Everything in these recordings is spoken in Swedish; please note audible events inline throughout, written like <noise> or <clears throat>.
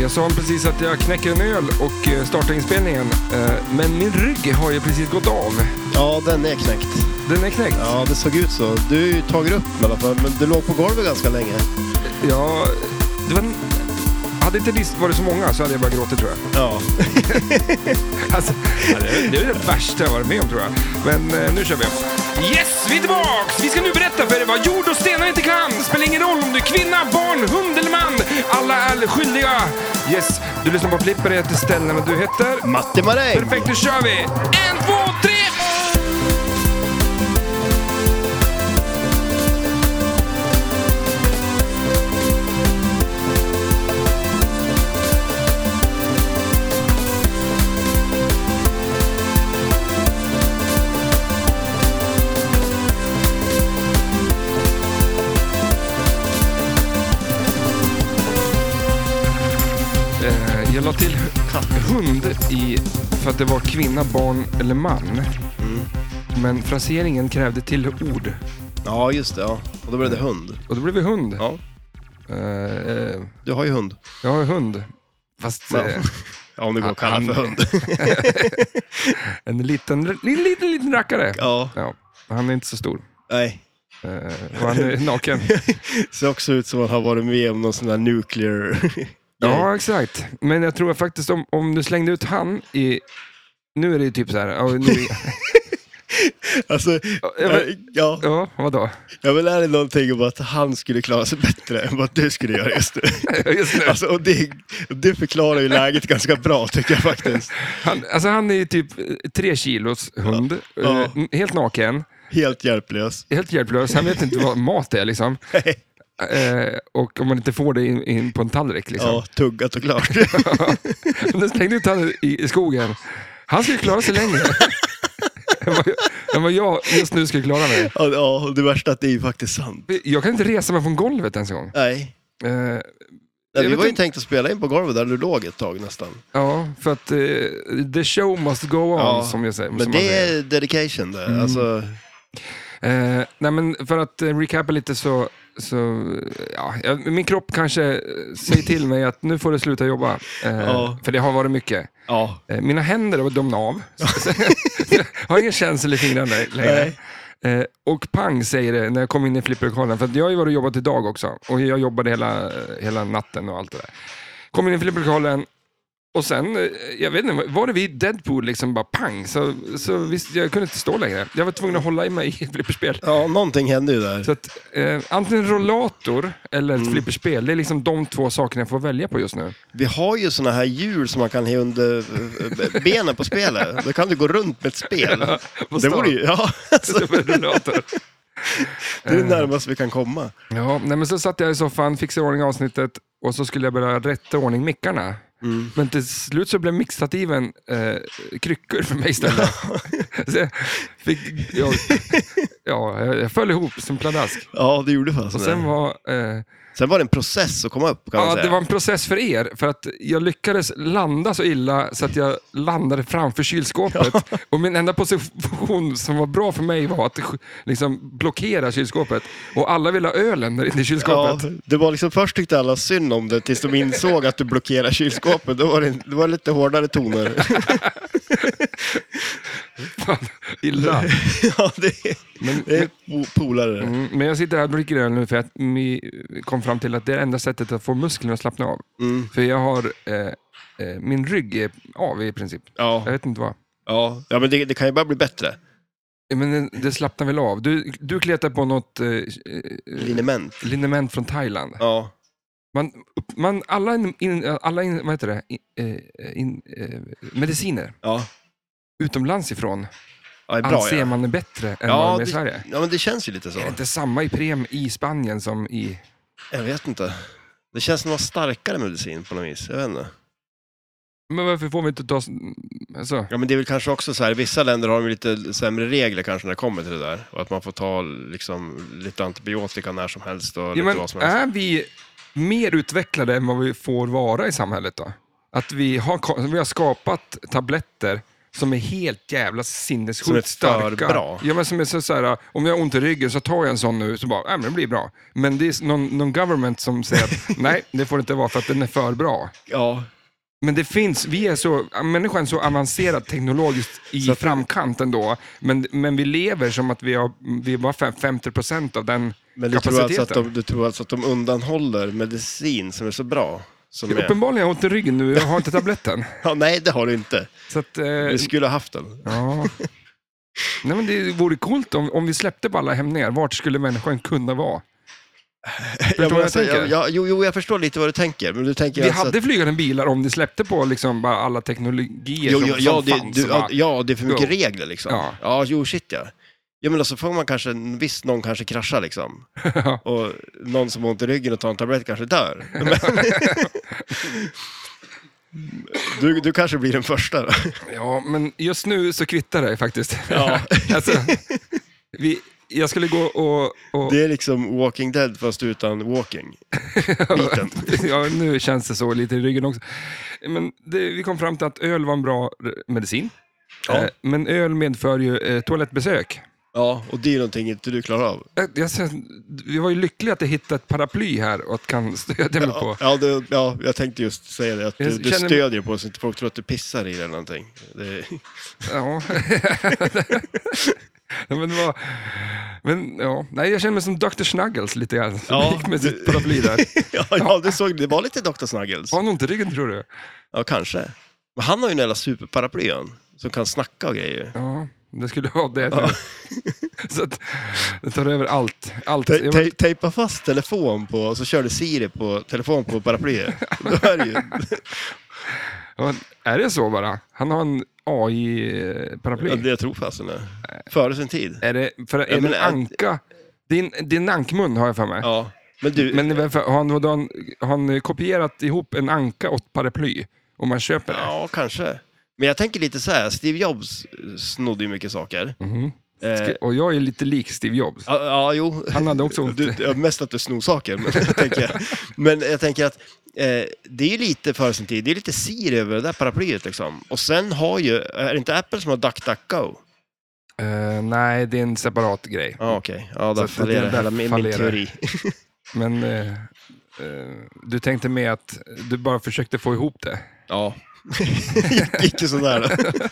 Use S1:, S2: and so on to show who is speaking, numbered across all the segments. S1: Jag sa precis att jag knäcker en öl och eh, startar inspelningen. Eh, Men min rygg har ju precis gått av.
S2: Ja, den är knäckt.
S1: Den är knäckt.
S2: Ja, det såg ut så. Du är ju tagit upp i alla fall, men du låg på golvet ganska länge.
S1: Ja, det var... en- Hade inte det varit så många så hade jag bara gråtit tror jag. <laughs>
S2: Ja.
S1: Alltså, ja, det, det är det värsta jag varit med om tror jag. Men eh, nu kör vi. Yes, vi är tillbaks! Vi ska nu berätta för er vad jord och stenar inte kan. Spelar ingen roll om du är kvinna, barn, hund eller man. Alla är skyldiga. Yes, du lyssnar på Flipper, jag heter Stellan och du heter?
S2: Matti Maräng!
S1: Perfekt, nu kör vi! En, två, tre! Eh, Jag la till hund i för att det var kvinna, barn eller man.
S2: Mm.
S1: Men fraseringen krävde till ord.
S2: Ja, just det. Ja. Och då blev det hund.
S1: Och då blev det hund.
S2: Ja.
S1: Eh, eh,
S2: Du har ju hund.
S1: jag har hund. Fast
S2: Ja.
S1: eh,
S2: Ja, om det går att kalla för hund.
S1: en liten, liten, liten, liten rackare.
S2: <laughs> Ja,
S1: Ja, han är inte så stor.
S2: nej.
S1: Eh, och han
S2: <laughs>
S1: är naken.
S2: Ser också ut som att han har varit med om någon sån där nuclear... <laughs>
S1: Ja, exakt. Men jag tror faktiskt om, om du slängde ut han i... Nu är det ju typ så här... Ja, nu,
S2: <laughs> Alltså,
S1: ja, men-
S2: ja,
S1: ja vadå?
S2: jag vill lära dig någonting om att han skulle klara sig bättre än vad du skulle göra just nu.
S1: Just nu.
S2: Alltså, och det, det förklarar ju läget ganska bra tycker jag faktiskt.
S1: Han, alltså han är ju typ eh, tre kilos hund.
S2: Ja.
S1: Eh, n- Helt naken,
S2: Helt hjälplös.
S1: helt hjälplös. Han vet inte vad mat är liksom.
S2: <laughs>
S1: Eh, och om man inte får det in, in på en tallrik liksom.
S2: Ja, tuggat och klart.
S1: <laughs> Men Den slängde ut han i, i skogen. Han skulle klara sig
S2: <laughs>
S1: längre. än vad jag- än vad jag just nu skulle klara mig.
S2: Ja, Ja, och det värsta är att det är ju faktiskt sant.
S1: Jag kan inte resa mig från golvet ens en gång.
S2: Nej.
S1: Eh, Jag
S2: Nej, vi
S1: vet
S2: var ju
S1: inte-
S2: tänkt att spela in på golvet där du låg ett tag nästan.
S1: ja, för att eh, the show must go on,
S2: Ja,
S1: som jag säger.
S2: Men
S1: som man
S2: det
S1: säger. Mm.
S2: är dedication det. Alltså,
S1: Eh, nej men för att eh, recapa lite så, så ja, jag- min kropp kanske eh, säger till mig att nu får du sluta jobba. Eh,
S2: Ja.
S1: För det har varit mycket.
S2: ja.
S1: Eh, mina händer har domnat
S2: <laughs>
S1: av. <laughs> jag har ingen känsel i fingrarna längre.
S2: Nej.
S1: Eh, och pang säger det när jag kom in i flipperlokalen. För att jag har ju varit och jobbat idag också. Och jag jobbade hela, hela natten och allt det där. Kom in i flipperlokalen och sen, eh, jag vet inte, var det vid Deadpool liksom bara pang, så, så visst, jag kunde inte stå längre. Jag var tvungen att hålla i mig i ett flipperspel.
S2: ja, någonting hände ju där.
S1: Så att, eh, antingen rollator eller
S2: Mm.
S1: ett flipperspel. Det är liksom de två sakerna jag får välja på just nu.
S2: Vi har ju såna här hjul som man kan ha under eh, benen på spelet. Då kan du gå runt med ett spel.
S1: på
S2: <laughs> Det
S1: stan.
S2: vore ju, ja, <laughs> alltså,
S1: Så med rollator.
S2: det är
S1: Mm.
S2: det närmaste vi kan komma.
S1: ja, nej, men så satt jag i soffan, fixade i ordning avsnittet och så skulle jag börja rätta i ordning mickarna.
S2: Mm.
S1: Men till slut så blev mixstativen eh, kryckor för mig istället. <laughs> så jag, fick, jag, ja, jag föll ihop som pladask.
S2: Ja, det gjorde
S1: Och
S2: fast
S1: sen
S2: det.
S1: var... Eh,
S2: Sen var det en process att komma upp kan man
S1: Ja,
S2: säga.
S1: det var en process för er, för att jag lyckades landa så illa så att jag landade framför kylskåpet. Och min enda position som var bra för mig var att sk- liksom blockera kylskåpet. Och alla ville ha ölen där inne i
S2: Ja,
S1: kylskåpet.
S2: det var liksom först tyckte alla synd om det tills de insåg att du blockerar kylskåpet. Då var det, det var lite hårdare toner.
S1: Fan, illa.
S2: <laughs> ja, det är,
S1: Men,
S2: det är po- polare.
S1: mm, men jag sitter här och dricker öl nu för att vi kom fram till att det är det enda sättet att få musklerna att slappna av.
S2: Mm.
S1: För jag har, eh, eh, min rygg är av i princip.
S2: Ja,
S1: Jag vet inte vad.
S2: ja. ja, men det, det kan ju bara bli bättre.
S1: Ja, Men det- det slappnar väl av. Du, du kletar på något eh, eh,
S2: Liniment.
S1: liniment från Thailand.
S2: Ja,
S1: Man, upp- man, alla in, in, alla in, vad heter det? In, eh, in, eh, mediciner
S2: ja.
S1: utomlands ifrån
S2: ja det är bra
S1: anser
S2: ja.
S1: man är bättre än vad
S2: Ja
S1: de är i
S2: det,
S1: Sverige.
S2: ja, men det känns ju lite så.
S1: Det är inte samma i Prem i Spanien som i...
S2: Jag vet inte. Det känns som att vara starkare medicin på något vis. Jag vet inte.
S1: Men varför får vi inte ta... s- Alltså,
S2: Ja, men det är väl kanske också så här, vissa länder har de lite sämre regler kanske när det kommer till det där. Och att man får ta liksom, lite antibiotika när som helst och
S1: ja,
S2: lite
S1: men
S2: vad som helst.
S1: är vi mer utvecklade än vad vi får vara i samhället då? Att vi har, ka- vi har skapat tabletter som är helt jävla sinnessjukt
S2: Som är för
S1: starka.
S2: bra.
S1: Ja, men som är så, så här, om jag har ont i ryggen så tar jag en sån nu, så bara, äh, men det blir bra. Men det är s- någon, någon government som säger att
S2: <laughs>
S1: nej, det får det inte vara för att den är för bra.
S2: Ja,
S1: Men det finns, vi är så, människan är så avancerad teknologiskt i
S2: Så att-
S1: framkant ändå, men, men vi lever som att vi har, vi är bara fem- 50 procent av den
S2: men du tror,
S1: kapaciteten.
S2: alltså att de, du tror alltså att de undanhåller medicin som är så bra? Som är...
S1: Uppenbarligen har jag ont i ryggen nu, jag har inte tabletten.
S2: Ja, nej, det har du inte.
S1: Så att, eh,
S2: Du skulle ha haft den.
S1: ja. Nej, men det vore coolt om, om vi släppte på alla hämningar, vart skulle människan kunna vara?
S2: <laughs> Ja, men
S1: vad jag
S2: alltså,
S1: tänker?
S2: ja, jo, jo, jag förstår lite vad du tänker. Men du tänker
S1: Vi
S2: alltså
S1: hade
S2: att,
S1: flygande bilar om ni släppte på liksom bara alla teknologier
S2: jo,
S1: som,
S2: jo,
S1: som
S2: ja, det,
S1: fanns.
S2: du,
S1: och bara,
S2: ja, ja, det är för mycket
S1: Jo.
S2: regler liksom. Ja.
S1: Ja.
S2: jo, shit ja. Ja, men alltså får man kanske, en- visst någon kanske kraschar liksom.
S1: Ja.
S2: Och någon som har ont i ryggen och tar en tablett kanske dör.
S1: <laughs>
S2: Men... du, du kanske blir den första då.
S1: Ja, men just nu så kvittar det faktiskt.
S2: Ja.
S1: <laughs> alltså, vi, jag skulle gå och... och
S2: Det är liksom Walking Dead fast utan
S1: <laughs>
S2: walking. Biten.
S1: ja, nu känns det så lite i ryggen också. Men det, vi kom fram till att öl var en bra r- medicin.
S2: Ja.
S1: Eh, Men öl medför ju eh, toalettbesök.
S2: Ja, och det är någonting inte du klarar av.
S1: Eh, Jag, ser- vi var ju lyckliga att jag hittade ett paraply här och att kan stödja mig på.
S2: Ja, det, ja, jag tänkte just säga det. Att du,
S1: Jag
S2: du
S1: känner-
S2: stödjer på så inte folk tror att du pissar i det eller någonting. Det,
S1: Ja. <laughs> Ja, men, det var, men ja, nej, jag känner mig som Dr. Snuggles lite grann. Som
S2: Ja, <laughs>
S1: gick <laughs> med
S2: du-
S1: sitt paraply där.
S2: ja, ja, det såg det var lite Dr. Snuggles.
S1: Har han ont i ryggen tror du?
S2: Ja, kanske. Men han har ju en jävla superparaply han, som kan snacka och grejer.
S1: Ja, det skulle vara det. <laughs> så att det tar över allt. allt.
S2: Te-
S1: Jag,
S2: te- tejpa fast telefon på, och så körde Siri på telefon
S1: <laughs>
S2: på paraplyet. Då är det ju...
S1: jag, är det så bara? Han har en
S2: Ja,
S1: AI-paraply.
S2: det jag tror fasen det. Före sin tid.
S1: Är det, för, är
S2: Ja, men
S1: det
S2: att-
S1: en anka? Det är en, det är en ankmun har jag för mig.
S2: Ja. Men du,
S1: Men varför, har han, har, han, har han kopierat ihop en anka och ett paraply? Om man köper det?
S2: ja, kanske. Men jag tänker lite så här, Steve Jobs snodde ju mycket saker.
S1: Mhm.
S2: Eh,
S1: Och jag är lite lik Steve Jobs.
S2: ja, ja, jo.
S1: Han hade också ont.
S2: Du, ja, mest att du snor saker, men, tänker jag.
S1: <laughs>
S2: men jag tänker att eh, det är ju lite före sin tid. Det är lite Siri över det där paraplyet liksom. Och sen har ju, är det inte Apple som har DuckDuckGo?
S1: Eh, nej, det är en separat grej.
S2: Ja, okej. Ja,
S1: Så
S2: där
S1: att det
S2: fallerar
S1: där
S2: hela min, min
S1: fallerar.
S2: teori.
S1: Men eh, eh, du tänkte med att du bara försökte få ihop det.
S2: Ja. <laughs> Gick ju sådär
S1: <laughs>
S2: då.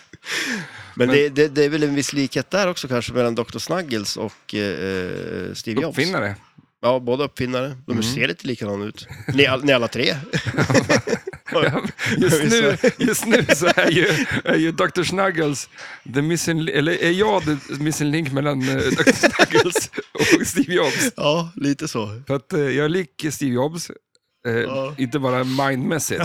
S2: Men, det, det, det är väl en viss likhet där också kanske mellan Dr. Snuggles och eh, Steve Jobs.
S1: Uppfinnare. Mm.
S2: Ja, båda uppfinnare. De ser lite likadana ut. Ni, all, ni alla tre.
S1: <laughs>
S2: <laughs>
S1: Just
S2: Visst
S1: nu,
S2: är
S1: <laughs> just nu så är ju, är ju Dr. Snuggles, the missing, eller är jag the missing link mellan eh, Dr.
S2: <laughs>
S1: Snuggles och Steve Jobs?
S2: Ja, lite så.
S1: För att eh, jag är lik Steve Jobs, eh,
S2: Ja.
S1: inte bara
S2: <laughs>
S1: mindmässigt,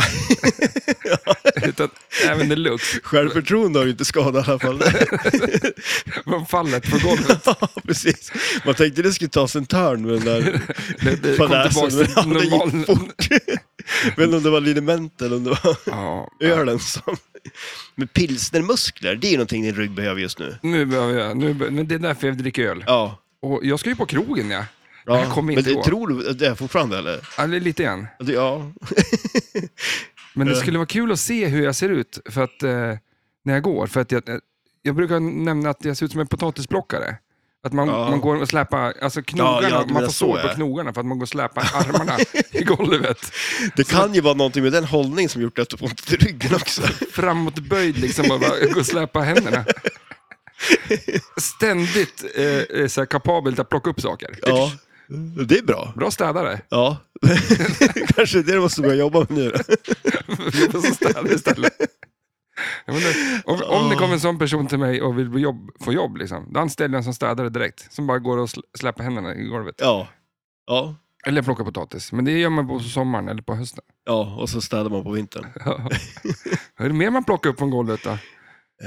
S1: <laughs> utan även the looks.
S2: Självförtroende har ju inte skadat i alla fall. <laughs>
S1: Man faller på golvet.
S2: ja, precis. Man tänkte det skulle tas en törn med den där
S1: Det, det kom
S2: fadäsen,
S1: tillbaka
S2: men
S1: till
S2: <laughs> ja, det gick
S1: normal...
S2: fort. <laughs> Jag vet inte om det var liniment eller om det var <laughs>
S1: Ja,
S2: ölen som... Men pilsnermuskler, det är ju någonting din rygg behöver just nu.
S1: nu behöver jag, nu, be- men det är därför jag dricker öl.
S2: Ja.
S1: Och jag ska ju på krogen, ja.
S2: ja.
S1: Jag kommer inte
S2: Men det,
S1: ihåg.
S2: tror du det är fortfarande eller?
S1: Eller lite grann.
S2: Att
S1: <laughs>
S2: det- Ja.
S1: Men
S2: Eh.
S1: det skulle vara kul att se hur jag ser ut för att, eh, när jag går. För att jag, eh, jag brukar nämna att jag ser ut som en potatisplockare. Att man,
S2: Ja.
S1: man går och släpar, alltså knogarna,
S2: Ja, ja, du
S1: man
S2: menar
S1: får sår
S2: så,
S1: på
S2: ja.
S1: knogarna för att man går och
S2: <laughs>
S1: släpar armarna i golvet.
S2: Det kan ju vara någonting med den hållning som gjort att du får ont i ryggen också.
S1: Framåtböjd liksom och bara går och släpar
S2: <laughs>
S1: händerna. Ständigt eh, eh, så här kapabelt att plocka upp saker.
S2: Ja. Det är bra.
S1: Bra städare.
S2: Ja. <laughs> Kanske det är det måste börja jobba med nu då. <laughs>
S1: Jobba som <laughs> städare istället. Jag menar, om, om det kommer en sån person till mig och vill bli jobb, få jobb, liksom, då anställer jag en som städare direkt. Som bara går och sl- släpper händerna i golvet.
S2: Ja. Ja.
S1: Eller plockar potatis. Men det gör man på sommaren eller på
S2: <laughs>
S1: hösten.
S2: Ja, och så städar man på vintern.
S1: Ja. Vad är det mer man plockar upp från golvet då?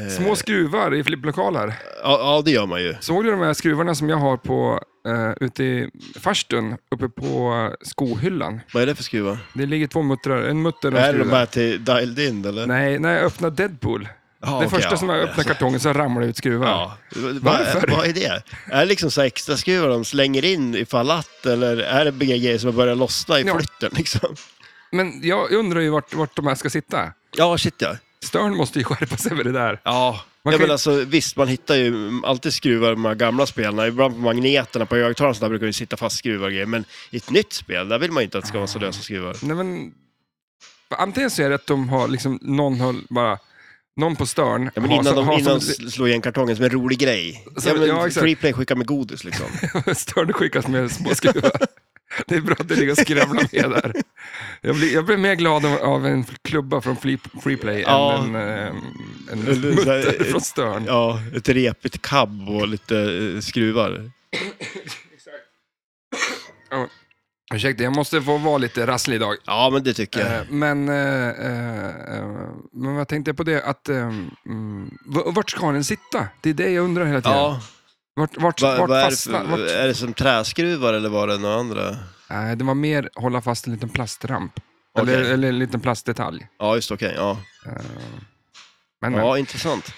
S2: Eh,
S1: Små skruvar i flipplokaler.
S2: Ja, ja, det gör man ju.
S1: Såg du de här skruvarna som jag har på, uh, ute i farstun, uppe på eh, skohyllan?
S2: Vad är det för skruvar?
S1: Det ligger två muttrar, en mutter och en
S2: Är det de
S1: skruv.
S2: här till dialed in eller?
S1: Nej, när jag öppnade Deadpool.
S2: Ja,
S1: det
S2: okej,
S1: första
S2: ja.
S1: som jag öppnade kartongen så ramlade det ut skruvar.
S2: Ja. Vad,
S1: Varför?
S2: vad är det? Är det liksom så här extra skruvar de slänger in ifall att, eller är det grejer som har börjat lossna i
S1: Ja.
S2: flytten liksom?
S1: Men jag undrar ju vart, vart de här ska sitta.
S2: Ja, shit ja.
S1: Stern måste ju <laughs> skärpa sig med det där.
S2: Ja,
S1: Man kan
S2: ja
S1: ju-
S2: men alltså, visst, man hittar ju alltid skruvar i de här gamla spelarna. Ibland på magneterna på högtalarna så där brukar det sitta fast skruvar och grejer. Men i ett nytt spel, där vill man ju inte att det ska vara så lösa skruvar.
S1: Nej, men, antingen så är det att de har liksom, någon har bara, någon på Stern
S2: Ja, men
S1: har,
S2: innan
S1: som-
S2: de
S1: har
S2: innan
S1: som,
S2: sl- slår igen kartongen som en rolig grej.
S1: Så-
S2: ja, men
S1: ja, exakt.
S2: Freeplay skickar med godis liksom.
S1: <laughs> Störn skickas med små skruvar. Det är bra att du ligger och skramlar med där. Jag blir, jag blir mer glad av- av en klubba från Fleep- Freeplay
S2: Ja.
S1: än en, eh, en
S2: Eller så här-
S1: mutter från Störn.
S2: ja, ett repigt kabb och lite eh, skruvar.
S1: Ursäkta, jag måste få vara lite rasslig idag.
S2: Ja, men det tycker jag.
S1: Eh, Men, eh, eh, eh, men vad tänkte jag på det? Att, eh, mm, v- vart ska den sitta? Det är det jag undrar hela tiden.
S2: ja, eh,
S1: Vart, vart,
S2: vad
S1: vart
S2: vad är, det
S1: fastnar...
S2: för-
S1: Vart...
S2: är det som träskruvar eller var det några andra?
S1: Nej, det var mer hålla fast en liten plastramp.
S2: Okej.
S1: Eller, eller en liten plastdetalj.
S2: Ja, just det, okej. ja.
S1: Eh, Men, men.
S2: ja, intressant.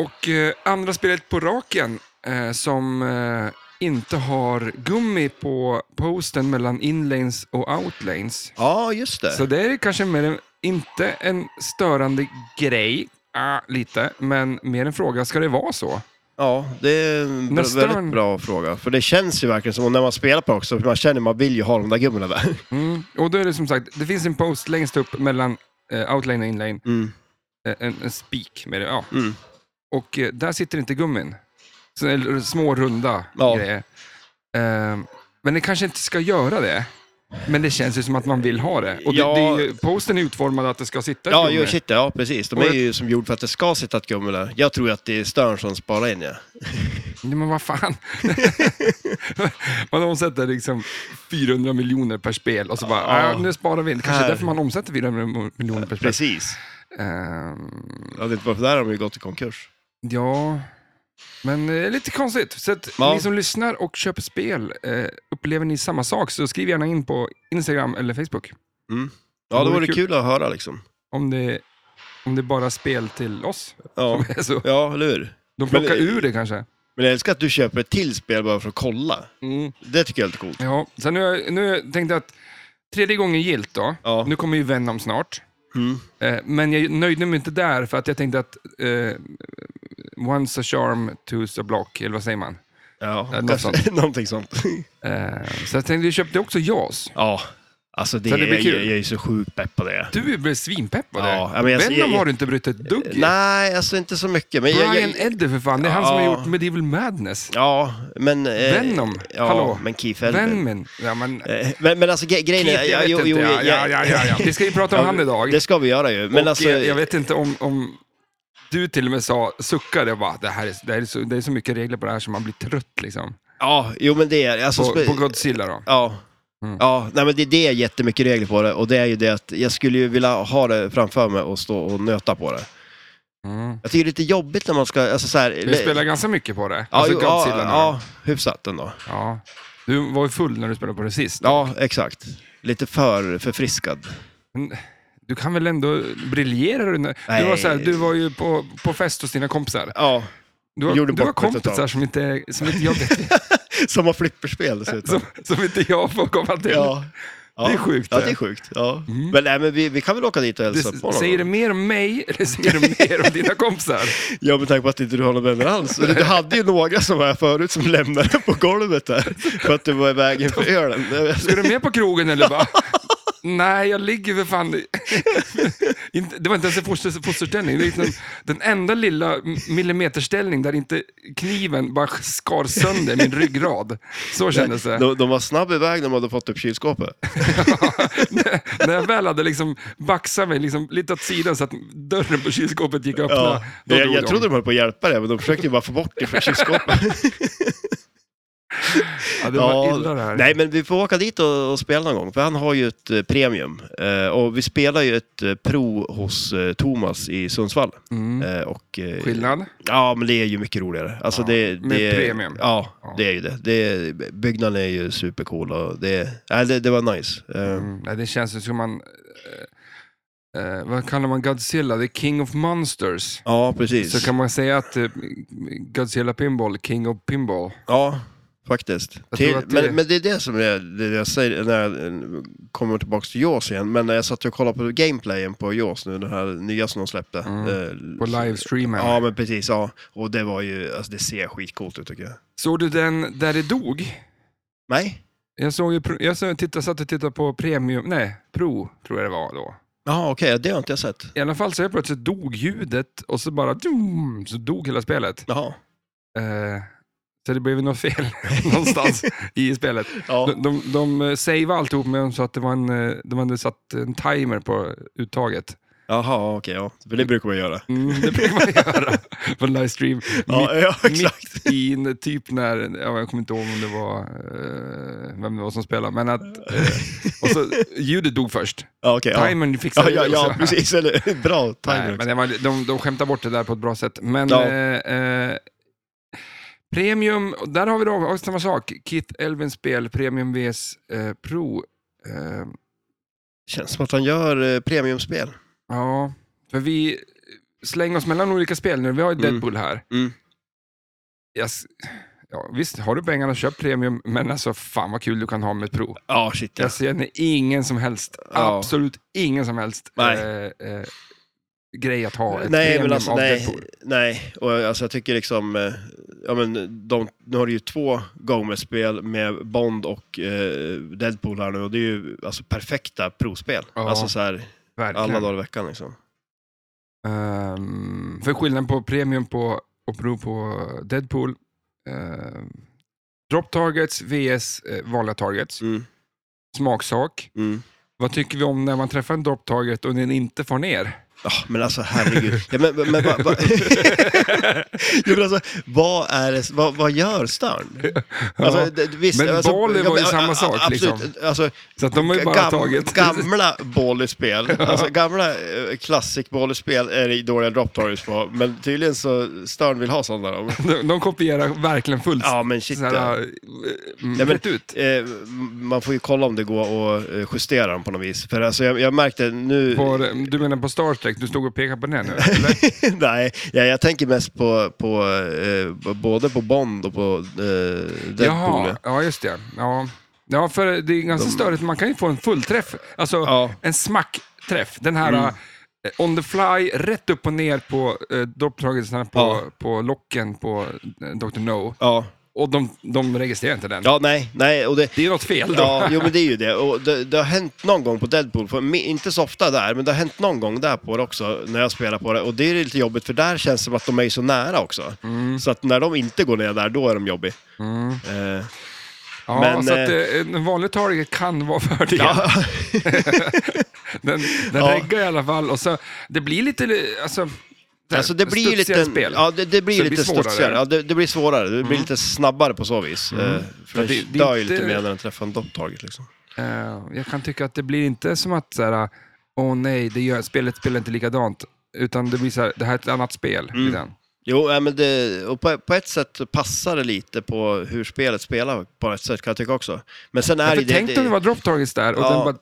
S1: Och eh, andra spelet på raken eh, som eh, inte har gummi på posten mellan inlanes och outlanes.
S2: Ja, just det.
S1: Så det är kanske mer en, inte en störande grej, ah, lite, men mer en fråga, ska det vara så?
S2: Ja, det är en bra,
S1: Nästa gång-
S2: väldigt bra fråga. För det känns ju verkligen som, och när man spelar på det också, för man känner man vill ju ha de där gummorna där. <laughs>
S1: Mm. Och då är det som sagt, det finns en post längst upp mellan eh, outlane och inlane,
S2: Mm.
S1: eh, en, en spik med det, ja.
S2: Mm.
S1: Och eh, där sitter inte gummin. Så, eller, små runda
S2: Ja.
S1: grejer. Eh, men det kanske inte ska göra det. Men det känns ju som att man vill ha det. Och
S2: Ja.
S1: det, det är ju, posten är utformad att det ska sitta ett
S2: Ja,
S1: gummi.
S2: ju, shit, ja, precis. De
S1: Och
S2: är
S1: jag-
S2: ju som gjord för att det ska sitta ett gummi där. Jag tror ju att det är Stern som sparar in, ja.
S1: Nej, men vad fan.
S2: <laughs>
S1: man omsätter liksom 400 miljoner per spel och så bara,
S2: Ja.
S1: "Ah, nu sparar vi. Kanske
S2: Här.
S1: därför man omsätter 400 miljoner per spel.
S2: Precis.
S1: Ehm,
S2: Ja, det är inte varför där har de ju gått i konkurs.
S1: Ja, men eh, lite konstigt. Så att
S2: Ja.
S1: ni som lyssnar och köper spel, eh, upplever ni samma sak så skriv gärna in på Instagram eller Facebook.
S2: Mm.
S1: Det
S2: Ja, det
S1: vore
S2: vore
S1: kul.
S2: kul att höra liksom.
S1: Om det, om det är bara spel till oss.
S2: <laughs> Ja,
S1: Som är <laughs> så.
S2: ja eller hur?
S1: De plockar
S2: Men- eh,
S1: ur det kanske.
S2: Men jag älskar att du köper ett till spel bara för att kolla.
S1: Mm.
S2: Det tycker jag är lite coolt.
S1: Ja, så nu, nu tänkte jag att tredje gången gilt då.
S2: Ja.
S1: Nu kommer ju Venom snart.
S2: Mm.
S1: Eh, men jag nöjde mig inte där för att jag tänkte att eh, once a charm, two's a block, eller vad säger man?
S2: Ja,
S1: Ja, något
S2: kanske-
S1: sånt.
S2: <laughs> någonting sånt.
S1: <laughs> Eh, så jag tänkte, jag köpte också JAS.
S2: ja, alltså det,
S1: Så det blir
S2: jag,
S1: kul.
S2: jag är ju så sjukt pepp på det.
S1: Du blev svinpepp på det.
S2: Ja, men jag-
S1: Venom
S2: jag- jag-
S1: har du inte brytt ett dugg i.
S2: Nej, alltså inte så mycket. Men jag,
S1: Brian
S2: jag,
S1: Edder för fan, det är han som har
S2: Ja.
S1: gjort Medieval Madness.
S2: Ja, men... eh,
S1: Venom?
S2: Ja,
S1: Hallå?
S2: men Keith Elben.
S1: Venom. Ja, men,
S2: Eh, Men, men alltså gre- grejen är...
S1: Keith, jag vet
S2: jo,
S1: inte.
S2: jo,
S1: Ja,
S2: jag-
S1: ja, ja, ja, ja. Vi ska ju prata om han idag.
S2: Det ska vi göra ju. Men
S1: och eh,
S2: alltså...
S1: jag, jag vet inte om, om du till och med sa, suckade och bara, det, här är, det, här är så, det är så mycket regler på det här som man blir trött liksom.
S2: Ja, jo men det är... Alltså,
S1: På,
S2: spe-
S1: på Godzilla då.
S2: Ja.
S1: Mm.
S2: Ja, nej, men det, det är jättemycket regler på det och det är ju det att jag skulle ju vilja ha det framför mig och stå och nöta på det.
S1: Mm.
S2: Jag tycker det är lite jobbigt när man ska, alltså så här,
S1: Du spelar ganska mycket på det.
S2: ja,
S1: alltså
S2: jo, ja,
S1: Godzilla ja,
S2: ja, hyfsat ändå.
S1: ja. Du var ju full när du spelade på det sist.
S2: Ja, exakt. Lite för förfriskad.
S1: Du kan väl ändå briljera? Du, när- du, var,
S2: Nej.
S1: så här, du var ju på, på fest hos dina kompisar. <laughs>
S2: Ja,
S1: Du har,
S2: Gjorde
S1: du har
S2: bort mig
S1: kompisar
S2: totalt.
S1: som inte, som inte jag
S2: <laughs> som har flipperspel dessutom.
S1: som, som inte jag får komma till.
S2: Ja.
S1: Det är sjukt,
S2: Ja,
S1: det.
S2: det är sjukt. Ja.
S1: Mm.
S2: Men, nej, men vi, vi kan väl åka dit och
S1: Det,
S2: hälsa på någon
S1: säger det
S2: gång?
S1: mer om mig eller säger det mer om dina kompisar?
S2: Ja, med tanke på att inte du har några vänner alls. Du hade ju några som var här förut som lämnade på
S1: <laughs>
S2: golvet där för att du var i vägen för ölen.
S1: Ska du med på krogen eller
S2: <laughs>
S1: bara? Nej, jag ligger för fan... i- <laughs> Inte- det var inte ens en foster, fosterställning. Det är liksom den enda lilla millimeterställning där inte kniven bara skar sönder min ryggrad. Så kändes det.
S2: De, de var snabba iväg när de hade fått upp kylskåpet.
S1: När jag väl hade liksom baxat mig liksom lite åt sidan så att dörren på kylskåpet gick att öppna.
S2: Ja.
S1: <laughs> då
S2: Jag,
S1: drog
S2: jag
S1: de.
S2: trodde de höll på att hjälpa dig, men de försökte ju bara få bort
S1: <laughs>
S2: det från kylskåpet.
S1: ja, det var illa det här.
S2: Nej, men vi får åka dit och, och spela någon gång, för han har ju ett eh, premium. Eh, och vi spelar ju ett eh, pro hos eh, Thomas i Sundsvall.
S1: Mm.
S2: Eh, och, eh,
S1: Skillnad?
S2: Ja, men det är ju mycket roligare. Alltså
S1: Ja,
S2: det,
S1: med
S2: det,
S1: premium.
S2: Ja,
S1: Ja.
S2: det är ju det. det byggnaden är ju supercool och det, nej, det, det var nice. Eh,
S1: Mm, nej, det känns ju som man... eh, eh, vad kallar man Godzilla? The King of Monsters.
S2: Ja, precis.
S1: Så kan man säga att eh, Godzilla Pinball, King of Pinball.
S2: Ja, Faktiskt.
S1: Jag tror
S2: Till,
S1: att det-
S2: Men, men det är det som jag, det jag säger när jag eh, kommer tillbaka till Jaws igen. Men när jag satt och kollade på gameplayen på Jaws nu, den här nya som de släppte.
S1: Mm.
S2: eh,
S1: På livestreamen.
S2: Ja, men precis. Ja. Och det var ju, alltså det ser skitcoolt ut tycker jag.
S1: Såg du den där det dog?
S2: Nej?
S1: Jag, såg ju, pr- jag såg, titta, satt och tittade på Premium, nej, Pro tror jag det var då.
S2: Jaha, okej. Det har inte jag sett.
S1: I alla fall så helt plötsligt dog ljudet och så bara dum, så dog hela spelet.
S2: Jaha.
S1: Eh, så det blev ju något fel <laughs>
S2: <laughs>
S1: någonstans i spelet.
S2: Ja.
S1: De, de, de eh, saveade alltihop men så att det var en, eh, de hade satt en timer på uttaget.
S2: Jaha, okej. Ja. För det brukar man göra.
S1: Mm, <laughs> det brukar man göra på en livestream.
S2: Ja, ja
S1: Mitt,
S2: <laughs> exakt.
S1: mitt i en typ när, ja, jag kommer inte ihåg om det var, eh, vem det var som spelade, men att, eh, och
S2: <laughs>
S1: så, ljudet dog först.
S2: Ja, okej. ja.
S1: Timern
S2: Ja,
S1: fixade
S2: ja,
S1: det
S2: ja,
S1: också.
S2: precis. Eller, <laughs> bra timing.
S1: Nej, men det var, de, de skämtar bort det där på ett bra sätt. Men
S2: Ja.
S1: eh, eh, Premium, och där har vi då också samma sak. Kit Elvins spel, Premium VS eh, Pro. Eh,
S2: Känns som att han gör eh, premiumspel.
S1: ja, för vi slänger oss mellan olika spel nu. Vi har ju
S2: Mm.
S1: Deadpool här.
S2: Mm.
S1: Jag s- ja, visst, har du pengarna köp Premium, men alltså fan vad kul du kan ha med ett Pro.
S2: Ja, shit ja.
S1: Jag ser ingen som helst,
S2: Ja.
S1: absolut ingen som helst
S2: Nej.
S1: eh, eh, grej att ha ett
S2: Nej,
S1: Premium
S2: men alltså
S1: av
S2: nej.
S1: Deadpool.
S2: Nej, och jag- alltså jag tycker liksom, eh, ja men de, nu har du ju två Gomez-spel med Bond och eh, Deadpool här nu och det är ju alltså perfekta provspel.
S1: Ja.
S2: Alltså så här
S1: Verkligen.
S2: alla dagar i veckan liksom.
S1: Ehm, för skillnaden på premium på, och pro på Deadpool. ehm, drop targets vs eh, vanliga targets.
S2: Mm,
S1: Smaksak.
S2: mm.
S1: Vad tycker vi om när man träffar en drop target och den inte far ner?
S2: Ah, men alltså herregud. ja, men, men, men, va, <laughs> va, ja, men alltså, vad, är det, vad, vad gör Stern? Alltså,
S1: Ja,
S2: det, visst,
S1: Men
S2: alltså,
S1: Bali
S2: ja,
S1: var ju
S2: men,
S1: samma
S2: a- a-
S1: sak, liksom.
S2: Absolut, alltså,
S1: så att de har ju bara
S2: Gam-
S1: tagit...
S2: <laughs> Gamla Bolly-spel, alltså gamla eh, classic Bolly-spel är det dåliga drop targets på, men tydligen så Stern vill ha sådana. då.
S1: <laughs> De, de kopierar verkligen fullt.
S2: Ja men shit.
S1: såhär,
S2: ja.
S1: eh, mm,
S2: Nej, men-
S1: rätt ut.
S2: Eh, man får ju kolla om det går att eh, justera dem på något vis. För alltså, jag, jag märkte nu...
S1: På, du menar på Star Trek? Du stod och pekade på den nu? Eller?
S2: <laughs> Nej, ja, jag tänker mest på, på eh, både på Bond och på eh, Deadpool.
S1: Jaha, ja just det. Ja. ja, för det är ganska störigt. Man kan ju få en fullträff. Alltså
S2: Ja. Mm.
S1: en smackträff. Den här eh, on the fly, rätt upp och ner på eh, dropptagelserna på,
S2: Ja.
S1: på locken på eh, Dr. No.
S2: Ja.
S1: Och de, de registrerar inte den.
S2: ja, nej, nej. Och det,
S1: Det är något fel då.
S2: Ja, jo men det är ju det. Och det, det har hänt någon gång på Deadpool, för, me- inte så ofta där, men det har hänt någon gång där på det också, när jag spelar på det. Och det är lite jobbigt, för där känns det som att de är ju så nära också.
S1: Mm.
S2: Så att när de inte går ner där, då är de jobbiga. Eh,
S1: Ja,
S2: men,
S1: så att, eh, en vanlig target kan vara fördel.
S2: ja,
S1: Den, den
S2: Ja.
S1: reggar i alla fall. Och så, det blir lite... Alltså,
S2: <laughs> alltså det blir ju lite...
S1: studsigare spel.
S2: Ja, det, det blir
S1: Så
S2: ju
S1: det
S2: lite
S1: blir svårare.
S2: studsigare. Ja, det, det blir svårare. Det blir lite snabbare på så vis. Eh, för
S1: Men
S2: det,
S1: det- det är
S2: dör ju
S1: inte-
S2: lite mer när den träffar en dopptaget liksom.
S1: Eh, jag kan tycka att det blir inte som att såhär, åh nej, det gör, spelet spelar inte likadant. Utan det blir såhär, det här är ett annat spel.
S2: Mm.
S1: i den.
S2: Jo, ja, men det, och på, på ett sätt passar det lite på hur spelet spelar på ett sätt kan jag tycka också. Men sen är
S1: Ja,
S2: ju
S1: för
S2: det...
S1: tänk
S2: det,
S1: om det var drop targets där och
S2: Ja.
S1: den bara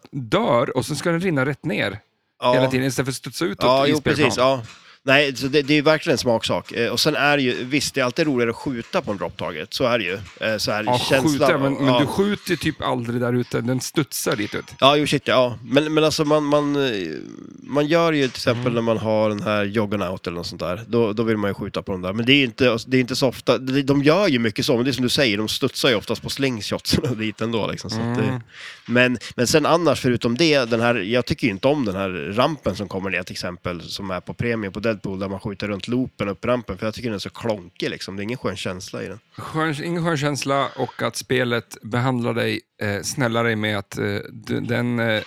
S1: dör och sen ska den rinna rätt ner
S2: ja.
S1: hela tiden istället för att studsa utåt
S2: Ja,
S1: i
S2: jo,
S1: spelplanen.
S2: precis. Ja. Nej, så det, det är ju verkligen en smaksak. Eh, och sen är det ju, visst, det är alltid roligare att skjuta på en dropptaget. Så är det ju. Eh, så här,
S1: Ja,
S2: känslan.
S1: skjuta, men,
S2: ja.
S1: men du skjuter ju typ aldrig där ute, den studsar ditåt.
S2: Ja, jo, shit, ja. Men, men alltså man, man, eh, man gör ju till exempel när man har den här Joggonaut eller något sånt där. Då, då vill man ju skjuta på den där. Men det är ju inte, alltså, det är inte så ofta. De de gör ju mycket så, men det är som du säger, de studsar ju oftast på slingshotsen och dit ändå. Liksom, så att det, men, men sen annars, förutom det, den här, jag tycker ju inte om den här rampen som kommer ner till exempel, som är på premium på Deadpool, där man skjuter runt loopen upp rampen, för jag tycker den är så klonkig liksom. Det är ingen skön känsla i den.
S1: Skön, ingen skön känsla och att spelet behandlar dig eh, snällare med att eh, du, den, eh,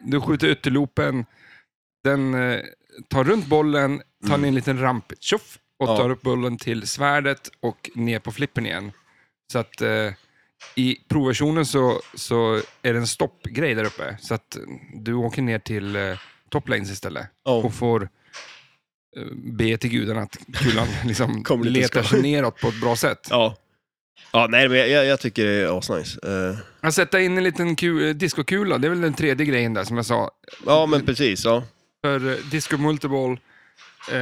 S1: du skjuter ut till loopen, den eh, tar runt bollen, tar ner en liten ramp tjoff, och
S2: Mm. Ja.
S1: tar upp bollen till svärdet och ner på flippen igen. Så att eh, i provversionen så, så är det en stoppgrej där uppe, så att eh, du åker ner till eh, top lanes istället
S2: Oh.
S1: och får eh, be till gudarna att kulan
S2: <laughs>
S1: liksom
S2: Kommer lite
S1: letar sig
S2: skott.
S1: neråt på ett bra sätt.
S2: Ja. Ja, nej, men jag, jag, jag tycker det är asnice. Eh,
S1: Att sätta in en liten ku- eh, diskokula, det är väl den tredje grejen där som jag sa.
S2: ja, men precis. Ja.
S1: För eh, disco multiball, eh,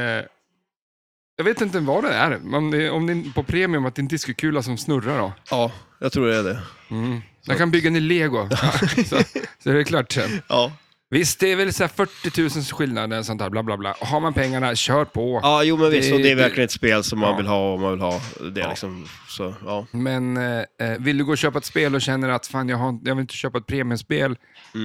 S1: Jag vet inte vad det är. Om det, om det är på premium att det är en diskokula som snurrar då.
S2: Ja, jag tror det är det.
S1: Mm. Jag kan bygga en i lego. <laughs> så, så är det klart sen.
S2: Ja,
S1: Visst, det är väl så här 40 000 skillnader sånt där, bla bla bla. Har man pengarna, kör på.
S2: ja jo men visst.
S1: Det-
S2: och det är
S1: det-
S2: verkligen ett spel som man
S1: Ja.
S2: vill ha om man vill ha det
S1: Ja.
S2: liksom. Så, ja.
S1: Men eh, eh, vill du gå och köpa ett spel och känner att fan, jag, har, jag vill inte köpa ett premiumspel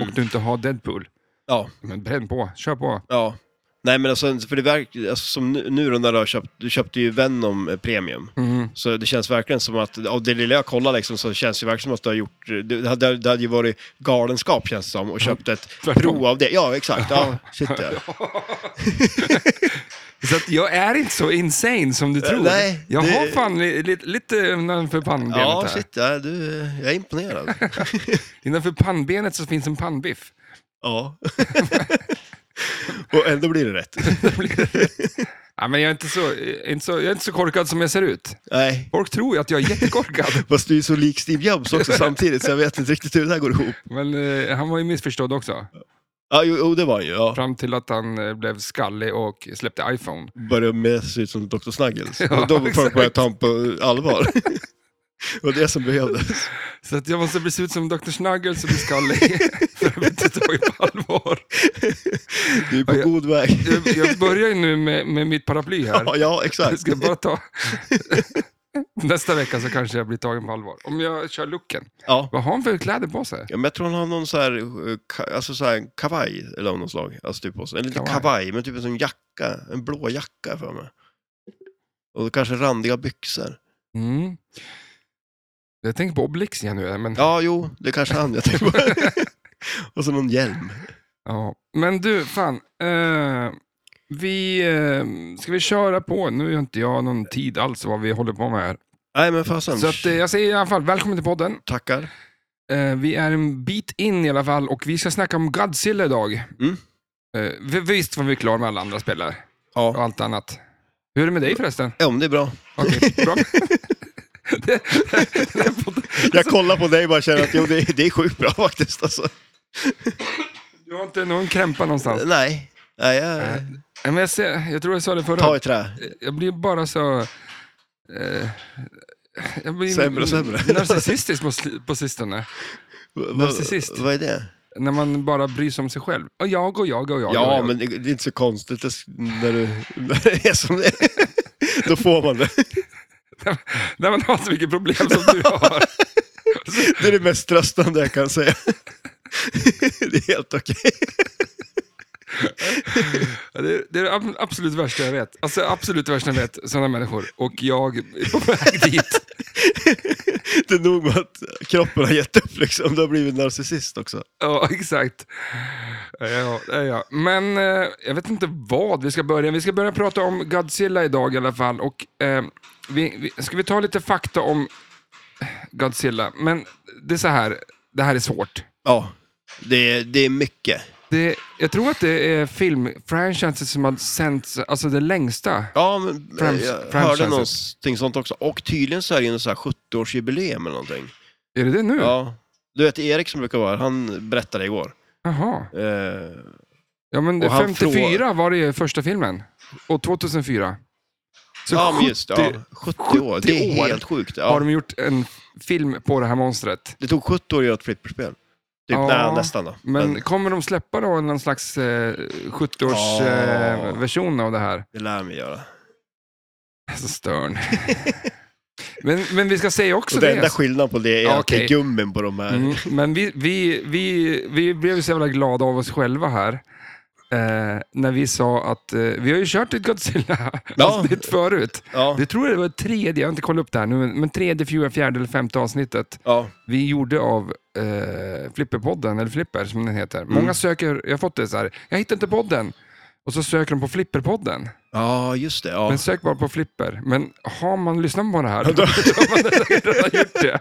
S1: och du inte har Deadpool,
S2: ja,
S1: men bränn på, kör på.
S2: ja. Nej men alltså, för det verk, alltså som nu, nu då när du har köpt, du köpte ju Venom eh, Premium.
S1: Mm.
S2: Så det känns verkligen som att, av det lilla jag kollar liksom, så känns det verkligen som att du har gjort, det hade, det hade ju varit galenskap känns det som, och köpt ett
S1: Tvärtom.
S2: prov av det. Ja, exakt. Ja, <laughs> shit ja.
S1: Så att jag är inte så insane som du tror.
S2: Eh, nej,
S1: jag
S2: det-
S1: har fan li, li, lite innanför pannbenet
S2: Ja,
S1: här.
S2: shit ja, du, jag är <laughs> imponerad.
S1: Innanför pannbenet så finns en
S2: <laughs>
S1: pannbiff.
S2: ja. och ändå blir det rätt.
S1: ja, men jag, är inte så, jag, är inte så, jag är inte så korkad som jag ser ut.
S2: Nej,
S1: Folk tror ju att jag är
S2: <laughs>
S1: jättekorkad,
S2: fast du är så lik Steve
S1: <laughs>
S2: Jobs också samtidigt, så jag vet inte riktigt hur det här går ihop.
S1: men eh, han var ju missförstådd också.
S2: Ja, jo, jo, det var han ju. Ja.
S1: Fram till att han eh, blev skallig och släppte iPhone.
S2: Började med sig ut som Dr. Snuggles.
S1: Ja,
S2: och
S1: <laughs>
S2: då började
S1: exakt.
S2: jag ta honom på allvar. det var det som behövdes.
S1: Så att jag måste bli se ut som Dr. Snuggles och bli skallig <laughs> för att bli tagen på allvar.
S2: Du är på
S1: Ja, jag-
S2: god
S1: <laughs>
S2: väg.
S1: Jag, jag börjar ju nu med, med mitt paraply här.
S2: Ja, ja,
S1: Jag
S2: exakt.
S1: ska bara ta... Nästa vecka så kanske jag blir tagen på allvar. Om jag kör looken.
S2: Ja.
S1: Vad har han för kläder på sig?
S2: Ja, men jag tror han har någon så här, eh, ka- alltså så här en kavaj eller av något slag. Alltså typ på sig. En liten
S1: Kavaj.
S2: kavaj. men typ en sån jacka. En blå jacka för mig. Och kanske randiga byxor.
S1: Mm. Jag tänker på Obelix igen nu. Men, ja.
S2: Ja, jo, det kanske han jag tänker på.
S1: <laughs>
S2: Och så någon hjälm.
S1: men du, fan. eh, vi, eh, ska vi köra på? Nu har inte jag någon tid alls vad vi håller på med här.
S2: Nej, men fasen.
S1: Så att, eh, jag säger i alla fall välkommen till podden.
S2: Tackar.
S1: Eh, vi är en bit in i alla fall och vi ska snacka om Godzilla idag.
S2: Mm.
S1: Eh, vi- visst var vi klara med alla andra spelare och
S2: Ja.
S1: allt annat. Hur är det med dig förresten?
S2: ja, men det är bra.
S1: Okej,
S2: <laughs>
S1: bra. Det- det- det- podden-
S2: Jag kollar på dig och bara känner att jo, det, är- det är sjukt bra faktiskt. Alltså.
S1: du har inte någon krämpa någonstans?
S2: Nej. Nej, jag
S1: Nej, Men jag, ser, jag tror jag sa det
S2: tar
S1: förra.
S2: i trä.
S1: Jag blir bara så... Eh, jag blir
S2: Sämre och sämre.
S1: <laughs> narcissistisk på, sli- på sistone.
S2: Vad-
S1: Narcissist.
S2: Vad är det?
S1: När man bara bryr sig om sig själv. Och jag och jag och jag. och
S2: Ja,
S1: jag. <laughs>
S2: men det det är inte så konstigt det- när, du, när det är som det är. Då får man det.
S1: När man har så mycket problem som du har.
S2: Det är det mest tröstande jag kan säga. Det är helt okej.
S1: Ja, Det är, det är det ab- absolut värsta jag vet. Alltså absolut värsta jag vet, sådana människor. Och jag är på väg dit.
S2: Det är nog med att kroppen har gett upp liksom. Du har blivit narcissist också.
S1: Ja, <laughs> exakt. Ja, ja, ja. Men eh, jag vet inte vad vi ska börja Vi ska börja prata om Godzilla idag i alla fall. Och, eh, vi, vi, ska vi ta lite fakta om Godzilla? Men det är så här, det här är svårt.
S2: Ja, det är, det är mycket.
S1: Det, jag tror att det är filmfranchises som har sänts, alltså det längsta.
S2: Ja, men eh,
S1: Franchise-
S2: jag hörde
S1: franchises.
S2: någonting sånt också. Och tydligen så är det ju någon så här 70-årsjubileum eller någonting.
S1: Är det det nu?
S2: Ja. Du vet Erik som brukar vara här, han berättade igår.
S1: Jaha.
S2: Eh,
S1: Ja, men
S2: Och han
S1: 54 var det ju första filmen. Och 2004. Så
S2: ja, men just ja,
S1: 70
S2: 70 år. Det
S1: 70
S2: är
S1: år
S2: helt sjukt.
S1: har
S2: Ja.
S1: de gjort en film på det här monstret.
S2: Det tog 70 år att göra ett flipperspel. Typ,
S1: Ja,
S2: nej, nästan då.
S1: Men
S2: Men,
S1: kommer de släppa då någon slags eh, 70-års
S2: Ja.
S1: eh, version av det här?
S2: det lär mig göra.
S1: Alltså
S2: <laughs>
S1: störn. men, men vi ska säga också
S2: Och den
S1: det.
S2: enda skillnaden på det är
S1: Ja,
S2: att det
S1: okej.
S2: är gummin på de här.
S1: Mm, men vi, vi, vi, vi blev ju så jävla glada av oss själva här. Eh, när vi sa att eh, vi har ju kört ett Godzilla-avsnitt förut.
S2: Ja,
S1: Det tror jag det var tredje, jag har inte kollat upp det här nu, men tredje, fjärde, fjärde eller femte avsnittet
S2: ja,
S1: vi gjorde av eh, Flipperpodden, eller Flipper som den heter.
S2: Mm.
S1: Många söker, jag har fått det så här, jag hittar inte podden. Och så söker de på Flipperpodden,
S2: ja just det. Ja.
S1: men sök bara på Flipper. Men har man lyssnat på det
S2: <laughs>
S1: här, då har man redan gjort det.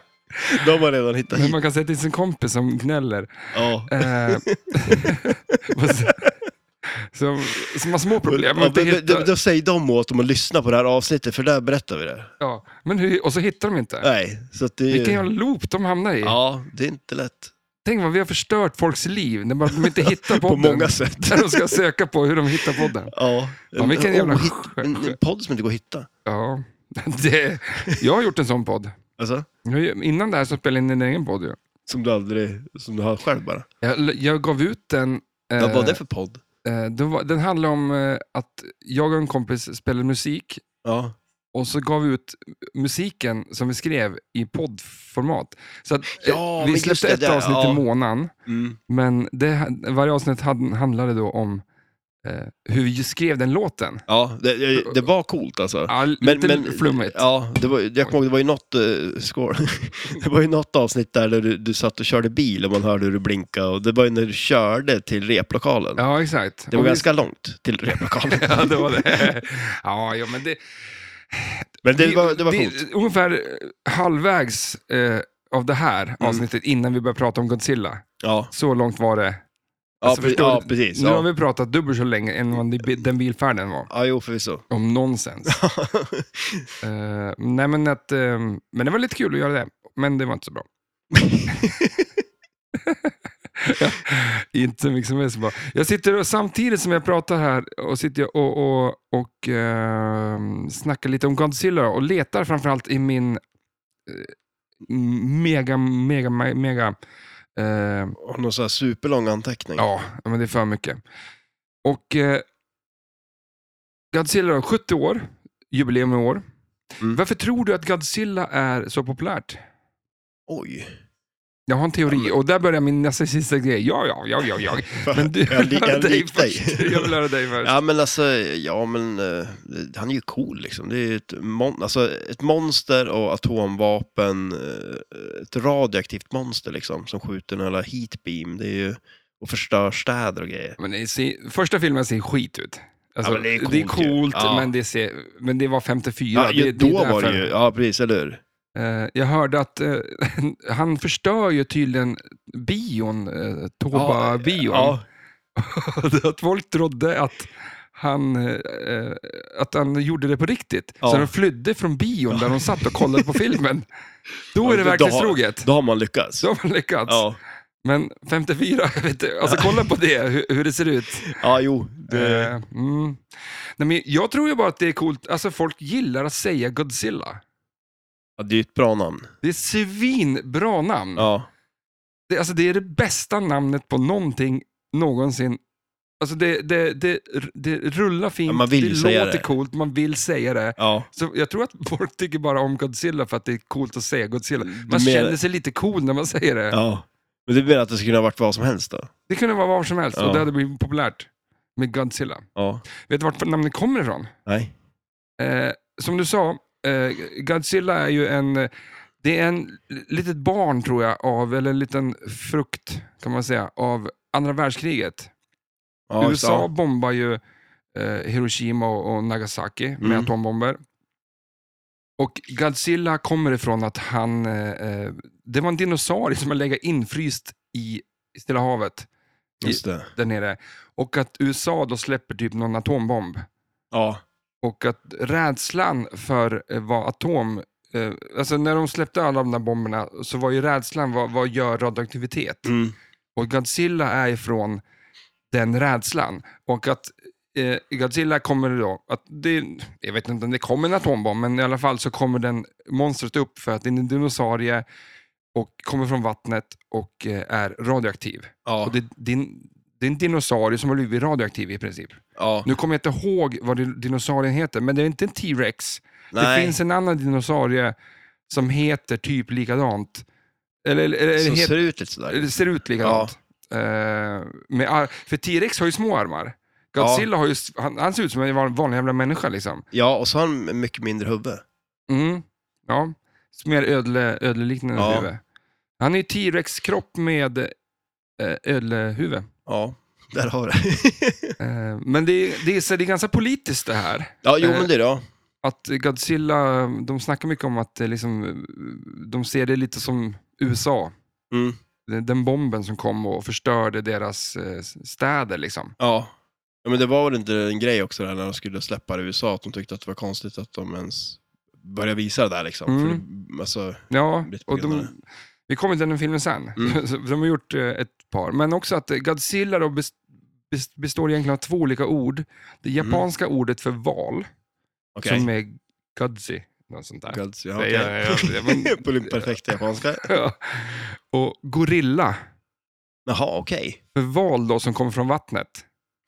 S2: De har man redan hittat
S1: Men
S2: hit.
S1: man kan säga till sin kompis som gnäller.
S2: Ja.
S1: Eh, <laughs> som, som har små
S2: Ja,
S1: problem.
S2: men,
S1: inte
S2: men, då,
S1: hittar,
S2: då säger de åt dem att lyssna på det här avsnittet, för där berättar vi det.
S1: ja, men hur, och så hittar de inte.
S2: Nej, så att det är
S1: Vilken
S2: ju...
S1: jävla loop de hamnar i.
S2: Ja, det är inte lätt.
S1: Tänk vad vi har förstört folks liv när man- de inte hittar
S2: <laughs> På
S1: podden.
S2: många sätt.
S1: När de ska söka på hur de hittar podden.
S2: Ja.
S1: Fan, vilken jävla
S2: Oh, hit-
S1: skö-
S2: en, en podd som inte går att hitta.
S1: Ja, <laughs> det, jag har gjort en sån podd.
S2: Alltså,
S1: Jag har ju- Innan det här så spelade jag in en egen podd. ju.
S2: som du aldrig, som du har själv bara.
S1: Jag, jag gav ut den. eh,
S2: Vad var det för podd?
S1: eh, det var, den handlade om eh, att jag och en kompis spelade musik
S2: Ja.
S1: och så gav vi ut musiken som vi skrev i poddformat. Så att, eh,
S2: Ja, men
S1: vi
S2: just
S1: släppte
S2: det
S1: ett
S2: där,
S1: avsnitt
S2: ja.
S1: i månaden,
S2: Mm.
S1: men det, varje avsnitt had- handlade då om eh, hur vi skrev den låten.
S2: Ja, det, det, det var coolt alltså.
S1: Ja, lite flummigt.
S2: Ja, det var, jag kommer ihåg, det var ju något, eh, skål. <laughs> det var ju något avsnitt där du, du satt och körde bil och man hörde hur du blinkade. Och det var ju när du körde till replokalen.
S1: Ja, exakt.
S2: Det var
S1: Och vi-
S2: ganska långt till replokalen.
S1: <laughs> Ja, det var det. Ja, ja men det,
S2: Men det var, det var coolt.
S1: är Ungefär halvvägs eh, av det här
S2: Mm.
S1: avsnittet innan vi började prata om Godzilla.
S2: Ja,
S1: Så långt var det.
S2: ja,
S1: Alltså,
S2: pre-
S1: förstår
S2: ja
S1: du?
S2: precis.
S1: Nu har
S2: Ja.
S1: vi pratat dubbelt så länge än vad ni- den bilfärden var.
S2: ja,
S1: <laughs>
S2: jo förvisso.
S1: Om nonsens. Eh, nej, men, att, eh, men det var lite kul att göra det. Men det var inte så bra. <laughs> inte mycket som är så bra. Jag sitter och, samtidigt som jag pratar här och sitter jag och, och, och eh, snackar lite om Godzilla och letar framförallt i min eh, mega, mega, me- mega... Eh,
S2: Och någon sån här superlång anteckning.
S1: ja, men det är för mycket. Och eh, Godzilla, 70 år, jubileum i år.
S2: Mm.
S1: Varför tror du att Godzilla är så populärt?
S2: Oj.
S1: Jag har en teori och där börjar min nästa sista grej. Ja, ja, ja, ja,
S2: <laughs>
S1: ja. <laughs> Men du,
S2: jag li-
S1: vill höra
S2: jag
S1: dig
S2: lik dig.
S1: först. Jag vill höra dig först.
S2: Ja men alltså, ja men eh, han är ju cool liksom. Det är ju ett, mon- alltså, ett monster och atomvapen, eh, ett radioaktivt monster liksom som skjuter en jävla heatbeam. Det är ju, och förstör städer och grejer.
S1: Men det ser, första filmen ser skit ut. Alltså,
S2: Ja, men det är coolt
S1: det är
S2: ju.
S1: coolt
S2: Ja.
S1: men, det ser, men det var 54.
S2: Ja,
S1: det,
S2: då
S1: det är
S2: var det
S1: därför.
S2: ju, ja precis, eller hur?
S1: Eh, jag hörde att eh, <laughs> han förstör ju tydligen bion, eh, Toba-bion.
S2: Ja,
S1: att folk trodde att han, eh, att han gjorde det på riktigt.
S2: Ja.
S1: Så de flydde från bion där de satt och kollade
S2: <laughs>
S1: på filmen. Då
S2: Ja,
S1: är det
S2: då- då har-
S1: verklighetstroget.
S2: då har man lyckats.
S1: Så har man lyckats.
S2: Ja,
S1: Men 54, <laughs> jag vet inte. Alltså kolla på det, hur, hur det ser ut.
S2: ja jo. Det,
S1: Eh, mm. Nej, men jag tror ju bara att det är coolt, alltså folk gillar att säga Godzilla.
S2: ja, det är ju ett bra namn.
S1: Det är svinbra namn.
S2: Ja.
S1: Det, alltså, det är det bästa namnet på någonting någonsin. Alltså det, det, det, det rullar fint,
S2: Ja, man vill
S1: det
S2: säga
S1: låter
S2: det.
S1: coolt, man vill säga det.
S2: Ja.
S1: Så jag tror att <laughs> folk tycker bara om Godzilla för att det är coolt att säga Godzilla. Man
S2: Men-
S1: känner sig lite cool när man säger det.
S2: ja. Men det menar att det skulle kunna ha varit vad som helst då?
S1: Det kunde vara var som helst och
S2: Ja.
S1: det hade blivit populärt med Godzilla.
S2: Ja.
S1: Vet du vart namnet kommer ifrån?
S2: Nej.
S1: Eh, som du sa, eh, Godzilla är ju en... eh, Det är en litet barn, tror jag, av, eller en liten frukt, kan man säga, av andra världskriget.
S2: Ja,
S1: USA bombar ju eh, Hiroshima och, och Nagasaki med
S2: Mm.
S1: atombomber. Och Godzilla kommer ifrån att han... Eh, eh, det var en dinosaurie som man lägger infryst i Stilla havet
S2: Just det.
S1: där nere. Och att USA då släpper typ någon atombomb.
S2: Ja.
S1: Och att rädslan för eh, vad atom... Eh, alltså när de släppte alla de där bomberna så var ju rädslan vad, vad gör radioaktivitet?
S2: Mm.
S1: Och Godzilla är ifrån den rädslan. Och att eh, Godzilla kommer då, att det, jag vet inte om det kommer en atombomb, men i alla fall så kommer den monstret upp för att det är en dinosaurie och kommer från vattnet och eh, är radioaktiv.
S2: Ja.
S1: Och det, det, är en, det är en dinosaurie som har blivit radioaktiv i princip.
S2: ja.
S1: Nu kommer jag inte ihåg vad din- dinosaurien heter, men det är inte en T-rex. Det
S2: Nej.
S1: finns en annan dinosaurie som heter typ likadant. Eller, eller, eller,
S2: Som
S1: heter-
S2: ser ut lite sådär.
S1: det ser ut likadant. Eh, med ar- för T-Rex har ju små armar. Godzilla har ju, s- han, han ser ut som en van- vanlig jävla människa liksom.
S2: Ja, och så har han mycket mindre huvud.
S1: Mm. Ja, mer ödle, ödleliknande
S2: Ja.
S1: huvud. Han är ju T-Rex-kropp med eh, ödlehuvud.
S2: Ja,
S1: <laughs>
S2: där har vi det.
S1: Eh, men det är, det, är, så det är ganska politiskt det här.
S2: Ja, jo men det då.
S1: att Godzilla, de snackar mycket om att det liksom, de ser det lite som USA.
S2: Mm.
S1: Den den bomben som kom och förstörde deras eh, städer. Liksom.
S2: Ja. ja. Men det var väl inte en grej också där när de skulle släppa det i USA, att de tyckte att det var konstigt att de ens började visa det där liksom.
S1: Mm.
S2: För det, alltså,
S1: Ja,
S2: Lite på
S1: och de,
S2: grund av
S1: Vi kommer till den filmen sen. <laughs>
S2: Mm.
S1: Så De har gjort eh, ett par. Men också att eh, Godzilla då bes- bes- består egentligen av två olika ord. Det japanska ordet för val,
S2: Mm. Okej.
S1: som är Godzi. Något sånt där.
S2: Gods, ja,
S1: Nej, ja, ja, ja,
S2: okej.
S1: men-
S2: <laughs> På den perfekta japanska.
S1: Ja. <laughs> Och gorilla,
S2: Jaha, okej.
S1: för val då som kommer från vattnet.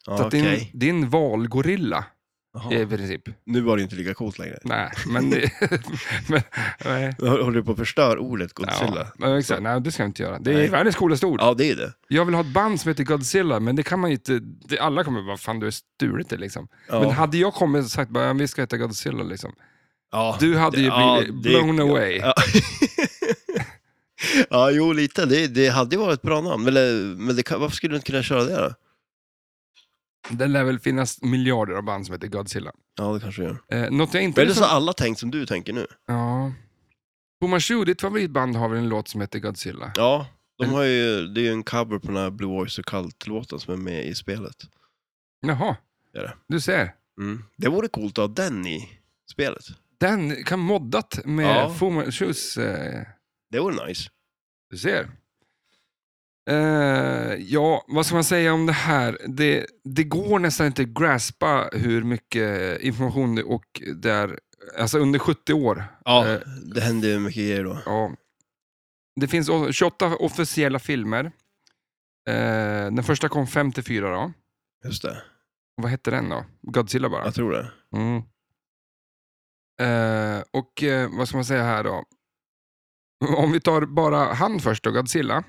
S1: Så
S2: Ja,
S1: att det, är en,
S2: okej.
S1: det är en valgorilla
S2: Jaha.
S1: i princip.
S2: Nu var det inte lika coolt längre.
S1: Nej, men... det- <laughs> men nej.
S2: Nu Håller du på att förstör ordet Godzilla?
S1: Ja, men exakt. Nej, det ska jag inte göra. Det är
S2: Nej.
S1: världens coolaste ord.
S2: Ja, det är det.
S1: Jag vill ha ett band som heter Godzilla, men det kan man ju inte... Det, alla kommer bara, fan du är stulit det liksom.
S2: Ja.
S1: Men hade jag kommit och sagt bara, "Ja, vi ska heta Godzilla liksom.
S2: Ja.
S1: Du hade ju
S2: Ja,
S1: blivit
S2: det-
S1: blown away.
S2: Ja. ja, jo lite. Det, det hade ju varit ett bra namn. Eller, men det kan, varför skulle du inte kunna köra det då?
S1: Det lär väl finnas miljarder av band som heter Godzilla.
S2: Ja, det kanske gör.
S1: Eh, något jag inte...
S2: Men är det så
S1: liksom-
S2: alla tänkt som du tänker nu?
S1: Ja. Thomas Schuh, ditt favoritband har väl en låt som heter Godzilla?
S2: Ja, de har ju, det är ju en cover på den här Blue Oyster Cult-låten som är med i spelet.
S1: Jaha,
S2: Det är det.
S1: du ser.
S2: Mm. Det vore coolt att ha den i spelet.
S1: Den kan moddat med
S2: Ja.
S1: Thomas Schuhs... Eh,
S2: Det vore nice.
S1: Du ser. Eh, ja, vad ska man säga om det här? Det, det går nästan inte att graspa hur mycket information det- och där, alltså under 70 år.
S2: Ja.
S1: Eh,
S2: Det händer ju mycket grejer då.
S1: ja. Det finns o- 28 officiella filmer. Eh, den första kom 54 då.
S2: Just det,
S1: Vad hette den då? Godzilla bara.
S2: jag tror det.
S1: Mm. Eh, och eh, vad ska man säga här då? Om vi tar bara han först då, Godzilla.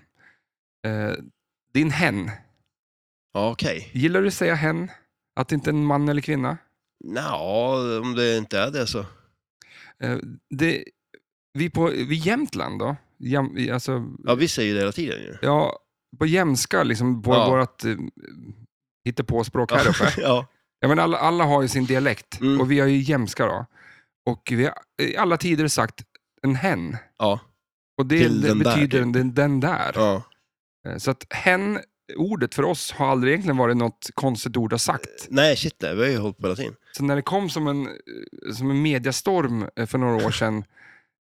S1: Eh, din hen.
S2: Ja, okej.
S1: Gillar du säga hen? Att det inte är en man eller kvinna?
S2: Nja, om det inte är det så.
S1: Eh, det, vi på vi Jämtland då? Jäm, vi- alltså,
S2: Ja, vi säger ju det hela tiden ju.
S1: ja, på jämska, liksom på
S2: Ja.
S1: vårt eh, hittepåspråk här
S2: <laughs>
S1: uppe.
S2: ja.
S1: Ja, men alla, alla har ju sin dialekt
S2: Mm.
S1: och vi har ju jämska då. Och vi har i alla tider sagt en hen.
S2: Ja.
S1: Och det,
S2: Till
S1: det
S2: den där,
S1: betyder
S2: typ.
S1: den, den där.
S2: ja.
S1: Eh, Så att hen, ordet för oss har aldrig egentligen varit något konstigt ord att ha sagt.
S2: Nej, shit nej, vi har ju hållit på hela tiden.
S1: Så när det kom som en, eh, som en mediastorm eh, för några år sedan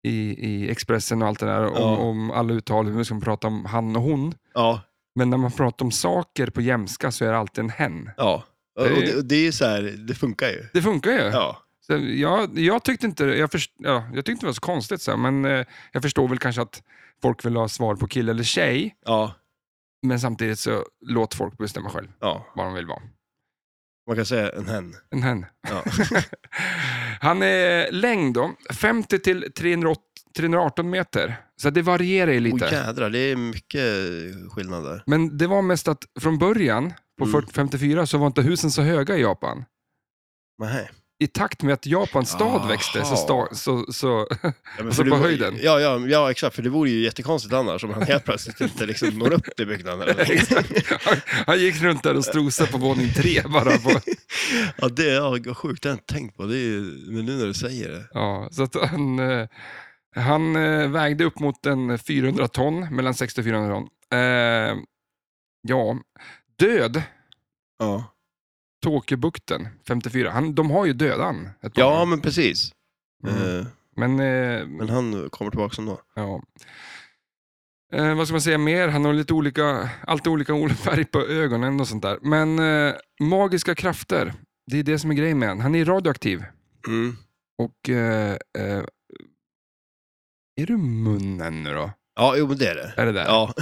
S1: i, i Expressen och allt det där, om,
S2: Ja.
S1: om alla uttal, hur man ska prata om han och hon.
S2: Ja,
S1: Men när man pratar om saker på jämska så är det alltid en hen.
S2: ja. Och,
S1: Det är-
S2: och det, och det är ju så här, det funkar ju.
S1: Det funkar ju.
S2: Ja.
S1: Så jag, jag tyckte inte jag först, ja, jag tyckte inte det var så konstigt, så här, men eh, jag förstår väl kanske att folk vill ha svar på kille eller tjej,
S2: Ja.
S1: men samtidigt så låt folk bestämma själv
S2: Ja.
S1: vad de vill vara.
S2: Man kan säga en hen.
S1: En hen.
S2: Ja.
S1: Han är längd då, 50 till 308 318 meter. Så det varierar ju <laughs> lite.
S2: Åh jädrar, det är mycket skillnad där.
S1: Men det var mest att från början, på
S2: Mm.
S1: 40 54, så var inte husen så höga i Japan.
S2: Nej.
S1: I takt med att Japans stad
S2: Aha.
S1: växte så, sta, så,
S2: <laughs>
S1: så <laughs>
S2: Ja, men
S1: Alltså
S2: för det
S1: på
S2: vore-
S1: höjden.
S2: Ja, ja, ja, exakt. För det vore ju jättekonstigt annars om han helt plötsligt inte liksom når upp till byggnaden.
S1: <laughs> Exakt. han, han gick runt där och strosade på våning tre bara. På,
S2: ja, det är ja, vad sjukt. Det har jag inte tänkt på. Det är ju, men nu när du säger det.
S1: ja, så att han, eh, han eh, vägde upp mot en 400 ton, mellan 60 och 400 ton. Eh, ja, död
S2: Ja.
S1: Tåkebukten 54. Han, de har ju dödan. Ett par.
S2: Ja, men precis.
S1: Mm.
S2: Eh,
S1: Men, eh,
S2: Men han kommer tillbaka ändå.
S1: ja. Eh, vad ska man säga mer? Han har lite olika, alltid olika ol- färg på ögonen och sånt där. Men eh, magiska krafter, det är det som är grejen med han. Han är radioaktiv.
S2: Mm.
S1: Och... Eh, eh, är du munnen nu då?
S2: Ja, jo, men det är det.
S1: Är det där?
S2: Ja,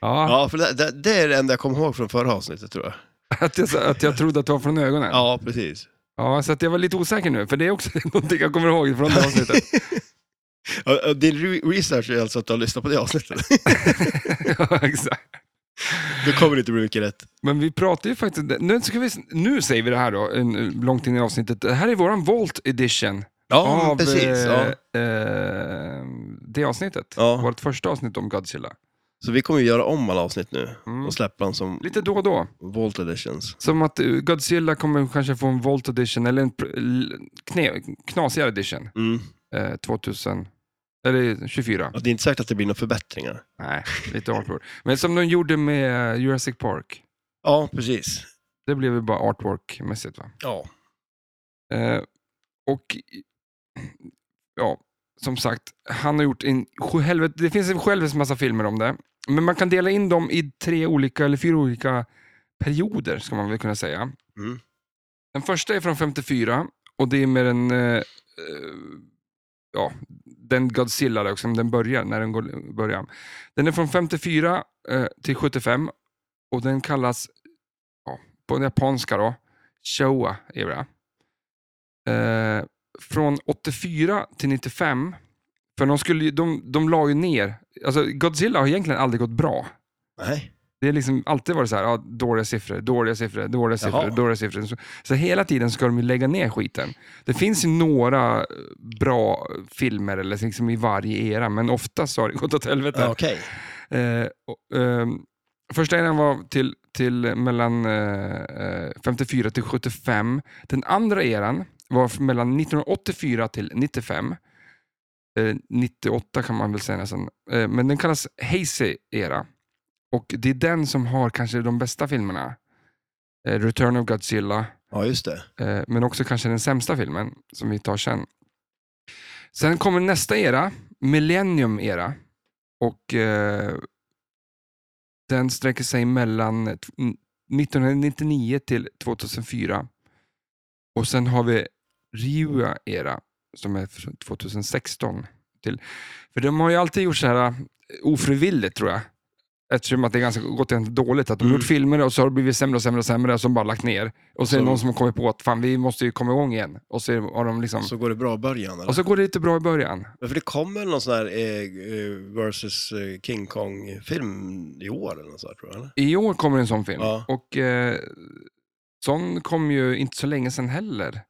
S1: Ja,
S2: ja för det, det, det är det enda jag kommer ihåg från förra avsnittet tror jag.
S1: <laughs> Att, jag, sa- att jag trodde att det var från ögonen.
S2: Ja, precis.
S1: Ja, så att jag var lite osäker nu, för det är också <laughs> någonting jag kommer ihåg från det
S2: <laughs>
S1: avsnittet.
S2: Ja, ja, Din re- research är alltså att du har lyssnat på det avsnittet.
S1: ja, exakt.
S2: Då kommer <laughs> det inte bli mycket rätt.
S1: Men vi pratar ju faktiskt... Nu, ska vi, nu säger vi det här då, en- eh, långt in i avsnittet. Det här är våran Volt edition
S2: Ja, men
S1: av
S2: precis. Ja.
S1: eh, eh, det avsnittet.
S2: Ja.
S1: Vårt första avsnitt om Godzilla.
S2: Så vi kommer ju göra om alla avsnitt nu
S1: Mm.
S2: och släppa dem som
S1: Lite då och då.
S2: Volt Editions.
S1: Som att eh, Godzilla kommer kanske få en Volt edition, eller en pr- l- kne, knasigare edition,
S2: Mm.
S1: eh, 2000... Eller 24.
S2: Och det är inte säkert att det blir några förbättringar.
S1: Nej, lite 18 Men som de gjorde med eh, Jurassic Park.
S2: Ja, precis.
S1: Det blev ju bara artwork-mässigt va?
S2: Ja.
S1: Eh, och Eh, <clears throat> ja, som sagt, han har gjort en sjuhelvete, det finns en självets massa filmer om det. Men man kan dela in dem i tre olika, eller fyra olika perioder, ska man väl kunna säga.
S2: Mm.
S1: Den första är från 54 och det är med den, eh, eh, ja, den Godzilla där också, den börjar, när den går, börjar. Den är från 54 eh, till 75 och den kallas, ja, på japanska då, Showa era. Eh, från 84 till 95, för de, skulle, ju- de, de la ju ner, alltså Godzilla har egentligen aldrig gått bra.
S2: Nej.
S1: Det är liksom alltid varit så här, ja, dåliga siffror, dåliga siffror, dåliga siffror,
S2: Jaha.
S1: dåliga siffror. Så, så hela tiden ska de ju lägga ner skiten. Det finns ju några eh, bra filmer eller liksom i varje era, men oftast så har det gått åt helvete.
S2: Ja, Okej.
S1: Eh, och, ehm, första eran var till, till mellan eh, eh, 54 till 75. Den andra eran var f- mellan 1984 till 95. Eh, 98 kan man väl säga nästan. Eh, men den kallas Hazy era. Och det är den som har kanske de bästa filmerna. Eh, Return of Godzilla,
S2: Ja, just det.
S1: eh, men också kanske den sämsta filmen som vi tar sen. Sen kommer nästa era, Millennium era. Och eh, den sträcker sig mellan t- n- 1999 till 2004. Och sen har vi Ryua era som är från 2016. Till. För de har ju alltid gjort så här eh, ofrivilligt tror jag. Eftersom att det är ganska gått ganska dåligt. Att de har
S2: Mm.
S1: gjort filmer och så har det blivit sämre och sämre och sämre och så har de bara lagt ner. Och så är det
S2: Så-
S1: någon som har kommit på att fan, vi måste ju komma igång igen. Och så har de liksom...
S2: Så går det bra i början eller?
S1: Och så går det lite bra i början.
S2: Men för det kommer någon sån här eh, eh, versus eh, King Kong-film i år eller något sånt tror jag. Eller?
S1: I år kommer en sån film.
S2: Ja.
S1: Och eh, sån kom ju inte så länge sedan heller.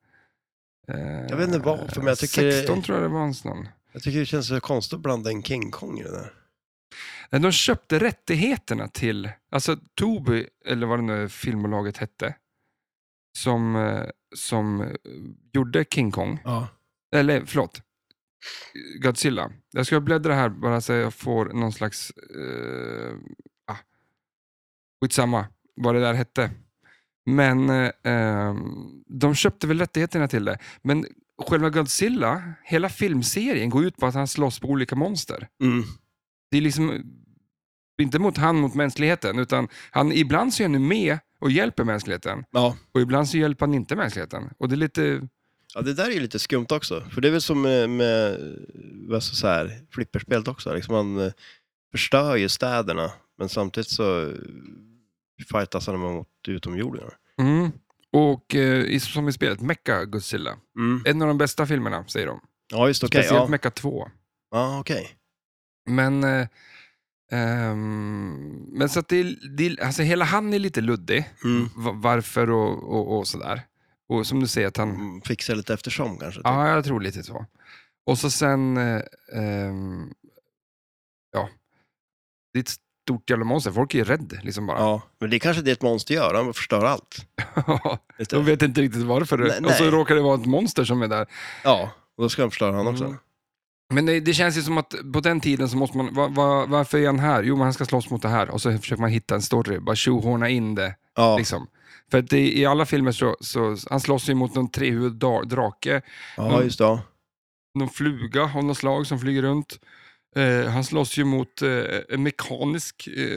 S1: Eh,
S2: Jag vet inte varför, men jag tycker-
S1: 16 tror jag det var en sån.
S2: Jag tycker det känns så konstigt att blanda in King Kong i det där.
S1: Nej, Eh, De köpte rättigheterna till, alltså Toby, eller vad det nu filmbolaget hette, som, eh, som eh, gjorde King Kong.
S2: Ja.
S1: Eller förlåt, Godzilla. Jag ska bläddra här bara så jag får någon slags... Uh, ah, skitsamma vad det där hette. Men eh, ehm, de köpte väl rättigheterna till det. Men själva Godzilla, hela filmserien går ut på att han slåss på olika monster.
S2: Mm.
S1: Det är liksom inte mot han mot mänskligheten, utan han, ibland så är han med och hjälper mänskligheten
S2: Ja.
S1: och ibland så hjälper han inte mänskligheten. Och det är lite...
S2: ja, det där är ju lite skumt också. För det är väl som med, med vad ska jag säga här, flipperspelet också. Liksom man eh, förstör ju städerna, men samtidigt så eh, fightas man mot utomjordingar.
S1: Mm. Och eh, i- som i spelet, Mecha Godzilla.
S2: Mm.
S1: En av de bästa filmerna, säger de.
S2: Ja, just det, okej.
S1: Speciellt
S2: ja.
S1: Mecha 2.
S2: Ja, okej.
S1: Men, eh, ehm, men så att det, är- det, är- alltså hela han är lite luddig.
S2: Mm.
S1: Va- Varför och, och, och sådär. Och som du säger, att han...
S2: Mm, Fixa lite eftersom kanske. typ.
S1: Ja, jag tror lite så. Och så sen, eh, ehm, ja, det är ett stort jävla monster. Folk är ju rädda liksom bara.
S2: Ja, men det är kanske det ett monster gör, han förstör allt. Vet
S1: <laughs>
S2: du?
S1: De vet inte riktigt varför.
S2: Nej,
S1: Och så
S2: nej.
S1: råkar det vara ett monster som är där.
S2: Ja, och då ska han förstöra han också.
S1: Mm. Men det, det känns ju som att på den tiden så måste man, va, va, varför är han här? Jo, men han ska slåss mot det här. Och så försöker man hitta en story, bara tjohorna in det.
S2: Ja,
S1: Liksom. För att det, i alla filmer så, så han slåss ju mot någon trehuvud da- drake,
S2: ja just det. Ja.
S1: någon fluga av något slag som flyger runt. Eh, han slåss ju mot eh, en mekanisk eh,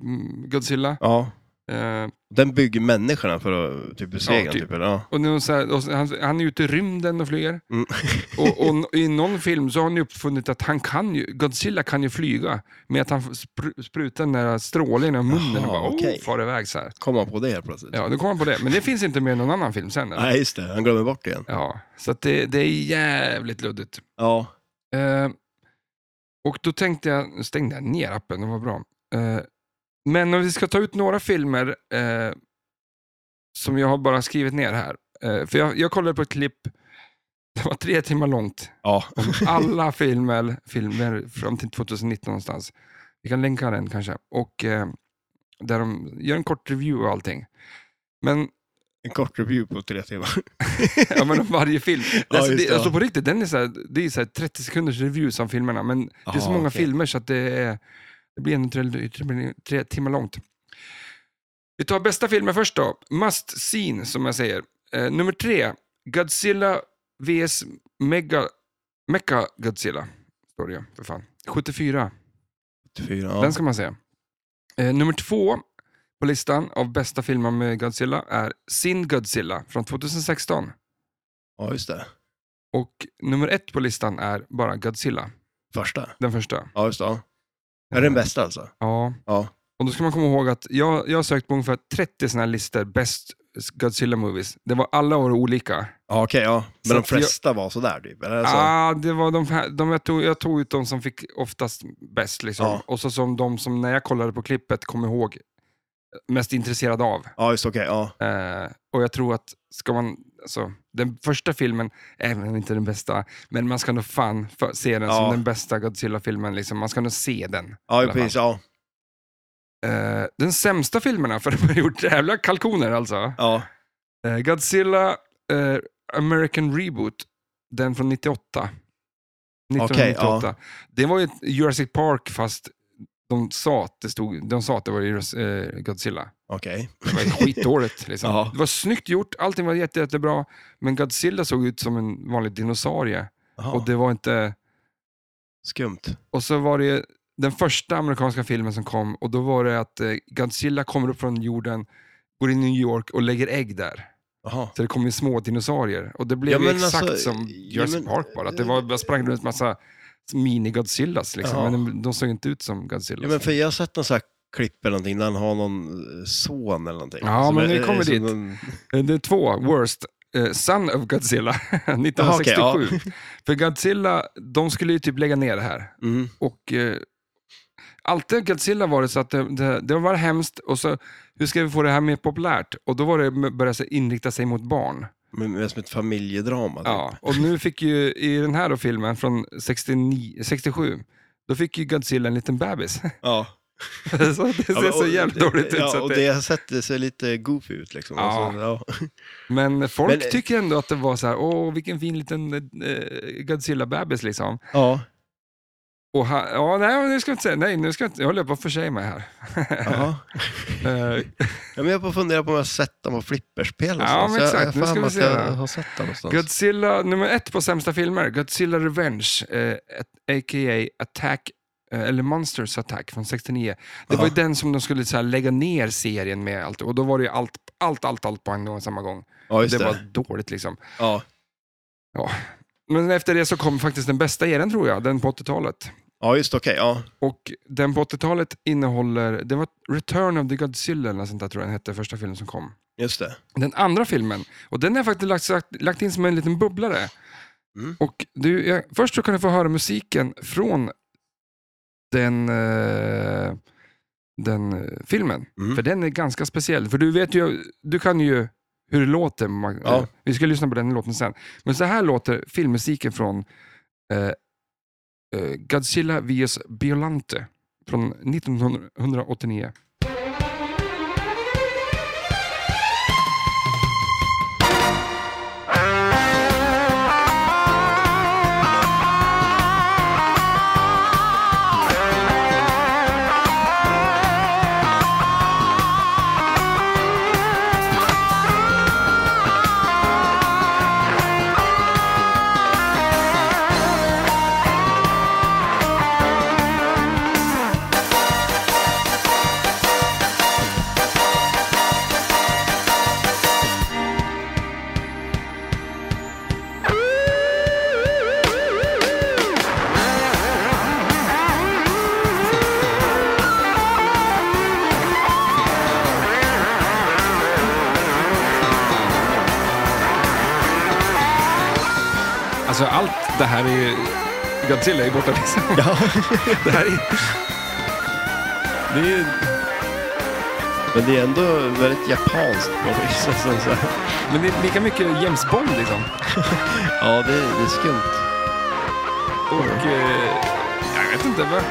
S1: mm, Godzilla.
S2: ja.
S1: Eh,
S2: Den bygger människorna för att typ besegra
S1: Ja,
S2: ja,
S1: typ.
S2: typ. eller? ja.
S1: och nu, så här, och så- han, han är ute i rymden och flyger.
S2: Mm.
S1: <laughs> Och, och n- i någon film så har han ju uppfunnit att han kan ju, Godzilla kan ju flyga med att han spr, sprutar den där strålen ur munnen
S2: Jaha,
S1: och bara,
S2: okej.
S1: oh, far iväg så här.
S2: Kom han på det helt plötsligt?
S1: Ja, då kom han på det. Men det finns inte med i någon annan film sen. eller?
S2: Nej, just det. Han glömmer bort det igen.
S1: Ja, så att det, det är jävligt luddigt.
S2: Ja.
S1: Eh, och då tänkte jag, nu stängde jag ner appen, det var bra. Eh, men om vi ska ta ut några filmer eh, som jag har bara skrivit ner här. Eh, för jag, jag kollade på ett klipp, <laughs> det var tre timmar långt.
S2: Ja.
S1: alla filmer, filmer fram till 2019 någonstans. Vi kan länka den kanske. Och eh, där de gör en kort review och allting. Men,
S2: <laughs>
S1: <laughs>
S2: En kort review på tre timmar.
S1: ja, men om varje film.
S2: Ja,
S1: alltså,
S2: just
S1: det,
S2: det,
S1: alltså
S2: ja.
S1: på riktigt, den är så här, det är så här 30 sekunders reviews av filmerna. Men det är så
S2: Aha,
S1: många
S2: okej.
S1: filmer så att det, är, det blir en tre, tre, tre timmar långt. Vi tar bästa filmen först då. Must seen, som jag säger. Eh, nummer tre, Godzilla vs. Mega Mecha Godzilla, står det ju, för fan. 74,
S2: Fyra, ja.
S1: den ska man se. Eh, nummer två på listan av bästa filmer med Godzilla är Sin Godzilla från 2016.
S2: ja, just det.
S1: Och nummer ett på listan är bara Godzilla,
S2: Första.
S1: den första.
S2: Ja, just det. Ja. Är den bästa alltså?
S1: Ja.
S2: Ja.
S1: Och då ska man komma ihåg att jag, jag har sökt på ungefär 30 sådana här listor, best Godzilla movies. Det var alla år olika.
S2: Ja, okej, ja. Men
S1: Så
S2: de
S1: att jag-
S2: flesta var sådär typ? Eller? Alltså,
S1: Ah, det var de, här- de jag, tog, jag tog ut de som fick oftast bäst. Liksom.
S2: Ja.
S1: Och så som de som när jag kollade på klippet kom ihåg eh, mest intresserad av.
S2: Ja, just det, okej, ja.
S1: Eh, och jag tror att ska man, alltså, den första filmen, även om inte den bästa, men man ska nog fan för, se den
S2: Ja.
S1: som den bästa Godzilla-filmen. Liksom. Man ska nog se den.
S2: Ja,
S1: alla fall.
S2: precis. Ja.
S1: Eh, den sämsta filmerna, för de har gjort jävla kalkoner alltså.
S2: ja.
S1: Eh, Godzilla eh, American Reboot, den från 98. 1998.
S2: Okej,
S1: Det var ju ett Jurassic Park fast de sa att det, stod, de sa att det var Juras- eh, Godzilla.
S2: Okej.
S1: Det
S2: <laughs>
S1: var skitdåligt. Liksom.
S2: Ja.
S1: Det var snyggt gjort, allting var jätte, jättebra, men Godzilla såg ut som en vanlig dinosaurie. Och
S2: Jaha,
S1: det var inte...
S2: Skumt.
S1: Och så var det ju den första amerikanska filmen som kom och då var det att eh, Godzilla kommer upp från jorden, går in i New York och lägger ägg där.
S2: Jaha.
S1: Så det kom ju små dinosaurier. Och det blev
S2: Ja,
S1: ju
S2: men
S1: exakt
S2: alltså,
S1: som
S2: ja,
S1: Jurassic
S2: men- eh,
S1: Park bara. Att det var, bara sprang runt massa mini-Godzillas. Liksom.
S2: Ja.
S1: Men de, de såg inte ut som Godzillas.
S2: Ja, men för jag har sett någon sån här klipp eller någonting där han har någon eh, son eller någonting.
S1: Ja, men
S2: är-
S1: vi kommer
S2: är som
S1: dit.
S2: någon-
S1: Eh, Det är två, Worst. Eh, Son of Godzilla, <laughs> 1967.
S2: Jaha,
S1: För Godzilla, de skulle ju typ lägga ner det här.
S2: Mm.
S1: Och eh, alltid Godzilla var det så att det, det, det var hemskt och så, hur ska vi få det här mer populärt? Och då var det började sig inrikta sig mot barn.
S2: Men, men som ett familjedrama. Typ.
S1: Ja, och nu fick ju, i den här då filmen från 69, 67, då fick ju Godzilla en liten bebis. <laughs>
S2: ja.
S1: så det ser
S2: Ja, men-
S1: så
S2: och-
S1: jävligt dåligt ut.
S2: Ja,
S1: så
S2: och
S1: att
S2: det
S1: det...
S2: jag har sett det ser lite goofy ut liksom.
S1: Ja.
S2: Alltså, ja.
S1: Men folk
S2: Men-
S1: tycker ändå att det var så här, åh vilken fin liten eh, Godzilla-bebis liksom.
S2: ja.
S1: Och han, ja, nej, nu ska jag inte säga, nej, nu ska jag inte, jag håller på att försäga mig här.
S2: Jaha.
S1: Eh,
S2: Ja, men jag får fundera på om jag har sett dem på flipperspel.
S1: Ja,
S2: någonstans.
S1: men
S2: Jag-
S1: exakt.
S2: Jag,
S1: Nu
S2: har
S1: ska
S2: för
S1: vi
S2: mig att
S1: se här.
S2: jag har sett dem någonstans.
S1: Godzilla, nummer ett på sämsta filmer, Godzilla Revenge, eh, at- a.k.a. Attack, eh, eller Monsters Attack från 69. Det var ju
S2: Ja.
S1: den som de skulle så här, lägga ner serien med allt, och då var det ju allt, allt, allt, allt på en gång, samma gång.
S2: Ja, just
S1: Det,
S2: det.
S1: var dåligt liksom.
S2: Ja.
S1: Men efter det så kom faktiskt den bästa eran tror jag, den på 80-talet.
S2: ja, just det, okej. Ja.
S1: Och den på 80-talet innehåller, det var Return of the Godzilla eller något sånt där tror jag den hette, första filmen som kom.
S2: Just det.
S1: Den andra filmen, och den har jag faktiskt lagt, lagt, lagt in som en liten bubblare.
S2: Mm.
S1: Och du, jag, först så kan du få höra musiken från den, eh, den eh, filmen.
S2: Mm.
S1: För den är ganska speciell. För du vet ju, du kan ju hur det låter. Ma-
S2: Ja.
S1: eh, Vi ska lyssna på den låten sen. Men så här låter filmmusiken från eh, eh, Godzilla vs. Biolante från 1989. Alltså allt det här är ju... Godzilla är ju borta liksom.
S2: Ja. <laughs>
S1: Det här är... Det är ju...
S2: Men det är ändå väldigt japanskt på något vis. Alltså, så här.
S1: Men det är lika mycket James Bond liksom.
S2: Ja, det, det är skumt.
S1: Och... Eh, jag vet inte. Vad...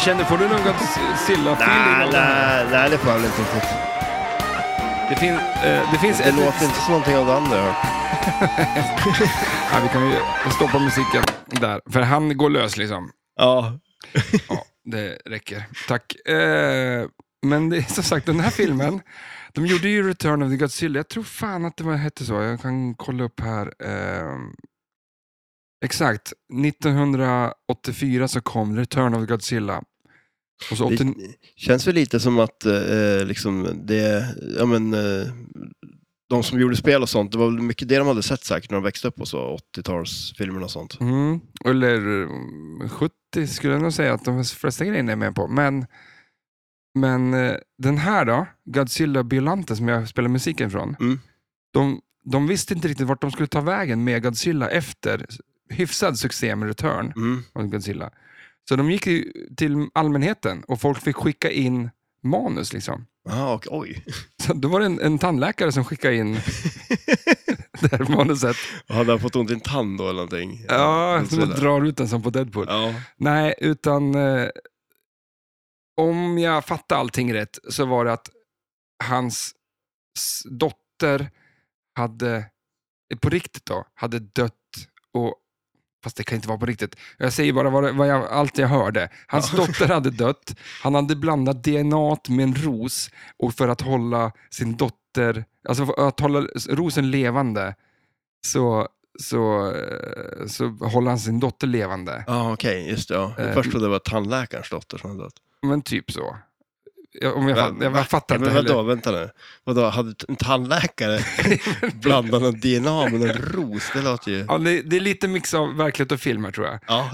S1: Känner, får du någon Godzilla-feeling
S2: Nej,
S1: av det här?
S2: nej, nej, det får jag väl inte riktigt.
S1: Det, fin, eh, det finns
S2: Det
S1: ett...
S2: låter inte som någonting av det andra jag hört.
S1: Ja, vi kan ju stoppa musiken där. För han går lös liksom.
S2: Ja.
S1: Ja, det räcker. Tack. Eh, men det är som sagt, den här filmen, de gjorde ju Return of the Godzilla. Jag tror fan att det var, hette så. Jag kan kolla upp här. Eh, Exakt. 1984 så kom Return of Godzilla. Och så 80...
S2: Det känns väl lite som att eh, liksom det, ja men, eh, de som gjorde spel och sånt, det var väl mycket det de hade sett säkert när de växte upp och så, 80-talsfilmerna och sånt.
S1: Mm. Eller mm, 70 skulle jag nog säga att de flesta grejerna är med på. Men, men eh, den här då, Godzilla Biolante som jag spelar musiken från.
S2: Mm.
S1: De, de visste inte riktigt vart de skulle ta vägen med Godzilla efter hyfsad succé med Return.
S2: Mm.
S1: av Godzilla. Så de gick ju till allmänheten och folk fick skicka in manus. Liksom.
S2: Aha, Ah, och, oj,
S1: Så då var det en, en tandläkare som skickade in det här manuset.
S2: hade han fått ont i en tand då eller någonting?
S1: Ja, som
S2: så
S1: man
S2: där.
S1: drar ut den som på Deadpool.
S2: ja.
S1: Nej, utan eh, om jag fattar allting rätt så var det att hans s- dotter hade, eh, på riktigt då, hade dött och Fast det kan inte vara på riktigt. Jag säger bara vad, det- vad jag, allt jag hörde. Hans
S2: Ja.
S1: dotter hade dött. Han hade blandat DNA t med en ros och för att hålla sin dotter, alltså för att hålla rosen levande så, så, eh, så håller han sin dotter levande.
S2: Ja, okej, just det. Ja.
S1: Eh,
S2: Först trodde jag det var tandläkarens dotter som hade dött.
S1: Men typ så. Jag, om jag,
S2: Va-
S1: fatt, jag,
S2: va?
S1: jag fattar inte
S2: men
S1: heller.
S2: vadå, vänta nu. Vadå, hade t- en <laughs> tandläkare blandat en DNA med en ros? Det låter ju...
S1: Ja, det, det är lite mix av verklighet och film här tror
S2: <laughs>
S1: jag.
S2: Ja,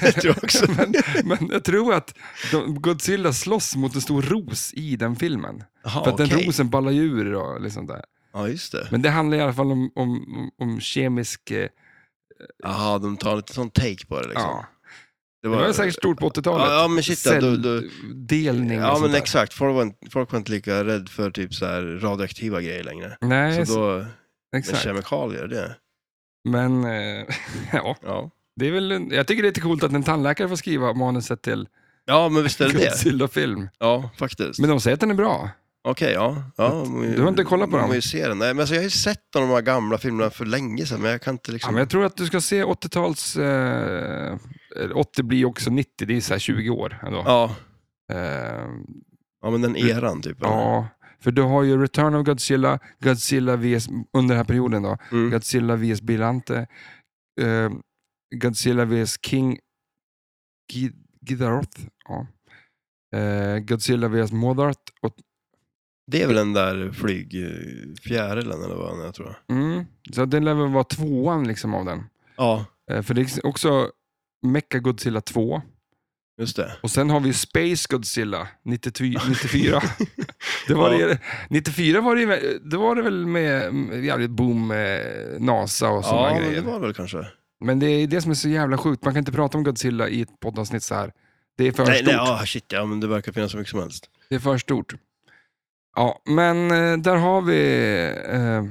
S2: jag tror också. <laughs>
S1: Men, men jag tror att de, Godzilla slåss mot en stor ros i den filmen.
S2: Jaha,
S1: För att den
S2: okej.
S1: rosen ballar ju ur och liksom där.
S2: Ja, just det.
S1: Men det handlar i alla fall om, om, om kemisk... eh,
S2: Jaha, de tar lite sån take på det liksom.
S1: Ja. Det var säkert stort på 80-talet.
S2: Ja, ja, men shit, ja, då- då-
S1: Celldelning och
S2: Ja,
S1: sånt
S2: men
S1: där.
S2: exakt. Folk var, inte, folk var inte lika rädd för typ så här radioaktiva grejer längre.
S1: Nej,
S2: så då, med
S1: exakt.
S2: kemikalier, det.
S1: Men eh, <laughs> ja,
S2: Ja.
S1: det är väl, en- jag tycker det är lite coolt att en tandläkare får skriva manuset till
S2: ja, men visst är det
S1: <laughs>
S2: det.
S1: Godzilla-film.
S2: Ja, faktiskt.
S1: Men de säger att den är bra.
S2: Okej, ja. ja man-
S1: du har inte kollat på
S2: man
S1: dem?
S2: får ju se den. Nej, men alltså, jag har ju sett de här gamla filmerna för länge sedan, men jag kan inte
S1: Ja,
S2: liksom...
S1: men jag tror att du ska se 80-tals... Eh, eller 80 blir också 90, det är så här 20 år ändå. Ja.
S2: Ja,
S1: Eh,
S2: ja, men den eran typ. eller?
S1: ja, för du har ju Return of Godzilla, Godzilla vs... Under den här perioden då.
S2: Mm.
S1: Godzilla vs Bilante, eh, Godzilla vs King Gi- Gidaroth, ja. eh, Godzilla vs Modart. Och,
S2: Det är väl den där flygfjärilen eller vad den är, tror jag.
S1: mm, så den lär väl vara tvåan liksom av den.
S2: Ja,
S1: Eh, för det är också Mecha Godzilla 2.
S2: just det.
S1: Och sen har vi Space Godzilla 92,
S2: <laughs>
S1: 94. det var det, 94 var det, ju- då var det väl med med jävligt boom, eh, NASA och sådana
S2: Ja, men
S1: grejer.
S2: det var väl kanske.
S1: Men det är det som är så jävla sjukt. Man kan inte prata om Godzilla i ett poddavsnitt så här. Det är för
S2: Nej,
S1: stort.
S2: nej, ja, shit, ja, men det verkar finnas så mycket som helst.
S1: Det är för stort. Ja, men eh, där har vi eh,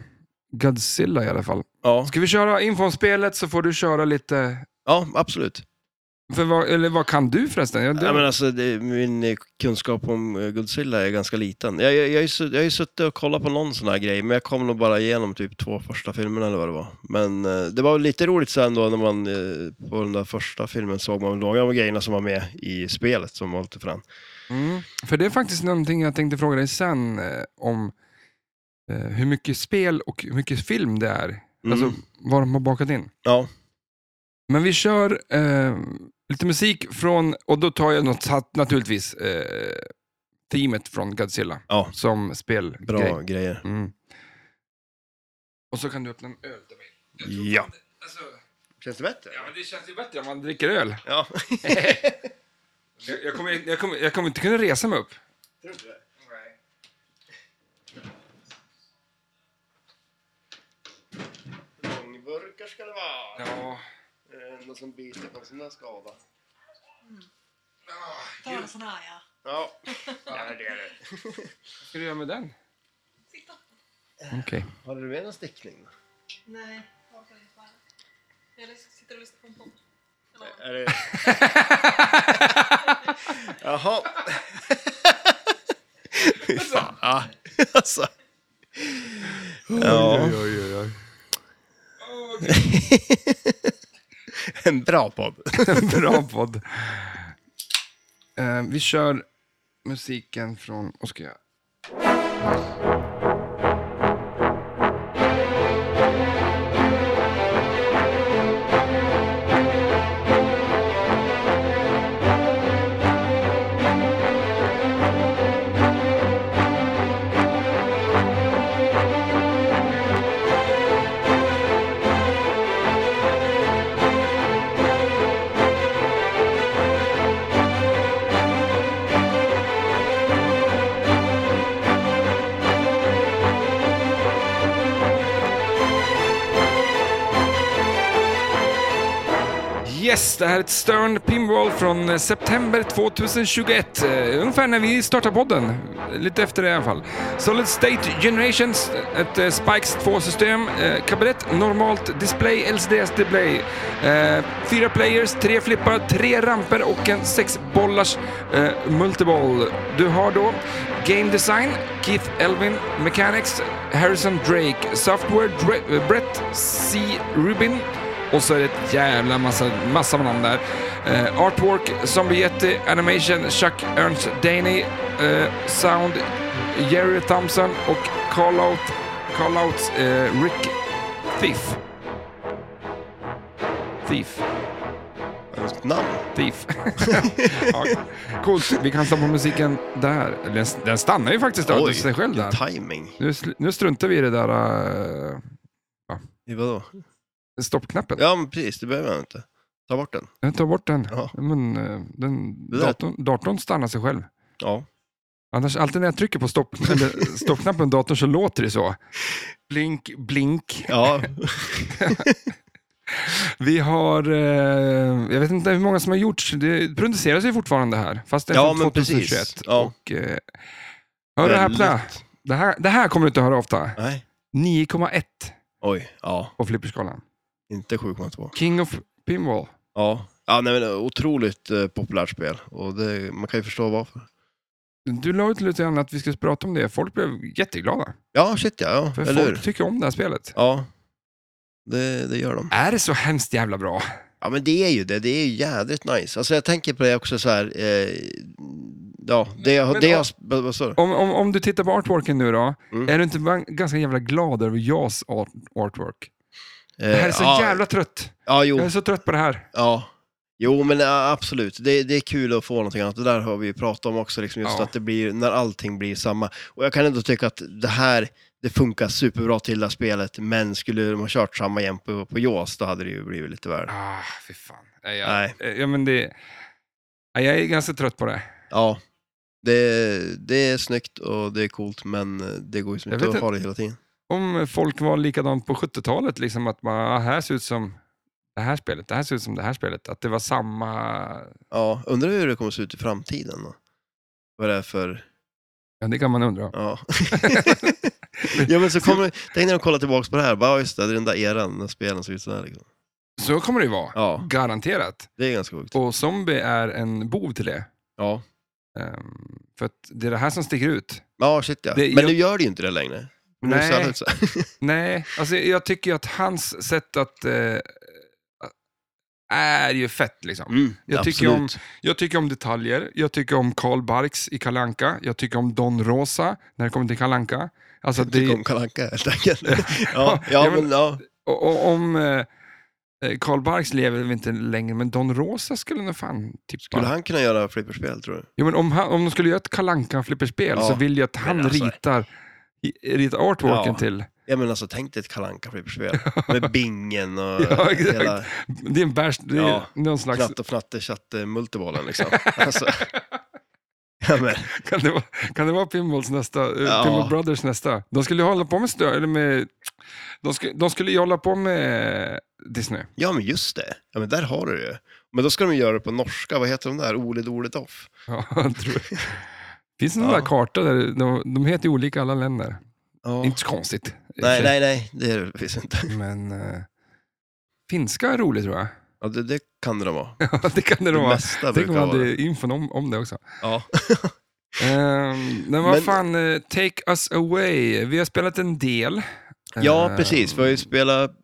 S1: Godzilla i alla fall.
S2: Ja,
S1: Ska vi köra info om spelet så får du köra lite...
S2: ja absolut.
S1: För vad, eller vad kan du förresten? Ja, du,
S2: Nej, men alltså, det, min eh, kunskap om eh, Godzilla är ganska liten. Jag, jag, jag, har ju sutt- jag har ju suttit och kollat på någon sån här grej, men jag kom nog bara igenom typ två första filmerna eller vad det var. Men eh, det var lite roligt sen då när man eh, på den där första filmen såg man några av grejerna som var med i spelet som var lite fram.
S1: Mm. För det är faktiskt någonting jag tänkte fråga dig sen eh, om eh, hur mycket spel och hur mycket film det är.
S2: Mm.
S1: Alltså vad de har bakat in.
S2: Ja,
S1: Men vi kör eh, lite musik från, och då tar jag något, sat- naturligtvis eh, teamet från Godzilla
S2: Ja.
S1: som spelgrej.
S2: bra grejer.
S1: Mm. Och så kan du öppna en öl till mig. Jag tror
S2: Ja.
S1: fan det- Alltså,
S2: Känns det bättre?
S1: ja, men det känns ju bättre om man dricker öl.
S2: Ja.
S1: Jag, jag, kommer, jag, kommer, jag kommer inte kunna resa mig upp.
S2: Långburkar ska det vara. Eh,
S1: Ja.
S2: Någon som biter på sin skada.
S3: Ta en sån här ja.
S2: Ja, ja det är det.
S1: Vad ska du göra med den?
S3: Titta.
S1: Okej.
S2: Har du med någon stickning?
S3: Nej, jag orkar inte med det. Jag lys- sitter och lyssnar på en podd.
S2: Är
S3: Eller-
S2: det... <laughs> Jaha.
S1: <laughs>
S2: Fy fan. Alltså. Ja,
S1: oj, oj, oj.
S2: en bra podd.
S1: <laughs> Bra podd. Eh, vi kör musiken från... Vad ska jag... Yes, det här är ett Stern Pinball från eh, september 2021. Eh, Ungefär när vi startade podden. Lite efter det i alla fall. Solid State Generations, ett eh, Spikes 2-system. eh, Kabinett, normalt display, LCDs display. Eh, Fyra players, tre flippar, tre ramper och en sexbollars eh, multiball. Du har då Game Design, Keith Elvin, Mechanics, Harrison Drake, Software, Dre- eh, Brett C. Rubin. Och så är det ett jävla massa, massa namn där. Eh, artwork, Zombietti, Animation, Chuck Ernst Daney, eh, Sound, Jerry Thompson och Callout, Callouts eh, Rick Thief. Thief.
S2: Ett namn.
S1: Thief. <laughs> ja, coolt, vi kan stoppa musiken där. Den, den stannar ju faktiskt av
S2: Oj,
S1: sig själv där.
S2: Timing.
S1: Nu, sl- nu struntar vi i det där eh,
S2: I vadå?
S1: stoppknappen.
S2: Ja, men precis. Det behöver man inte. Ta bort den.
S1: Jag tar bort den.
S2: Ja.
S1: Men, eh, den
S2: Det där-
S1: datorn, datorn stannar sig själv.
S2: Ja.
S1: Annars, alltid när jag trycker på stopp, <laughs> eller stoppknappen i datorn så låter det så. Blink, blink.
S2: Ja.
S1: Vi har, eh, jag vet inte hur många som har gjorts, det produceras ju fortfarande här, fast det är
S2: Ja,
S1: från
S2: men
S1: 2021.
S2: precis. Ja.
S1: Och, eh, <laughs> hör du här Plä? Det här, det här kommer du inte höra ofta.
S2: Nej.
S1: 9,1
S2: Oj. Ja.
S1: på flipperskalan.
S2: Inte 7,2.
S1: King of Pinball.
S2: Ja. Ja, nej, men otroligt eh, populärt spel. Och det, man kan ju förstå varför.
S1: Du la ut lite grann att vi skulle prata om det, folk blev jätteglada.
S2: Ja, shit ja. ja.
S1: För
S2: Eller
S1: folk
S2: hur?
S1: tycker om det här spelet.
S2: Ja. Det, det gör de.
S1: Är det så hemskt jävla bra?
S2: Ja men det är ju det, det är ju jädrigt nice. Alltså jag tänker på det också så här, eh, ja, det jag,
S1: Men-
S2: det jag, vad vad sa du?
S1: Om, om, om du tittar på artworken nu då,
S2: Mm.
S1: är du inte ban- ganska jävla glad över JAS art, artwork? Det här är så
S2: Eh, ja,
S1: jävla trött.
S2: Ja, jo,
S1: Jag är så trött på det här.
S2: ja. Jo men ja, absolut, det, det är kul att få någonting annat. Det där har vi ju pratat om också, liksom, just
S1: Ja.
S2: att det blir, när allting blir samma. Och jag kan ändå tycka att det här, det funkar superbra till det här spelet, men skulle de ha kört samma igen på, på Jaws, då hade det ju blivit lite värre.
S1: Ah, fy fan. Nej, jag,
S2: Nej.
S1: eh, Ja, men det, nej, jag är ganska trött på det.
S2: Ja. Det, det är snyggt och det är coolt, men det går ju som
S1: Jag
S2: inte
S1: vet
S2: att ha det hela tiden.
S1: Om folk var likadant på 70-talet, liksom att man, ah, här ser ut som det här spelet, det här ser ut som det här spelet. Att det var samma...
S2: Ja, undrar hur det kommer att se ut i framtiden. Då. Vad det är för...
S1: Ja, det kan man undra.
S2: Ja. <laughs> ja men så kommer... Tänk när de kollar tillbaka på det här. Bara, ja, just det, det är den där eran när spelen såg ut sådär. Liksom.
S1: Så kommer det ju vara.
S2: Ja,
S1: Garanterat.
S2: det är ganska sjukt.
S1: Och zombie är en bov till det.
S2: Ja,
S1: Ehm, för att det är det här som sticker ut.
S2: ja shit ja.
S1: Det-
S2: men
S1: jag-
S2: nu gör det ju inte det längre. Nu är det så här
S1: Nej,
S2: ut så här.
S1: nej. Alltså, jag tycker ju att hans sätt att... Eh, är ju fett liksom.
S2: Mm,
S1: Jag tycker om- Jag tycker om detaljer. Jag tycker om Karl Barks i Kalanka. Jag tycker om Don Rosa när det kommer till Kalanka. Alltså,
S2: Jag tycker
S1: det,
S2: om Kalle Anka
S1: <laughs>
S2: helt enkelt. ja,
S1: Ja,
S2: ja,
S1: men-
S2: men ja.
S1: och, och, om eh, Karl Barks lever väl inte längre, men Don Rosa skulle nog fan tippa.
S2: Skulle han kunna göra flipperspel tror du?
S1: Jo, men om, han, om de skulle göra ett Kalanka flipperspel
S2: Ja,
S1: så vill jag att han
S2: men alltså-
S1: ritar, i- ritar artworken
S2: Ja.
S1: till.
S2: Ja men alltså tänk dig ett Kalle Anka flipperspel
S1: <laughs>
S2: Med bingen och
S1: Ja, exakt.
S2: hela
S1: Det är en bärs, det är
S2: Ja.
S1: någon slags...
S2: knatt och fnatte chatte
S1: <laughs>
S2: multibollen liksom. alltså. ja, men,
S1: Kan det, vara, kan det vara Pinballs nästa? eh,
S2: Ja.
S1: Pinball Brothers nästa? De skulle ju hålla på med stö... Eller med, de, skulle, de skulle ju hålla på med Disney.
S2: Ja, men just det. Ja, men där har du det. ju. Men då ska de göra det på norska. Vad heter de där? Ole Dole Doff.
S1: Ja, jag tror det. Finns det några
S2: Ja.
S1: där kartor där de, de heter ju olika i alla länder?
S2: Ja.
S1: Inte så konstigt.
S2: Nej, nej, nej. Det är det visst inte.
S1: Men eh, finska är roligt tror jag. <laughs>
S2: Ja, det, det kan det vara.
S1: Ja, det kan det
S2: Det
S1: nog vara.
S2: mesta
S1: Tänk
S2: brukar
S1: om
S2: vara
S1: man
S2: det.
S1: hade infon om, om det också.
S2: Ja.
S1: Ehm, men vad
S2: Men-
S1: fan, eh, Take Us Away. Vi har spelat en del.
S2: ja,
S1: Ehm,
S2: precis. Vi har ju spelat eh,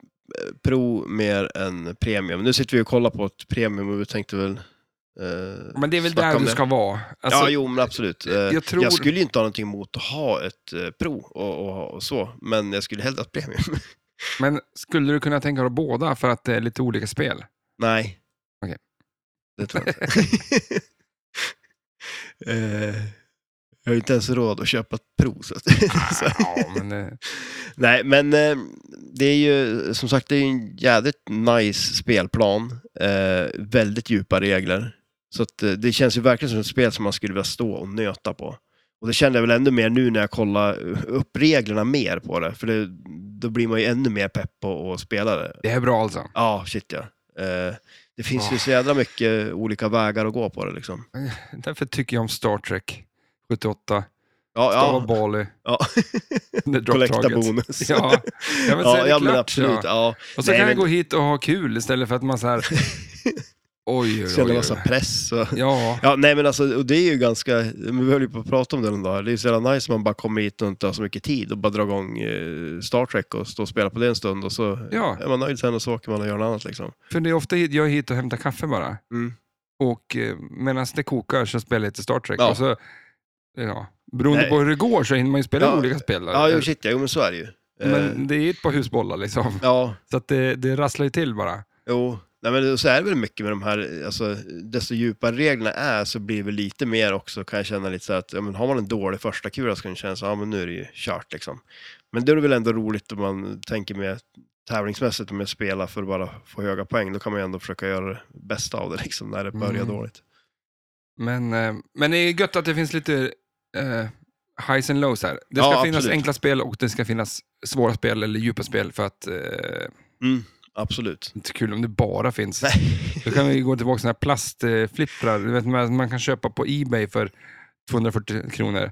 S2: Pro mer än Premium. Nu sitter vi och kollar på ett Premium och vi tänkte väl... Eh,
S1: Men det är väl
S2: snacka
S1: där
S2: om
S1: du
S2: det.
S1: ska vara. Alltså,
S2: ja, jo, men absolut. Eh,
S1: jag
S2: jag,
S1: tror-
S2: skulle ju inte ha någonting emot att ha ett eh, Pro och, och, och så, men jag skulle hellre ha ett Premium. <laughs>
S1: Men skulle du kunna tänka dig båda för att det är lite olika
S2: <laughs>
S1: spel?
S2: Nej.
S1: Okej.
S2: Det tror jag inte.
S1: <laughs>
S2: Eh, jag har ju inte ens råd att köpa ett prov. Så att, så.
S1: Ja, men, eh,
S2: Nej, men eh, det är ju som sagt det är ju en jädrigt nice spelplan. Eh, väldigt djupa regler. Så att, eh, det känns ju verkligen som ett spel som man skulle vilja stå och nöta på. Och det kände jag väl ännu mer nu när jag kollar upp reglerna mer på det. För det, då blir man ju ännu mer pepp på att spela det.
S1: det är bra alltså.
S2: Ja, shit ja. Eh, Det finns
S1: Ah.
S2: ju så jävla mycket olika vägar att gå på det liksom.
S1: Därför tycker jag om Star Trek 78.
S2: Ja,
S1: Stava
S2: ja. <laughs>
S1: Bali.
S2: ja.
S1: Under dropptaget.
S2: Kollektabonus.
S1: Ja, jag vill säga
S2: <laughs> ja,
S1: det
S2: ja
S1: klart.
S2: men absolut.
S1: Ja.
S2: Ja.
S1: Och så
S2: Nej,
S1: kan jag
S2: men-
S1: gå hit och ha kul istället för att man så
S2: <laughs>
S1: här... Oj, oj,
S2: Känner
S1: oj.
S2: massa
S1: oj.
S2: press. Och...
S1: Ja,
S2: Ja, nej men alltså, och det är ju ganska, men vi höll ju på att prata om det någon dag, det är ju så jävla nice om man bara kommer hit och inte har så mycket tid och bara drar igång eh, Star Trek och står och spelar på det en stund och så
S1: Ja.
S2: är man nöjd sen och så åker man och gör något annat liksom.
S1: för det är ofta hit, jag är hit och hämtar kaffe bara.
S2: Mm.
S1: Och eh, medan det kokar så spelar jag lite Star Trek.
S2: Ja.
S1: Och så, ja, beroende
S2: Nej.
S1: på hur det går så hinner man ju spela
S2: Ja.
S1: olika spel. där.
S2: Ja, jo shit ja, jo, men så är det ju. Eh,
S1: Men det är ju ett par husbollar liksom.
S2: Ja,
S1: Så att det, det rasslar ju till bara.
S2: jo. Nej men så är det väl mycket med de här, alltså desto djupare reglerna är så blir det väl lite mer också kan jag känna lite så här att, ja men har man en dålig första kula så kan det kännas, ja men nu är det ju kört liksom. Men det är väl ändå roligt om man tänker mer tävlingsmässigt om jag spelar för att bara få höga poäng, då kan man ju ändå försöka göra det bästa av det liksom när det börjar
S1: Mm.
S2: dåligt.
S1: Men, eh, men det är gött att det finns lite eh, highs and lows här. Det ska
S2: Ja,
S1: finnas
S2: absolut.
S1: enkla spel och det ska finnas svåra spel eller djupa spel för att eh, det
S2: Mm, absolut.
S1: är inte kul om det bara finns.
S2: Nej.
S1: Då kan vi gå tillbaka till sådana här plastflipprar du vet, man man kan köpa på Ebay för 240 kronor.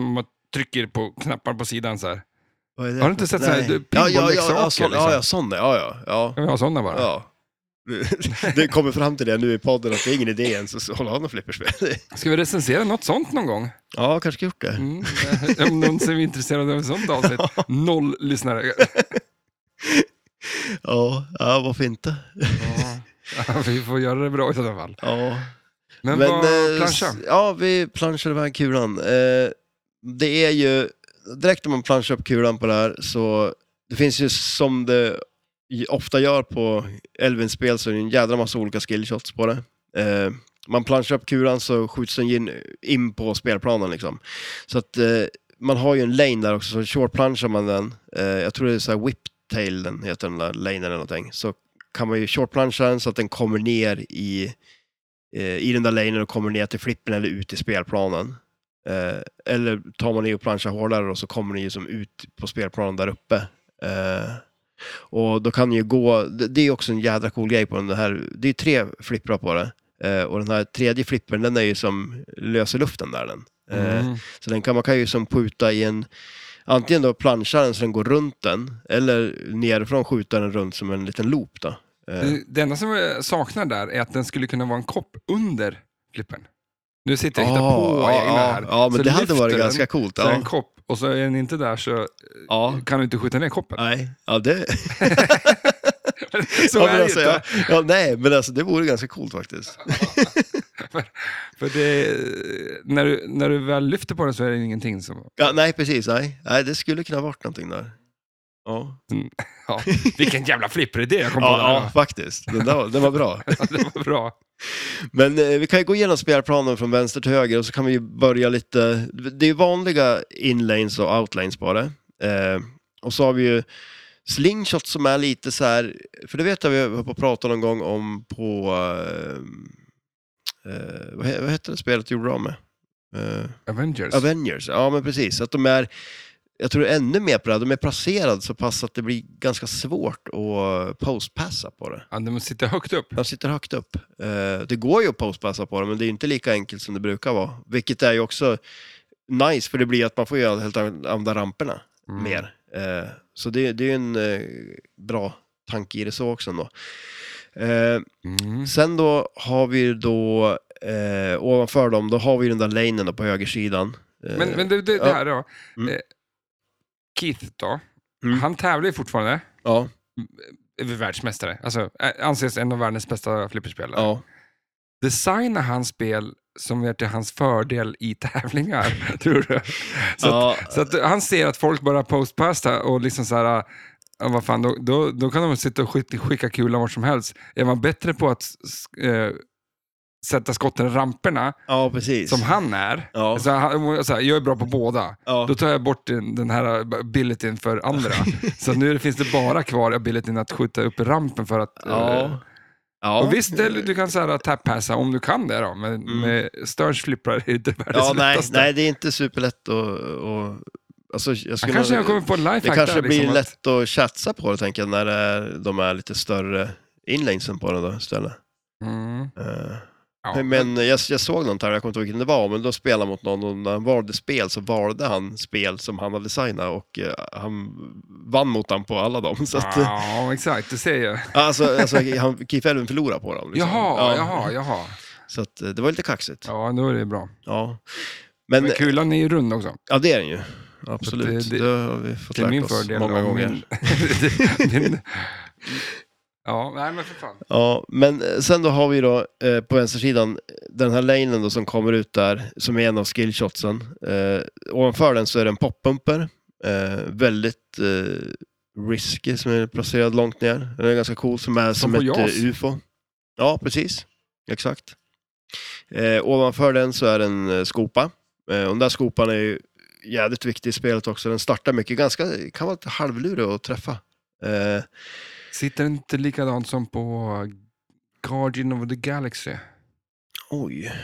S1: Man trycker på knappar på sidan så här.
S2: Vad är det
S1: Har du
S2: för-
S1: inte sett såna här,
S2: Nej.
S1: du,
S2: ja, ja, ja,
S1: pinballleksaker,
S2: ja, sån,
S1: liksom?
S2: ja, ja, sån där, ja, ja.
S1: Kan vi ha sådana bara?
S2: ja, <laughs> ja. Det kommer fram till det nu i podden att det är ingen idé ens att hålla an och flipperspel.
S1: Ska vi recensera något sånt någon gång?
S2: Ja, kanske gjort det.
S1: Mm. Om någon som är intresserad av ett sånt avsnitt.
S2: <laughs>
S1: Noll lyssnare.
S2: Ja, ja varför inte?
S1: Ja, <laughs> vi får göra det bra i sådana fall.
S2: Ja.
S1: Men, vad,
S2: eh,
S1: planscha.
S2: s- Ja, vi planschar iväg kulan. Eh, det är ju, direkt när man planschar upp kulan på det här så, det finns ju som det ju ofta gör på Elvins spel så är det en jädra massa olika skillshots på det. Eh, man planschar upp kulan så skjuts den in, in på spelplanen liksom. Så att eh, man har ju en lane där också, så shortplanschar man den, eh, jag tror det är så här whiptail den heter den där lanen eller någonting, så kan man ju shortplanscha den så att den kommer ner i eh, i den där lanen och kommer ner till flippen eller ut i spelplanen. Eh, eller tar man i och planschar hårdare då, så kommer den ju som ut på spelplanen där uppe. Eh, och då kan den ju gå, det, det är också en jädra cool grej på den här, det är tre flipprar på det. Eh, och den här tredje flippen den är ju som lös i luften där den. Eh,
S1: Mm.
S2: så den kan, man kan ju som skjuta i en, antingen då plancha den så den går runt den, eller nerifrån skjuta den runt som en liten loop då. Eh,
S1: Det- Det enda som jag saknar där är att den skulle kunna vara en kopp under flippen. Nu sitter jag och hittar på
S2: Ah, ja,
S1: egna
S2: ja,
S1: här.
S2: ja, men
S1: Så
S2: det hade
S1: lyfter
S2: varit
S1: den,
S2: ganska coolt.
S1: Så är det
S2: Ja. Ah.
S1: en kopp och så är den inte där så
S2: Ja.
S1: kan du inte skjuta ner koppen.
S2: Nej, ja det...
S1: Så <laughs>
S2: ja,
S1: är
S2: men
S1: det
S2: alltså,
S1: ju inte.
S2: ja, ja, nej, men alltså det vore ganska coolt faktiskt.
S1: För det, när, du, när du väl lyfter på den så är det ingenting som...
S2: Ja, nej, precis, nej. nej. Det skulle kunna varit någonting där. Ja, <laughs>
S1: Ja, vilken jävla flipperidé jag kom på.
S2: ja,
S1: där.
S2: ja faktiskt. Den, där, var- den var bra.
S1: <laughs> Ja, det var bra.
S2: Men eh, vi kan ju gå igenom spelplanen från vänster till höger och så kan vi ju börja lite... Det är ju vanliga inlanes och outlanes bara. Eh, och så har vi ju slingshot som är lite så här... För det vet jag vi var på att prata någon gång om på... Eh, eh, vad, he- vad hette det spelet du gjorde av med? Eh,
S1: Avengers.
S2: Avengers, ja men precis. Att de är, jag tror ännu mer på det här, de är placerade så pass att det blir ganska svårt att postpassa på det.
S1: Ja, de sitter högt upp.
S2: De sitter högt upp. Eh, Det går ju att postpassa på det, men det är inte lika enkelt som det brukar vara. Vilket är ju också nice, för det blir att man får ju helt an- använda ramperna
S1: Mm.
S2: mer. Eh, Så det, det är ju en eh, bra tanke i det så också ändå. Eh,
S1: Mm.
S2: Sen då har vi ju då, eh, ovanför dem, då har vi ju den där lanen då på högersidan. Eh,
S1: Men, men det, det, det
S2: ja.
S1: här då.
S2: Mm.
S1: Eh, Keith då,
S2: Mm.
S1: han tävlar ju fortfarande.
S2: ja.
S1: är världsmästare. Alltså, ä- anses en av världens bästa flipperspelare.
S2: Ja,
S1: Designar han spel som är till hans fördel i <laughs> tävlingar, tror du? Så,
S2: ja,
S1: att, så att han ser att folk börjar postpasta och liksom så här, ja, vad fan, då, då, då kan de sitta och skicka, skicka kulan vart som helst. Är man bättre på att s- eh, sätta skotten i ramperna,
S2: ja precis.
S1: som han är,
S2: Ja.
S1: så han, så här, jag är bra på båda,
S2: Ja.
S1: då tar jag bort den, den här abilityn för
S2: <laughs>
S1: andra. så nu finns det bara kvar abilityn att skjuta upp i rampen för att... eh,
S2: ja. ja. Mm.
S1: och visst, det, du kan så här äh, tappassa om du kan det då, men med Sterns flipprar är det världens
S2: ja, nej,
S1: lättaste.
S2: nej, det är inte superlätt att... Och, alltså, jag
S1: Jag
S2: skulle,
S1: kanske jag kommer liksom, på en
S2: det
S1: lifehack
S2: kanske
S1: där.
S2: blir
S1: liksom, att-
S2: lätt att chatsa på det, tänker jag, när det är, de är lite större inlanesen på den då istället.
S1: Mm.
S2: Eh,
S1: Ja.
S2: Men jag, jag såg någon tävling, jag kommer inte ihåg vilken det var, men då spelade han mot någon och när han valde spel så valde han spel som han hade designat och eh, han vann mot han på alla dem. <laughs> Så att, eh,
S1: Ja, exakt. Det ser jag.
S2: alltså, alltså, han, Keith Elvin förlorade på dem. liksom.
S1: Jaha,
S2: Ja.
S1: jaha, jaha.
S2: Så att, eh, det var lite kaxigt. Ja.
S1: Ja, då är det bra.
S2: Men,
S1: Men kulan är ju rund också.
S2: ja, det är den ju. Absolut,
S1: Så det-
S2: det,
S1: det-
S2: har vi fått
S1: Till
S2: lärt
S1: min
S2: oss
S1: fördel.
S2: många
S1: och
S2: gånger.
S1: Min, <laughs> din, din, ja, nej men för fan.
S2: Ja, men eh, sen då har vi då eh, på vänstersidan den här lanen då som kommer ut där, som är en av skillshotsen. Eh, ovanför den så är det en poppumper, eh, väldigt eh, risky som är placerad långt ner. Den är ganska cool, som är som,
S1: på
S2: ett
S1: JAS.
S2: eh, UFO. Ja, precis. Exakt. Eh, ovanför den så är det en eh, skopa. Eh, och den där skopan är ju jävligt viktig i spelet också. Den startar mycket, ganska, kan vara lite halvlurig att träffa. Eh,
S1: Sitter det inte likadant som på Guardian of the Galaxy?
S2: oj.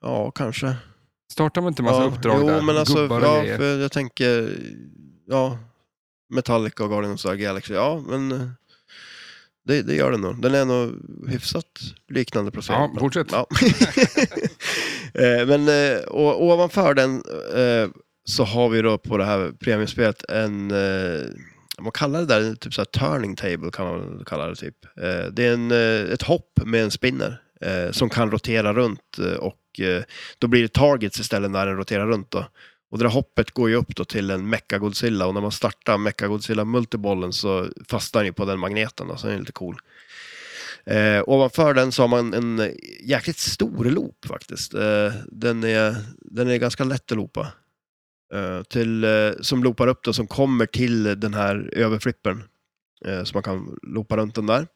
S2: Ja, kanske.
S1: Startar man inte massa uppdrag
S2: jo,
S1: där?
S2: men alltså,
S1: Gubbar och
S2: ja,
S1: grejer.
S2: för jag tänker, ja, Metallica och Guardians of the Galaxy, ja, men eh, det, det gör den nog. Den är nog hyfsat liknande procent.
S1: Ja,
S2: men-
S1: fortsätt.
S2: Ja. <laughs> Eh, men eh, och, ovanför den eh, så har vi då på det här premiumspelet en, eh, vad kallar det där, typ så här turning table kan man väl kalla det typ. Eh, det är en, eh, ett hopp med en spinner eh, som kan rotera runt eh, och eh, då blir det targets istället när den roterar runt då. Och det där hoppet går ju upp då till en Mecha Godzilla och när man startar Mecha Godzilla multibollen så fastnar den ju på den magneten då, så den är lite cool. Eh, ovanför den så har man en jäkligt stor loop faktiskt. Eh, den, är, den är ganska lätt att loopa. Eh, till, eh, som loopar upp då, som kommer till den här överflippen. Eh, så man kan loopa runt den där.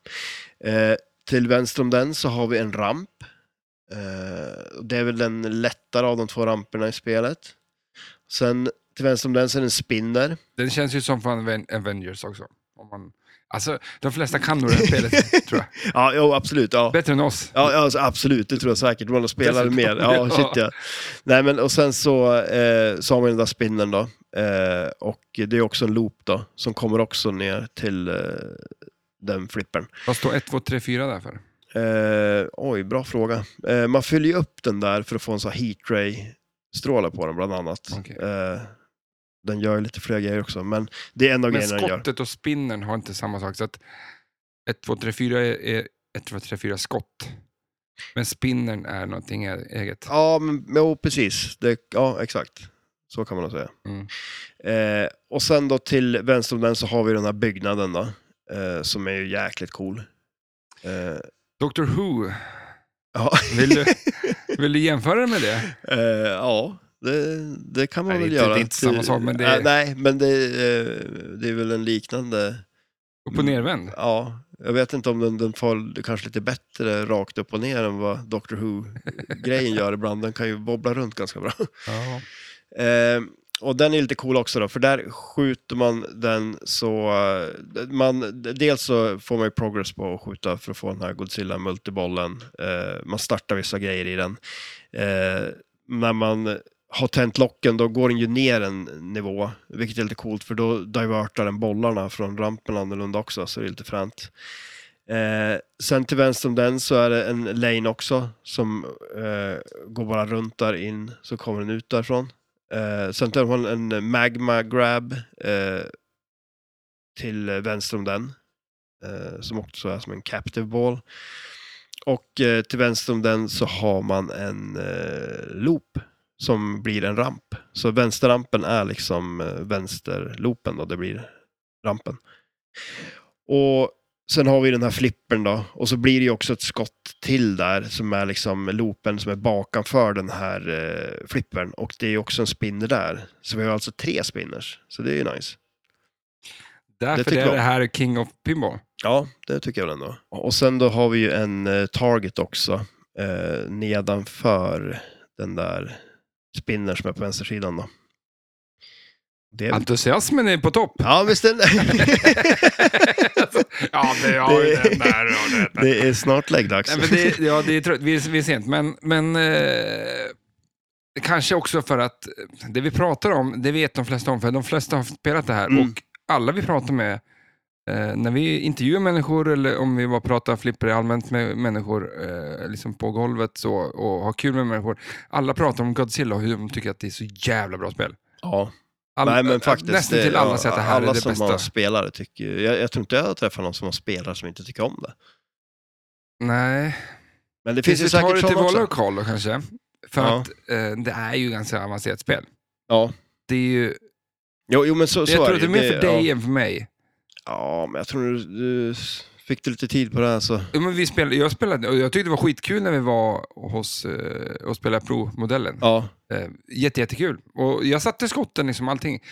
S2: Eh, till vänster om den så har vi en ramp. Eh, och det är väl den lättare av de två ramperna i spelet. Sen till vänster om den så är det en spinner.
S1: Den känns ju som fan Aven- Avengers också. Om man, alltså, de flesta kan nog det här spelet,
S2: <laughs>
S1: tror jag.
S2: Ja, jo, absolut. Ja.
S1: Bättre än oss.
S2: Ja, ja, alltså, absolut, det tror jag säkert. Man spelar
S1: Dessutom,
S2: mer. Ja,
S1: <laughs> ja.
S2: shit ja. Nej, men och sen så, eh, så har man den där spinnen då. Eh, och det är också en loop då, som kommer också ner till eh, den flippern.
S1: Vad står 1, 2, 3, 4 där för?
S2: Eh, oj, bra fråga. Eh, man fyller ju upp den där för att få en sån här heat ray stråle på den bland annat.
S1: Okej.
S2: Eh, den gör ju lite fler grejer också, men det är en av
S1: Men
S2: grejerna den gör.
S1: skottet och spinnen har inte samma sak. Så att 1, 2, 3, 4 är- är 1, 2, 3, 4 skott. Men spinnen är någonting e- eget.
S2: Ja, men, jo, precis. Det, ja, exakt. Så kan man nog säga.
S1: Mm.
S2: Eh, och sen då till vänster om den så har vi den här byggnaden då, eh, som är ju jäkligt cool. Eh,
S1: Doctor Who,
S2: ja, <laughs>
S1: vill du, vill du jämföra det med det?
S2: eh, ja det, det kan man
S1: Nej,
S2: väl
S1: det är inte-
S2: göra.
S1: det är inte samma sak, men det är-
S2: Eh, nej, men det, eh, det är väl en liknande...
S1: Upp och
S2: Mm.
S1: nervänd?
S2: Ja, jag vet inte om den, den far kanske lite bättre rakt upp och ner än vad Doctor Who-grejen gör ibland. Den kan ju bobbla runt ganska bra.
S1: Ja.
S2: Eh, och den är lite cool också då, för där skjuter man den så... eh, Man, dels så får man ju progress på att skjuta för att få den här Godzilla-multibollen. Eh, man startar vissa grejer i den. Eh, när man har tänt locken då går den ju ner en nivå, vilket är lite coolt för då divertar den bollarna från rampen annorlunda också, så det är lite fränt. Eh, sen till vänster om den så är det en lane också som eh, går bara runt där in, så kommer den ut därifrån. Eh, sen tar man en magma grab eh, till vänster om den. Eh, som också är som en captive ball. Och eh, till vänster om den så har man en eh, loop som blir en ramp. Så vänsterrampen är liksom eh, vänsterloopen då, det blir rampen. Och sen har vi den här flippern då, och så blir det ju också ett skott till där som är liksom loopen som är bakanför den här eh, flippern och det är ju också en spinner där. Så vi har alltså tre spinners, så det är ju nice.
S1: Därför
S2: tycker
S1: är
S2: jag.
S1: det här King of Pinball.
S2: Ja, det tycker jag väl ändå. Och sen då har vi ju en eh, target också eh, nedanför den där spinner som är på vänstersidan då. Det är väl...
S1: Entusiasmen är på
S2: <laughs>
S1: topp.
S2: Ja, visst är det...
S1: ja, det har ju
S2: Det- <laughs>
S1: den där och den där.
S2: det är snart läggdags.
S1: Nej, men det, ja, det är trött. Vi, är- vi är sent, men, men eh, kanske också för att det vi pratar om, det vet de flesta om, för de flesta har spelat det här
S2: Mm.
S1: och alla vi pratar med eh, när vi intervjuar människor eller om vi bara pratar flipper allmänt med människor eh, liksom på golvet så, och har kul med människor. Alla pratar om Godzilla och hur de tycker att det är så jävla bra spel.
S2: <laughs> Ja.
S1: Alla-
S2: Nej, men faktiskt,
S1: nästan
S2: det-
S1: till alla
S2: ja,
S1: säger att det här
S2: alla
S1: är det
S2: som
S1: bästa.
S2: har spelare tycker jag, jag tror inte jag har träffat någon som har spelare som inte tycker om det.
S1: Nej,
S2: Men det finns, ju
S1: tar det till
S2: säkert sådana
S1: Valo
S2: också.
S1: och Carlo kanske. För
S2: Ja.
S1: att eh, det är ju ganska avancerat spel.
S2: Ja.
S1: Det är ju,
S2: Jo, jo, men så, så
S1: jag tror
S2: är
S1: att det är mer för
S2: ja.
S1: dig än för mig.
S2: Ja, men jag tror du, du fick du lite tid på det här så.
S1: Ja, men vi spelade, jag, spelade, och jag tyckte det var skitkul när vi var hos, eh, och spelade provmodellen.
S2: Ja,
S1: Eh, jätte, jättekul. Och jag satte skotten, liksom allting.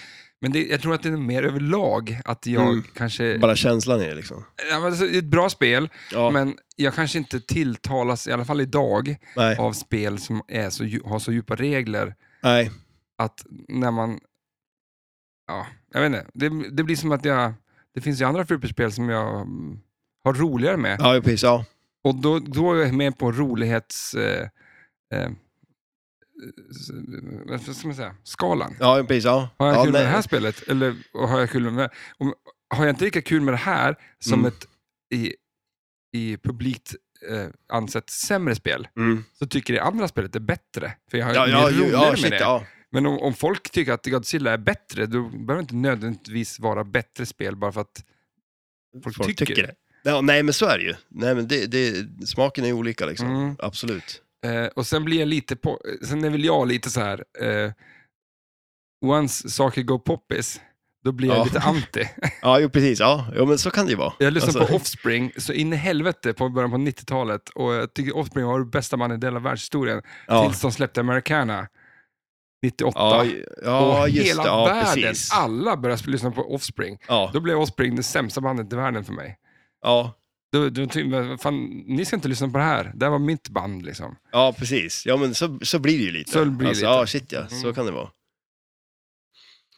S1: Men det, jag tror att det är mer överlag att jag
S2: Mm.
S1: kanske...
S2: bara känslan i det liksom.
S1: Ja, men alltså, det är ett bra spel,
S2: Ja,
S1: men jag kanske inte tilltalas, i alla fall idag,
S2: nej,
S1: av spel som är så, dju- har så djupa regler
S2: nej.
S1: att när man... Ja, jag vet inte. Det, det blir som att jag... Det finns ju andra flipperspel som jag mm, har roligare med.
S2: Ja, precis, ja.
S1: Och då, då är jag med på rolighets... Eh, eh, s- vad ska man säga? Skalan.
S2: Ja, precis, ja.
S1: Har jag
S2: ja,
S1: kul med
S2: nej.
S1: det här spelet? Eller och har jag kul med om, Har jag inte lika kul med det här som
S2: Mm.
S1: ett i, i publikt eh, ansett sämre spel,
S2: Mm.
S1: så tycker det andra spelet är bättre. För jag har
S2: Ja,
S1: mer
S2: ja, ju-
S1: roligare
S2: ja,
S1: med
S2: shit,
S1: det.
S2: ja.
S1: Men om, om folk tycker att Godzilla är bättre, då behöver det inte nödvändigtvis vara bättre spel bara för att folk,
S2: Folk tycker det. Ja, nej, men så är det ju. Nej, men det, det, smaken är ju olika liksom.
S1: Mm.
S2: Absolut.
S1: Eh, och sen blir jag lite på, sen är väl jag lite så här, eh, once saker går poppis, då blir jag
S2: Ja.
S1: lite anti.
S2: Ja, jo, precis. Ja, jo, men så kan det ju vara.
S1: Jag lyssnade
S2: Alltså,
S1: på Offspring så in i helvete på början på 90-talet och jag tycker Offspring var det bästa bandet i hela världshistorien
S2: ja.
S1: tills de släppte Americana 98.
S2: Ja, ja
S1: och
S2: just
S1: hela
S2: det. Ja,
S1: världen,
S2: precis.
S1: alla började sp- lyssna på Offspring.
S2: Ja,
S1: Då blev Offspring det sämsta bandet i världen för mig.
S2: ja,
S1: Då, då, tyckte jag, "Vad fan, ni ska inte lyssna på det här, det här var mitt band liksom.
S2: ja, precis. Ja, men så, så blir det ju lite. Alltså,
S1: Så blir det lite.
S2: Ja, shit ja. Så
S1: Mm.
S2: kan det vara.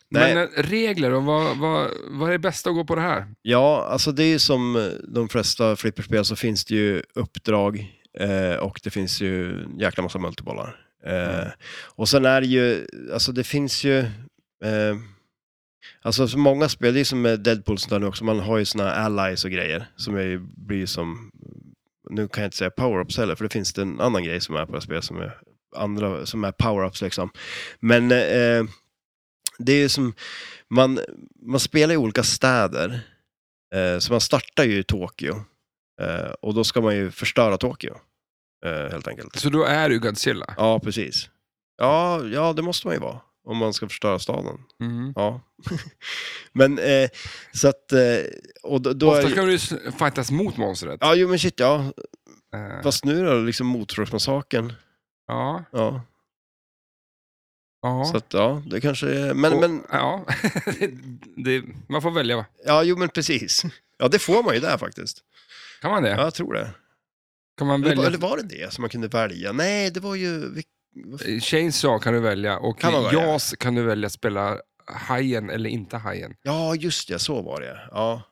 S2: Nej,
S1: Men eh, regler då, vad, vad, vad är det bästa att gå på det här?
S2: ja, alltså det är ju som eh, de flesta flipperspel så finns det ju uppdrag eh, och det finns ju en jäkla massa multibollar. Eh, Och sen är det ju, alltså det finns ju, eh, alltså så många spel, det är som med Deadpool sånt där nu också, man har ju såna här allies och grejer som är, ju- blir ju som, nu kan jag inte säga power-ups heller, för det finns det en annan grej som är på det här spelet som är, andra, som är power-ups liksom. Men eh, det är ju som, man, man spelar i olika städer, eh, så man startar ju i Tokyo eh, och då ska man ju förstöra Tokyo, eh, helt enkelt.
S1: Så då är du Godzilla?
S2: Ja, precis. Ja, ja, det måste man ju vara. Om man ska förstöra staden.
S1: Mm.
S2: Ja. <laughs> men eh, så att... Eh, och då, då är
S1: Ofta
S2: ju...
S1: ska du s- fightas mot monstret.
S2: Ja, jo men shit ja.
S1: Eh,
S2: Fast nu då, liksom Motorsågsmassakern.
S1: ja,
S2: Ja.
S1: ja.
S2: Så att ja, det kanske är... Men,
S1: Och-
S2: men
S1: ja. <laughs> det, det, man får välja, va?
S2: ja, jo men precis. Ja, det får man ju där faktiskt.
S1: Kan man det?
S2: Ja, jag tror det.
S1: Kan man
S2: Eller, var-
S1: välja?
S2: eller var det det som man kunde välja? Nej, det var ju... vil- vad f-
S1: Chainsaw kan du välja och
S2: Kan man välja?
S1: JAS kan du välja att spela hajen eller inte hajen.
S2: Ja, just det, så var det ja.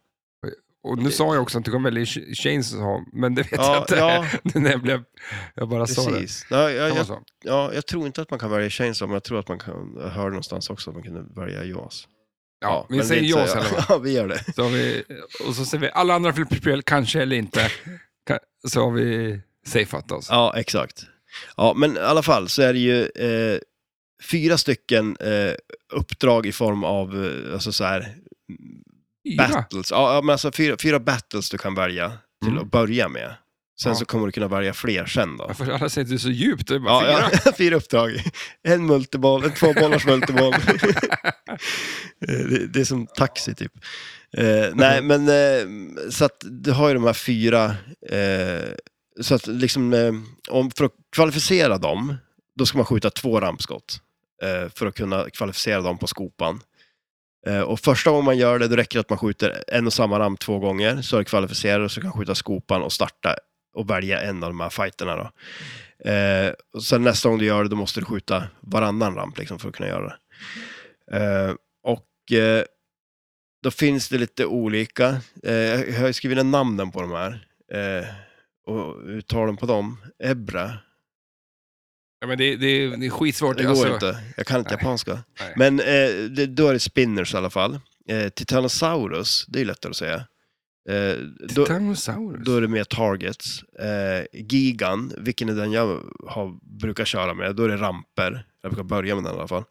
S1: Och nu sa jag också att du kan välja Ch- Chainsaw, men det vet
S2: Ja,
S1: jag inte. <laughs>
S2: ja.
S1: När jag, blev, jag bara sa det.
S2: Precis. Ja, ja,
S1: Kan
S2: jag,
S1: man så?
S2: Ja, jag tror inte att man kan välja Chainsaw, men jag tror att man kan, jag hörde någonstans också att man kunde välja JAS.
S1: Ja, vi
S2: men
S1: säger
S2: det är inte så-
S1: JAS i alla fall.
S2: Ja, vi gör det.
S1: Så har vi, och så säger vi alla andra flipperspel, kanske eller inte. Ka- Så har vi safeat oss.
S2: Ja, exakt. Ja, men i alla fall så är det ju eh, fyra stycken eh, uppdrag i form av, eh, alltså så här,
S1: Fyra.
S2: battles. Ja, ja, men alltså fyra, fyra battles du kan välja till
S1: Mm.
S2: att börja med. Sen
S1: Ja.
S2: så kommer du kunna välja fler sen då.
S1: Varför alla säger att det är så djupt? Det är bara
S2: Ja,
S1: fyra.
S2: ja, <laughs> fyra uppdrag. En multiboll, en tvåbollars multiboll. Eh, det, det är som taxi typ. Eh, nej, men eh, så att du har ju de här fyra, eh, så att liksom, eh, om, för att kvalificera dem, då ska man skjuta två rampskott eh, för att kunna kvalificera dem på skopan. Eh, och första gången man gör det, då räcker det att man skjuter en och samma ramp två gånger, så är det kvalificerad och så kan man skjuta skopan och starta och välja en av de här fighterna då. Eh, och sen nästa gång du gör det, då måste du skjuta varannan ramp liksom, för att kunna göra det. Eh, och eh, då finns det lite olika. Eh, jag har ju skrivit ner namnen på de här. Eh, och uttalen på dem. Ebra.
S1: Ja, men det, det, det är skitsvårt.
S2: Det går
S1: alltså.
S2: inte. Jag kan inte
S1: Nej.
S2: japanska.
S1: Nej.
S2: Men eh, det, då är det spinners i alla fall. Eh, Titanosaurus, det är ju lättare att säga. Eh, då,
S1: Titanosaurus.
S2: då är det mer targets. Eh, Gigan, vilken är den jag har, brukar köra med, då är det ramper. Jag brukar börja med den i alla fall.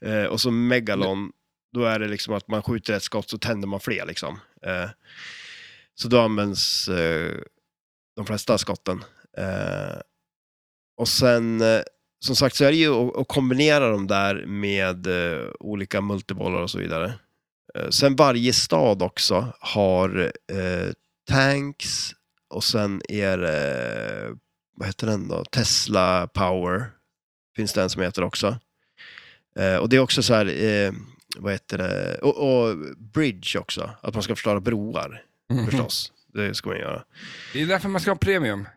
S2: Eh, och så Megalon, då är det liksom att man skjuter ett skott så tänder man fler liksom. Eh, så då används eh, de flesta skotten. Eh, och sen, eh, som sagt, så är det ju att, att kombinera de där med eh, olika multibollar och så vidare. Eh, sen varje stad också har eh, tanks och sen är det, vad heter den då, Tesla Power finns det en som heter också. Eh, och det är också så här, eh, vad heter det, och, och Bridge också, att man ska förstöra broar
S1: Mhm.
S2: förstås. Det ska man göra.
S1: Det är därför man ska ha premium.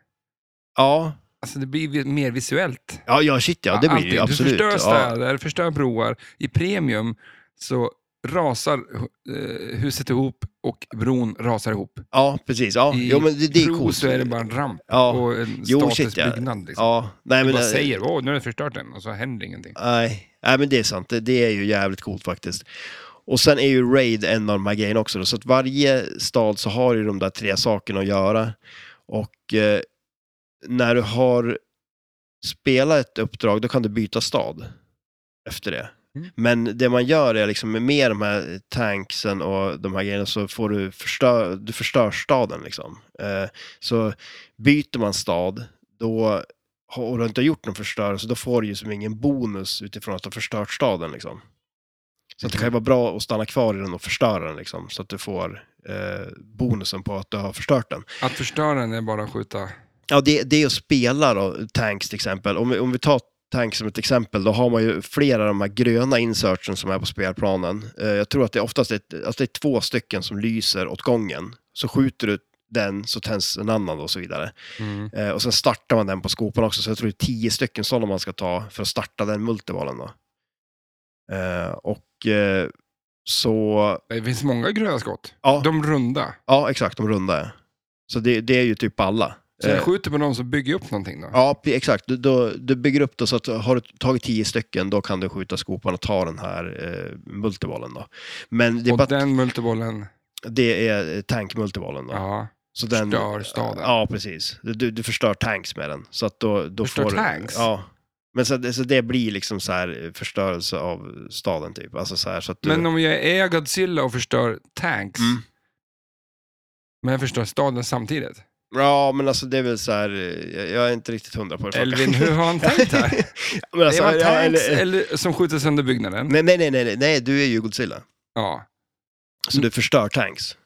S2: Ja,
S1: Alltså det blir vi- mer visuellt.
S2: ja, ja shit ja, det blir det
S1: Allting.
S2: ju absolut.
S1: Du förstör
S2: ja.
S1: städer, förstör broar. I premium så rasar eh, huset ihop och bron rasar ihop.
S2: ja, precis. Ja.
S1: I
S2: Jo, men det, det är
S1: Pro
S2: coolt.
S1: så är det bara en ramp
S2: ja.
S1: och en
S2: Jo,
S1: statisk
S2: shit, ja.
S1: byggnad. Liksom.
S2: ja. Nej,
S1: Du
S2: men,
S1: bara
S2: eh,
S1: säger åh nu har jag förstört den och så händer ingenting.
S2: Nej, nej men det är sant. Det, det är ju jävligt coolt faktiskt. Och sen är ju Raid en av de här grejerna också. Då, så att varje stad så har ju de där tre sakerna att göra. Och eh, när du har spelat ett uppdrag, då kan du byta stad efter det.
S1: Mm.
S2: Men det man gör är liksom med de här tanksen och de här grejerna så får du förstör, du förstör staden liksom. Eh, så byter man stad, då har- och du har inte gjort någon förstörelse, då får du ju som ingen bonus utifrån att du har förstört staden. Liksom. Så att det kan ju vara bra att stanna kvar i den och förstöra den, liksom, så att du får eh, bonusen på att du har förstört den.
S1: Att förstöra den är bara att skjuta.
S2: Ja, det, det är att spela då, tanks till exempel. Om vi, om vi tar tanks som ett exempel, då har man ju flera av de här gröna insertsen som är på spelplanen. Eh, jag tror att det är oftast ett, att det är två stycken som lyser åt gången. Så skjuter du den så tänds en annan och så vidare.
S1: Mm.
S2: Eh, och sen startar man den på skopan också, så jag tror det är tio stycken sådana man ska ta för att starta den multibollen då. Eh, och eh, så,
S1: Det finns många gröna skott.
S2: ja,
S1: De runda.
S2: ja exakt, de runda är. Så det, det är ju typ alla.
S1: Så jag
S2: Eh,
S1: skjuter på någon så bygger jag upp någonting då.
S2: Ja, p- exakt. Du, då, du bygger upp det så att har du tagit tio stycken, då kan du skjuta skopan och ta den här eh, multibollen då. Men det är,
S1: och
S2: bara,
S1: den multibollen,
S2: det är eh, tank-multibollen då.
S1: ja,
S2: så den,
S1: förstör staden.
S2: Ja, precis. Du, du förstör tanks med den. Så att då, då
S1: Förstör
S2: får, du-
S1: tanks?
S2: Ja. Men så, att- så det blir liksom så här eh, förstörelse av staden typ. Alltså så här så att du...
S1: Men om jag är Godzilla och förstör tanks,
S2: Mm.
S1: men jag förstör staden samtidigt.
S2: Ja, men alltså det är väl så här, eh, jag- jag är inte riktigt hundra på det.
S1: Elvin, hur har han tänkt
S2: <laughs>
S1: här?
S2: men alltså,
S1: är man
S2: ja,
S1: tanks
S2: eller-
S1: eller, som skjuter sönder byggnaden?
S2: Nej, nej, nej, nej, nej, nej, du är ju Godzilla.
S1: Ja. Mm.
S2: Så du förstör tanks.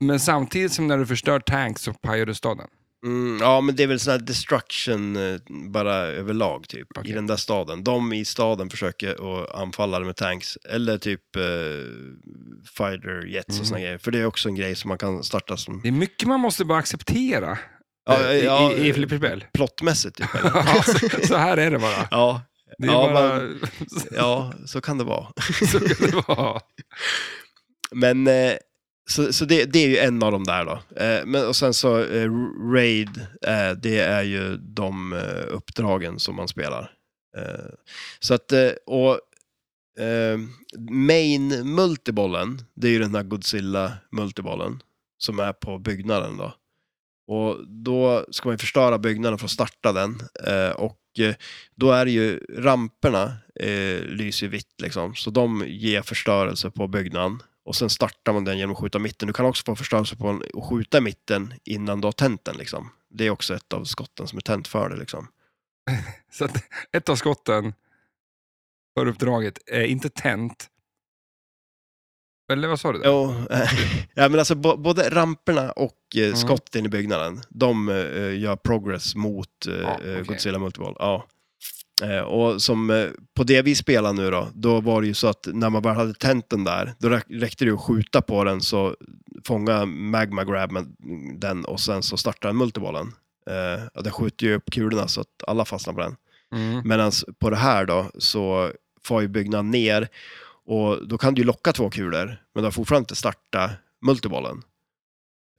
S1: Men samtidigt som när du förstör tanks så pajar du staden.
S2: Mm, ja, men det är väl sån här destruction eh, bara överlag typ
S1: Okej.
S2: i den där staden. De i staden försöker att anfalla det med tanks eller typ eh, fighter jets och såna grejer. För det är också en grej som man kan starta som
S1: Det är mycket man måste bara acceptera
S2: Ja,
S1: eh, i,
S2: ja,
S1: i, i
S2: eh,
S1: flipperspel.
S2: plottmässigt. <laughs> Typ, eller?
S1: <laughs> Ja, så, så här är det bara.
S2: ja,
S1: Det är
S2: Ja,
S1: bara...
S2: ja, så kan det vara.
S1: <laughs> så kan det vara.
S2: Men eh, så, så det, det är ju en av de där då. Eh, men, och sen så eh, Raid, eh, det är ju de eh, uppdragen som man spelar. Eh, så att, eh, och eh, main multibollen, det är ju den här Godzilla multibollen som är på byggnaden då. Och då ska man ju förstöra byggnaden för att starta den. Eh, och eh, då är det ju ramperna eh, lyser ju vitt liksom, så de ger förstörelse på byggnaden. Och sen startar man den genom att skjuta mitten. Du kan också få förstörelse på en, och skjuta mitten innan du har tänt den. Liksom. Det är också ett av skotten som är tänt för det. Liksom.
S1: Så att ett av skotten för uppdraget är inte tänt. Eller vad sa du? Där?
S2: Jo, eh, <laughs> ja, men alltså, bo, både ramperna och eh,
S1: Mm.
S2: skotten i byggnaden, de eh, gör progress mot eh,
S1: Ja,
S2: eh,
S1: Ah, okej.
S2: Godzilla Multiball. Ja. Eh, och som eh, på det vi spelar nu då, då var det ju så att när man bara hade tänt den där, då räck- räckte det att skjuta på den så fånga Magma Grab med den och sen så startar den multibollen. Eh, och den skjuter ju upp kulorna så att alla fastnar på den.
S1: Mm.
S2: Medan på det här då så far ju byggnaden ner och då kan du ju locka två kulor, men du har fortfarande inte starta multibollen.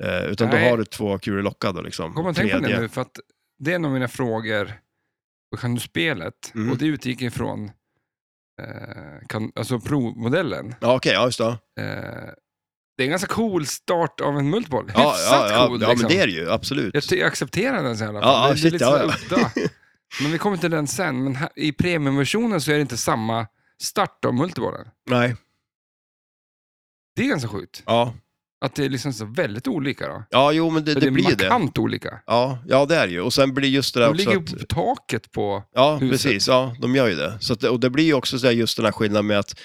S2: Eh, utan
S1: Nej.
S2: då har du två kulor lockade liksom.
S1: Kom och tänk på det
S2: Tredje.
S1: nu, för att det är en av mina frågor på kan du spelet
S2: Mm.
S1: och det utgick ifrån eh, kan, alltså provmodellen.
S2: Ja, okej, ja just det.
S1: Eh, Det är en ganska cool start av en multiboll.
S2: Ja, ja,
S1: Hyfsat
S2: ja,
S1: cool
S2: ja
S1: liksom.
S2: men det är det ju, absolut.
S1: Jag, ty- jag accepterar den så i alla
S2: Ja,
S1: fall.
S2: ja,
S1: det är
S2: shit,
S1: lite så
S2: ja,
S1: udda. Men vi kommer till den sen. Men här, i premiumversionen så är det inte samma start av multibollen.
S2: Nej.
S1: Det är ganska sjukt.
S2: Ja.
S1: Att det är liksom så väldigt olika då.
S2: ja, jo men det,
S1: Det,
S2: det
S1: är
S2: blir det.
S1: markant olika.
S2: Ja, ja, det är det ju. Och sen blir just det där
S1: De
S2: också
S1: ligger
S2: att...
S1: på taket på...
S2: Ja,
S1: huset.
S2: precis. Ja, de gör ju det. Så att, och det blir ju också så där just den här skillnaden med att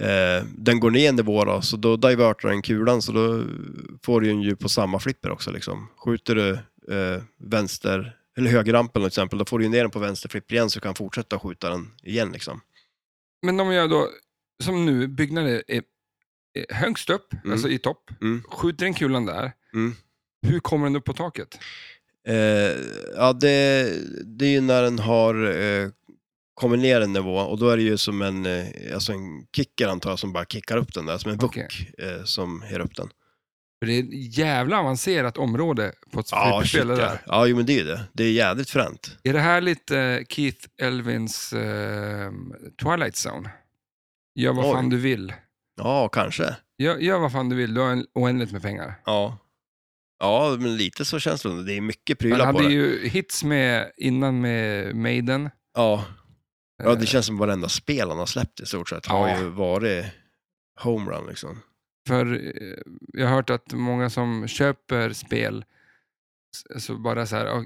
S2: eh, den går ner en nivå då, så då divertar den kulan så då får du ju en djup på samma flipper också. Liksom. Skjuter du eh, vänster eller högerrampen till exempel, då får du ju ner den på vänster flipper igen så du kan fortsätta skjuta den igen. Liksom.
S1: Men de gör då, som nu, byggnaden är, är högst upp,
S2: Mm.
S1: alltså i topp.
S2: Mm.
S1: Skjuter den kulan där,
S2: Mm.
S1: hur kommer den upp på taket?
S2: Eh, ja, det, det är ju när den har eh, kommit ner en nivå och då är det ju som en, eh, alltså en kicker antar jag som bara kickar upp den där, som en vuck
S1: Okej.
S2: eh, som ger upp den.
S1: För det är ett jävla avancerat område på ett
S2: Ja, shit
S1: flipperspel. det där.
S2: ja. ja, jo men det är ju det. Det är jädrigt fränt.
S1: Är det här lite eh, Keith Elvins eh, Twilight Zone? Gör vad
S2: Oj.
S1: fan du vill.
S2: Ja, kanske.
S1: Gör, gör vad fan du vill, du har en, oändligt med pengar.
S2: Ja. Ja, men lite så känns det. Det är mycket
S1: Han
S2: prylar på
S1: hade
S2: det.
S1: ju hits med, innan med Maiden.
S2: Ja. ja, det
S1: Eh,
S2: känns som varenda spel han har släppt i stort sett
S1: Ja.
S2: har ju varit homerun liksom.
S1: För eh, jag har hört att många som köper spel, s- så bara så här, "Ah,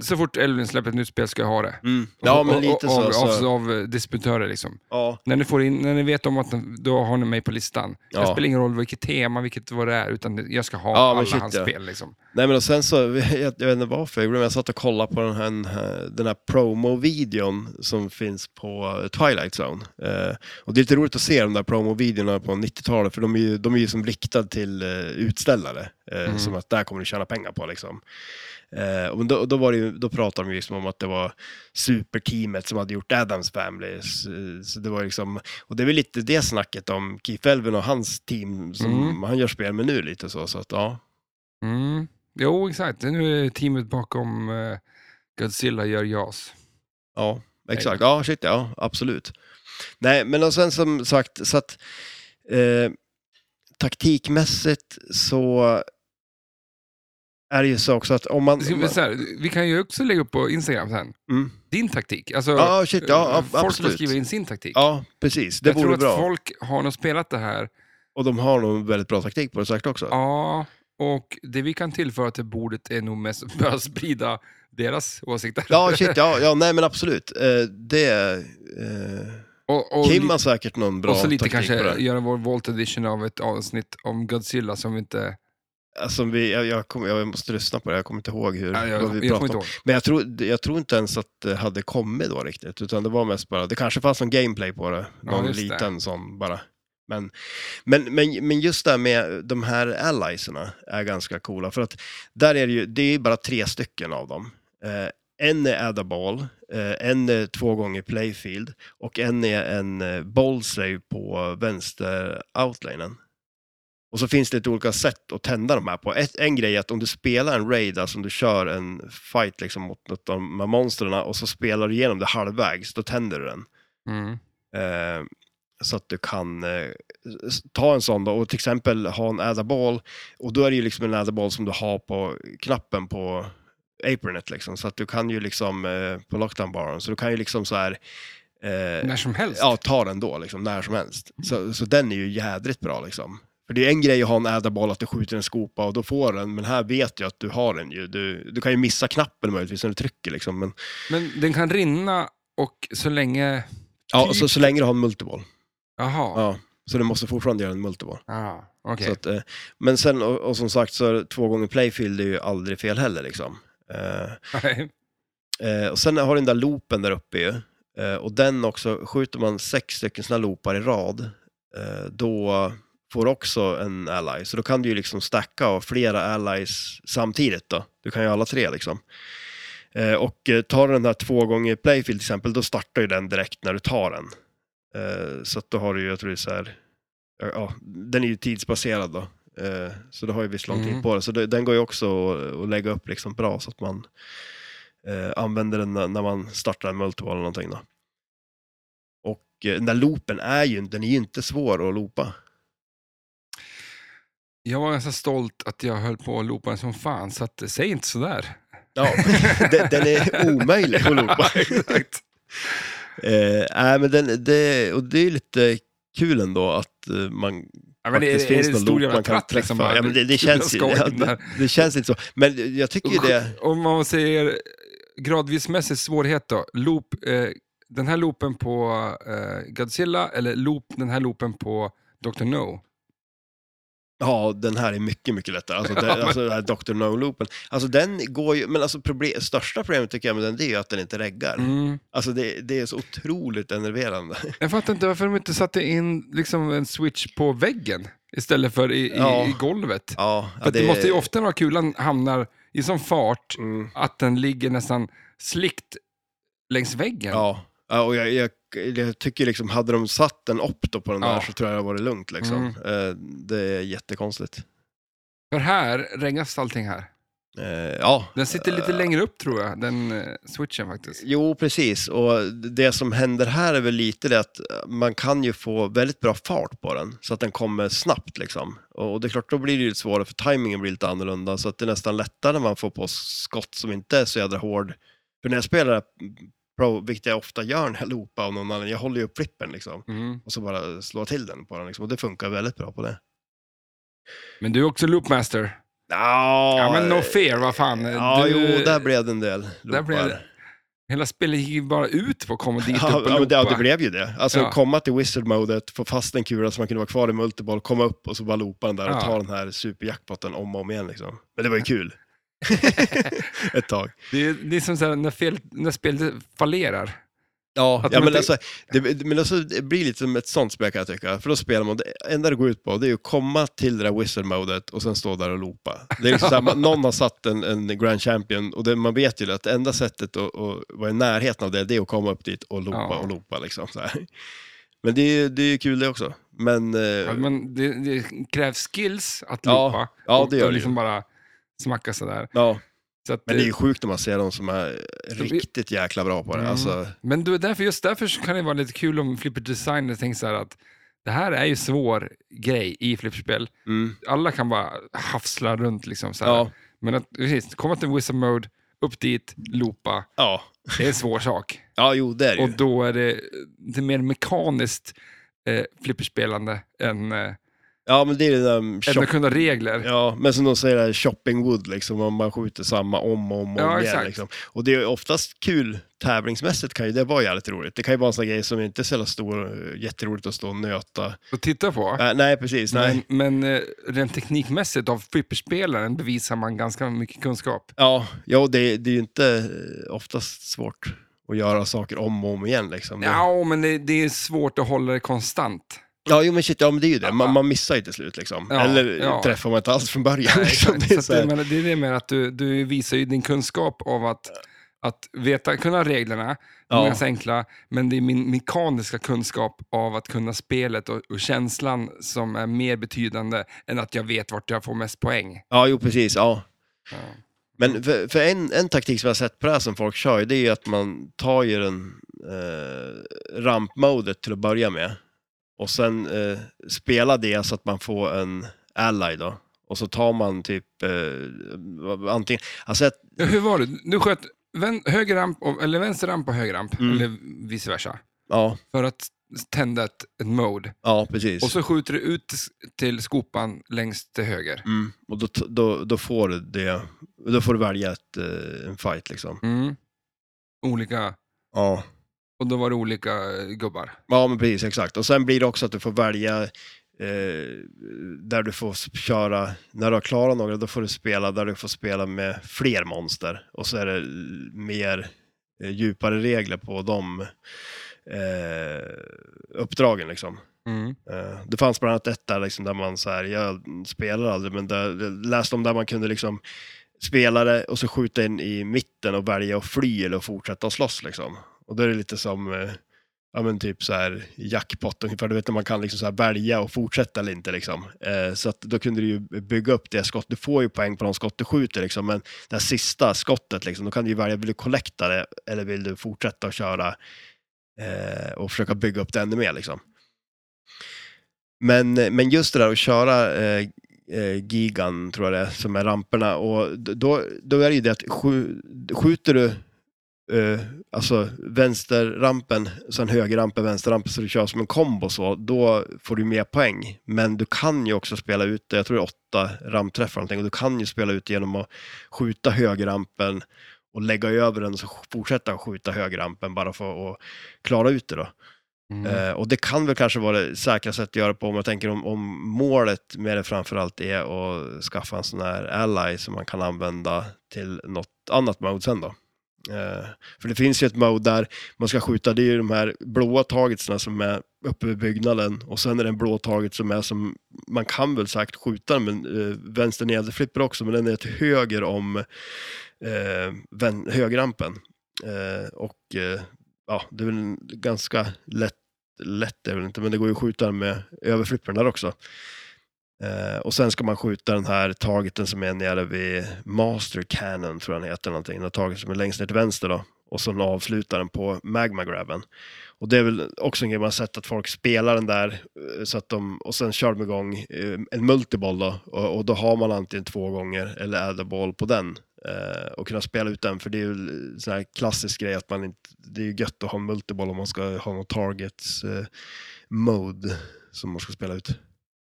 S1: så fort Elvin släpper ett nytt spel ska jag ha det.
S2: Ja,
S1: Mm. Och-
S2: men
S1: och-
S2: lite
S1: och-
S2: så.
S1: Av, av,
S2: så
S1: av eh, disputörer liksom.
S2: ja,
S1: När ni, får in, när ni vet om att den- då har ni mig på listan. Det
S2: ja.
S1: spelar ingen roll vilket tema, vilket vad det är, utan det- jag ska ha
S2: Ja, men
S1: alla
S2: shit,
S1: hans
S2: ja.
S1: spel. Liksom.
S2: Nej, men och sen så, <laughs> jag, jag vet inte varför jag gjorde det, men jag satt och kollade på den här, den här promo-videon som finns på Twilight Zone. Eh, och det är lite roligt att se de där promo-videorna på 90-talet, för de är ju, de är ju som riktad till eh, utställare, eh,
S1: Mm.
S2: som att där kommer du tjäna pengar på liksom. Eh, och då, då, var det ju, då pratade de ju liksom om att det var superteamet som hade gjort Adams Family. Så, så det var liksom, och det är väl lite det snacket om Keith Elvin och hans team som
S1: Mm.
S2: han gör spel med nu lite så. så att, ja.
S1: Mm. Jo, exakt. Nu är teamet bakom eh, Godzilla gör JAS.
S2: Ja, exakt. Ja, shit ja, absolut. Nej, men och sen som sagt, så att eh, taktikmässigt så är det ju så också att om man...
S1: Det ska
S2: om
S1: bli
S2: man
S1: så här, Vi kan ju också lägga upp på Instagram sen,
S2: mm.
S1: din taktik. Alltså,
S2: Ja, shit ja, ab-
S1: folk får skriva
S2: absolut.
S1: in sin taktik.
S2: Ja, precis. Det
S1: jag tror
S2: vore
S1: att
S2: bra.
S1: folk har nog spelat det här.
S2: Och de har nog väldigt bra taktik på det sagt också.
S1: Ja, och det vi kan tillföra till bordet är nog mest att börja sprida deras åsikter.
S2: Ja, shit ja, ja, nej men absolut. Eh, det... Eh,
S1: <laughs> och, och,
S2: Kim har säkert någon bra
S1: och så lite
S2: taktik
S1: kanske
S2: på det.
S1: göra vår Volt Edition av ett avsnitt om Godzilla som vi inte...
S2: Alltså, vi, jag, jag, kommer- jag måste lyssna på det, jag kommer inte ihåg hur,
S1: Ja, jag,
S2: vad
S1: jag,
S2: vi
S1: kommer
S2: pratade
S1: inte
S2: om.
S1: ihåg.
S2: Men jag tror, jag tror inte ens att det hade kommit då riktigt, utan det var mest bara, det kanske fanns någon gameplay på det,
S1: Ja,
S2: någon
S1: just det.
S2: liten sån bara. Men, men, men, men just det här med de här allieserna är ganska coola, för att där är det ju, det är ju bara tre stycken av dem. Eh, en är Ada Ball, eh, en är två gånger Playfield och en är en eh, ball save på vänster outlinen. Och så finns det lite olika sätt att tända de här på. Ett, en grej är att om du spelar en raid, alltså om du kör en fight liksom mot något av de här monstren och så spelar du igenom det halvvägs, då tänder du den.
S1: Mm.
S2: Eh, så att du kan eh, s- ta en sån då och till exempel ha en adaball och då är det ju liksom en adaball som du har på knappen på apronet liksom. Så att du kan ju liksom eh, på lockdown baren, så du kan ju liksom så här eh,
S1: När som helst.
S2: Ja, ta den då, liksom, när som helst. Så, så den är ju jädrigt bra. Liksom. För det är en grej att ha en ädarboll, att du skjuter en skopa och då får den, men här vet jag att du har den ju. Du, du kan ju missa knappen möjligtvis när du trycker, liksom, men
S1: Men den kan rinna och så länge...
S2: ja, och så, så länge du har en multiball.
S1: Jaha.
S2: typ. Ja. Så du måste fortfarande göra en multiball.
S1: Ah, okej.
S2: Så att, eh, men sen, och, och som sagt, så är det två gånger playfield är ju aldrig fel heller. Liksom. Eh,
S1: <laughs> Nej.
S2: Eh, och sen har du den där loopen där uppe ju. Eh, och den också, skjuter man sex stycken sådana loopar i rad, eh, då får du också en ally. Så då kan du ju liksom stacka av flera allies samtidigt då. Du kan ju alla tre liksom. Eh, och eh, tar du den här två gånger playfield till exempel, då startar ju den direkt när du tar den. Eh, så att då har du ju, jag tror det är så här, ja, ja, den är ju tidsbaserad då. Eh, så då har ju visst lång tid
S1: Mm.
S2: på det. Så det, den går ju också att, att lägga upp liksom bra så att man eh, använder den när, när man startar en multiball eller någonting. Då. Och eh, den där loopen är ju, den är ju inte svår att loopa.
S1: Jag var ganska stolt att jag höll på att loopa den som fan, så att, eh, säg inte sådär.
S2: Ja, <laughs> den, den är omöjlig att loopa.
S1: <laughs> Exakt.
S2: Eh, nej, men den, det, och det är lite kul ändå att eh, man
S1: Ja, men det,
S2: faktiskt
S1: är, är
S2: finns
S1: det en
S2: någon
S1: stor
S2: loop
S1: jävla
S2: man kan
S1: tratt liksom?
S2: träffa.
S1: bara,
S2: Ja, men det, det, känns
S1: <laughs>
S2: ju,
S1: skoj
S2: ja,
S1: där.
S2: det, det känns inte så. Men jag tycker ju det...
S1: <laughs> Om man säger gradvismässig svårighet då, loop, eh, den här loopen på eh, Godzilla eller loop, den här loopen på Dr. No?
S2: Ja, den här är mycket, mycket lättare. Alltså, den,
S1: Ja, men-
S2: alltså den här Dr. No-loopen. Alltså den går ju... Men alltså problem, största problemet tycker jag med den, det är ju att den inte reggar.
S1: Mm.
S2: Alltså det, det är så otroligt enerverande.
S1: Jag fattar inte varför de inte satte in liksom, en switch på väggen istället för i, i,
S2: Ja.
S1: i golvet.
S2: Ja,
S1: För att det måste ju ofta vara kulan hamnar i sån fart
S2: Mm,
S1: att den ligger nästan slickt längs väggen.
S2: ja. Ja, och jag, jag, jag tycker liksom, hade de satt den upp då på den
S1: Ja.
S2: där så tror jag det hade varit lugnt liksom. Eh, det är jättekonstigt.
S1: För här regnas allting här.
S2: Eh, ja.
S1: Den sitter
S2: Eh.
S1: lite längre upp tror jag, den eh, switchen faktiskt.
S2: Jo, precis. Och det som händer här är väl lite det att man kan ju få väldigt bra fart på den, så att den kommer snabbt liksom. Och och det är klart, då blir det ju lite svårare, för tajmingen blir lite annorlunda, så att det är nästan lättare när man får på skott som inte är så jädra hård. För när jag spelar Pro, vilket jag ofta gör när jag loopar av någon annan, jag håller ju upp flippen liksom.
S1: Mm.
S2: Och så bara slår till den på den liksom. Och det funkar väldigt bra på det.
S1: Men du är också loopmaster. Ja men no fear, vad fan.
S2: eh, Ja,
S1: du,
S2: jo, där blev det en del
S1: Där blev
S2: loopar.
S1: det. Hela spelet gick bara ut på att komma dit
S2: <laughs> Ja,
S1: upp och
S2: ja, men det, ja,
S1: loopa.
S2: det blev ju det. Alltså
S1: Ja.
S2: komma till wizard-modet, få fast en kula så man kunde vara kvar i multiball, komma upp och så bara loopa den där och
S1: Ja.
S2: ta den här superjackpotten om och om igen liksom. Men det var
S1: <laughs>
S2: ju kul. <laughs> Ett tag.
S1: Det är, det är som så här, när, fel, när spelet fallerar.
S2: Ja,
S1: Att
S2: ja
S1: de
S2: men,
S1: inte-
S2: alltså, det, men alltså, det blir lite som ett sånt spel kan jag tycka. För då spelar man, det enda det går ut på det är ju att komma till det där wizard-modet och sen stå där och loopa. Det är liksom så här, man, någon har satt en, en grand champion och det, man vet ju att det enda sättet att, att vara i närheten av det, det är att komma upp dit och loopa
S1: Ja.
S2: och loopa. Liksom, så här. Men det är, det är ju kul det också. Men, eh,
S1: Ja, men det, det krävs skills att
S2: Ja,
S1: loopa.
S2: ja,
S1: och-
S2: det gör
S1: och
S2: det
S1: liksom bara smacka sådär.
S2: ja,
S1: Så att,
S2: men det är ju sjukt när man ser de som är riktigt jäkla bra på det.
S1: Mm.
S2: Alltså,
S1: Men du, därför, just därför så kan det vara lite kul om Flipper Designer tänker så här att det här är ju svår grej i flipperspel.
S2: mm,
S1: Alla kan bara hafsla runt liksom så här.
S2: ja,
S1: Men att precis, komma till Wizard Mode, upp dit, loopa,
S2: ja.
S1: det är en svår sak.
S2: ja, jo det är det
S1: Och
S2: ju.
S1: då är det, det är mer mekaniskt eh, flipperspelande än, eh,
S2: Ja, men det är ju den där
S1: än
S2: shop-
S1: att kunna regler.
S2: Ja, men som de säger, där, shopping wood, liksom, om man skjuter samma om och om, och
S1: Ja,
S2: om igen.
S1: exakt.
S2: Liksom. Och det är ju oftast kul, tävlingsmässigt kan ju det vara jävligt roligt. Det kan ju vara en sån grej som inte är så jävla stor, eh, jätteroligt att stå och nöta.
S1: Att titta på.
S2: Äh, nej, precis. Nej.
S1: Men, men eh, rent teknikmässigt av flipperspelaren bevisar man ganska mycket kunskap.
S2: Ja, ja det, det är ju inte eh, oftast svårt att göra saker om och om igen. Liksom.
S1: Ja, men det, det är svårt att hålla det konstant.
S2: Ja, jo, men shit, ja, men det är ju det. Man, man missar ju till slut liksom.
S1: Ja,
S2: Eller
S1: ja.
S2: träffar man inte alls från början. liksom.
S1: <laughs> Exakt.
S2: Det är
S1: Så
S2: så
S1: att
S2: här,
S1: jag menar, det är det med att du, du visar ju din kunskap av att, att veta, kunna reglerna, de är
S2: Ja.
S1: ganska enkla, men det är min mekaniska kunskap av att kunna spelet och, och känslan som är mer betydande än att jag vet vart jag får mest poäng.
S2: Ja, jo, precis. Ja.
S1: Ja.
S2: Men för, för en, en taktik som jag har sett på det här som folk kör, det är ju att man tar ju den eh, rampmodet till att börja med och sen eh, spelar det så att man får en ally då. Och så tar man typ eh, antingen, alltså ett,
S1: Ja, Hur var det? Du sköt vän, höger ramp, och- eller vänster ramp och höger ramp,
S2: Mm.
S1: eller vice versa,
S2: ja,
S1: för att tända ett, ett mode.
S2: ja precis.
S1: Och så skjuter du ut s- till skopan längst till höger.
S2: mm, och då, t- då, då får du det, då får du välja ett, eh, en fight liksom.
S1: Mm. Olika,
S2: Ja.
S1: och då var det olika eh, gubbar.
S2: Ja, men precis, exakt. Och sen blir det också att du får välja eh, där du får s- köra, när du har klarat några, då får du spela där du får spela med fler monster. Och så är det l- mer eh, djupare regler på de eh, uppdragen liksom.
S1: Mm.
S2: Eh, Det fanns bland annat ett där, liksom, där man så här, jag spelar aldrig, men där, jag läste om där man kunde liksom spela det och så skjuta in i mitten och välja att fly eller att fortsätta att slåss liksom. Och då är det lite som, eh, ja men typ så här jackpot ungefär, du vet när man kan liksom så här välja och fortsätta eller inte liksom. Eh, Så att då kunde du ju bygga upp det skott, du får ju poäng på de skott du skjuter liksom, men det här sista skottet liksom, då kan du ju välja, vill du collecta det eller vill du fortsätta att köra eh, och försöka bygga upp det ännu mer liksom. Men, men just det där att köra eh, eh, gigan, tror jag det är, som är ramperna. Och d- då, då är det ju det att skju- skjuter du eh, alltså vänsterrampen, sen högerrampen, vänsterrampen, så du kör som en kombo så, då får du mer poäng. Men du kan ju också spela ut det, jag tror det är åtta rampträffar eller någonting, och du kan ju spela ut genom att skjuta högerrampen och lägga över den och så fortsätta skjuta högerrampen bara för att klara ut det då.
S1: Mm.
S2: Eh, och det kan väl kanske vara det säkra sättet att göra på om jag tänker om, om målet med det framförallt är att skaffa en sån här ally som man kan använda till något annat mode sen då. Eh, för det finns ju ett mode där man ska skjuta, det är ju de här blåa targetsna som är uppe vid byggnaden och sen är det en blå target som är som, man kan väl säkert skjuta den, men eh, vänster nederflipper också, men den är till höger om eh, vän, högerrampen. Eh, och eh, ja, det är väl en ganska lätt lätt är det väl inte, men det går ju att skjuta den med överflippen där också. Eh, och sen ska man skjuta den här targeten som är nere vid Master Cannon, tror jag den heter, någonting. den här targeten som är längst ner till vänster då. Och sen avslutar den på Magma Grabben. Och det är väl också en grej man har sett att folk spelar den där, eh, så att de, och sen kör de igång eh, en multiboll då. Och, och då har man antingen två gånger eller ädelboll på den. Eh, och kunna spela ut den, för det är ju en sån här klassisk grej att man inte, det är ju gött att ha en multiboll om man ska ha någon targets eh, mode som man ska spela ut.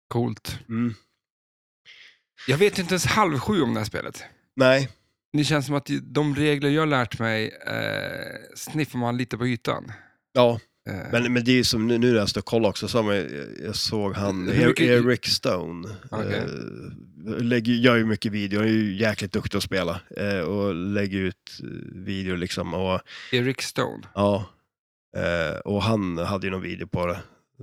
S1: Coolt.
S2: Mm.
S1: Jag vet inte ens halv sju om det här spelet.
S2: Nej,
S1: Det känns som att de regler jag har lärt mig eh, sniffar man lite på ytan.
S2: ja,
S1: Eh,
S2: men, men det är ju som nu, nu när jag står och kollar också, så har man, jag, jag såg han,
S1: Hur
S2: er,
S1: mycket-
S2: Eric Stone,
S1: Okej.
S2: eh, lägger, gör ju mycket video, han är ju jäkligt duktig att spela eh, och lägger ut eh, video liksom. Och,
S1: Eric Stone.
S2: ja, eh, och han hade ju någon video på det.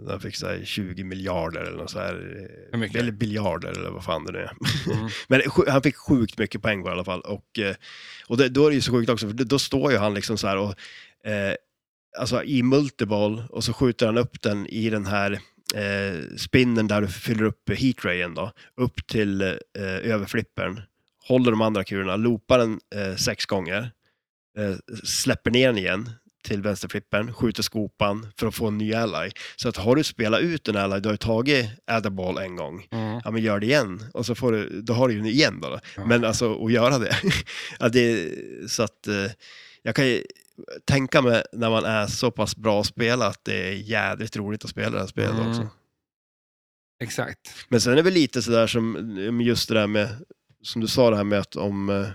S2: Han fick så här 20 miljarder eller något så här,
S1: Hur mycket?
S2: eller biljarder eller vad fan det nu är.
S1: Mm.
S2: Men sj- han fick sjukt mycket poäng på det i alla fall. Och, eh, och det, då är det ju så sjukt också, för då- då står ju han liksom så här och, eh, alltså i multiball och så skjuter han upp den i den här eh, spinnen där du fyller upp heatrayen då, upp till eh, överflippern, håller de andra kulorna, loopar den eh, sex gånger, eh, släpper ner den igen till vänsterflippern, skjuter skopan för att få en ny ally. Så att har du spelat ut en ally, du har ju tagit Adderball en gång,
S1: <laughs> Mm.
S2: ja men gör det igen. Och så får du, då har du ju den igen då. då.
S1: Ja.
S2: Men alltså att göra det. <laughs> ja, det så att eh, jag kan ju tänka mig när man är så pass bra spelare att det är jädrigt roligt att spela det här spelet
S1: Mm.
S2: också.
S1: Exakt.
S2: Men sen är det väl lite sådär som eh, men just det där med, som du sa det här med att om eh,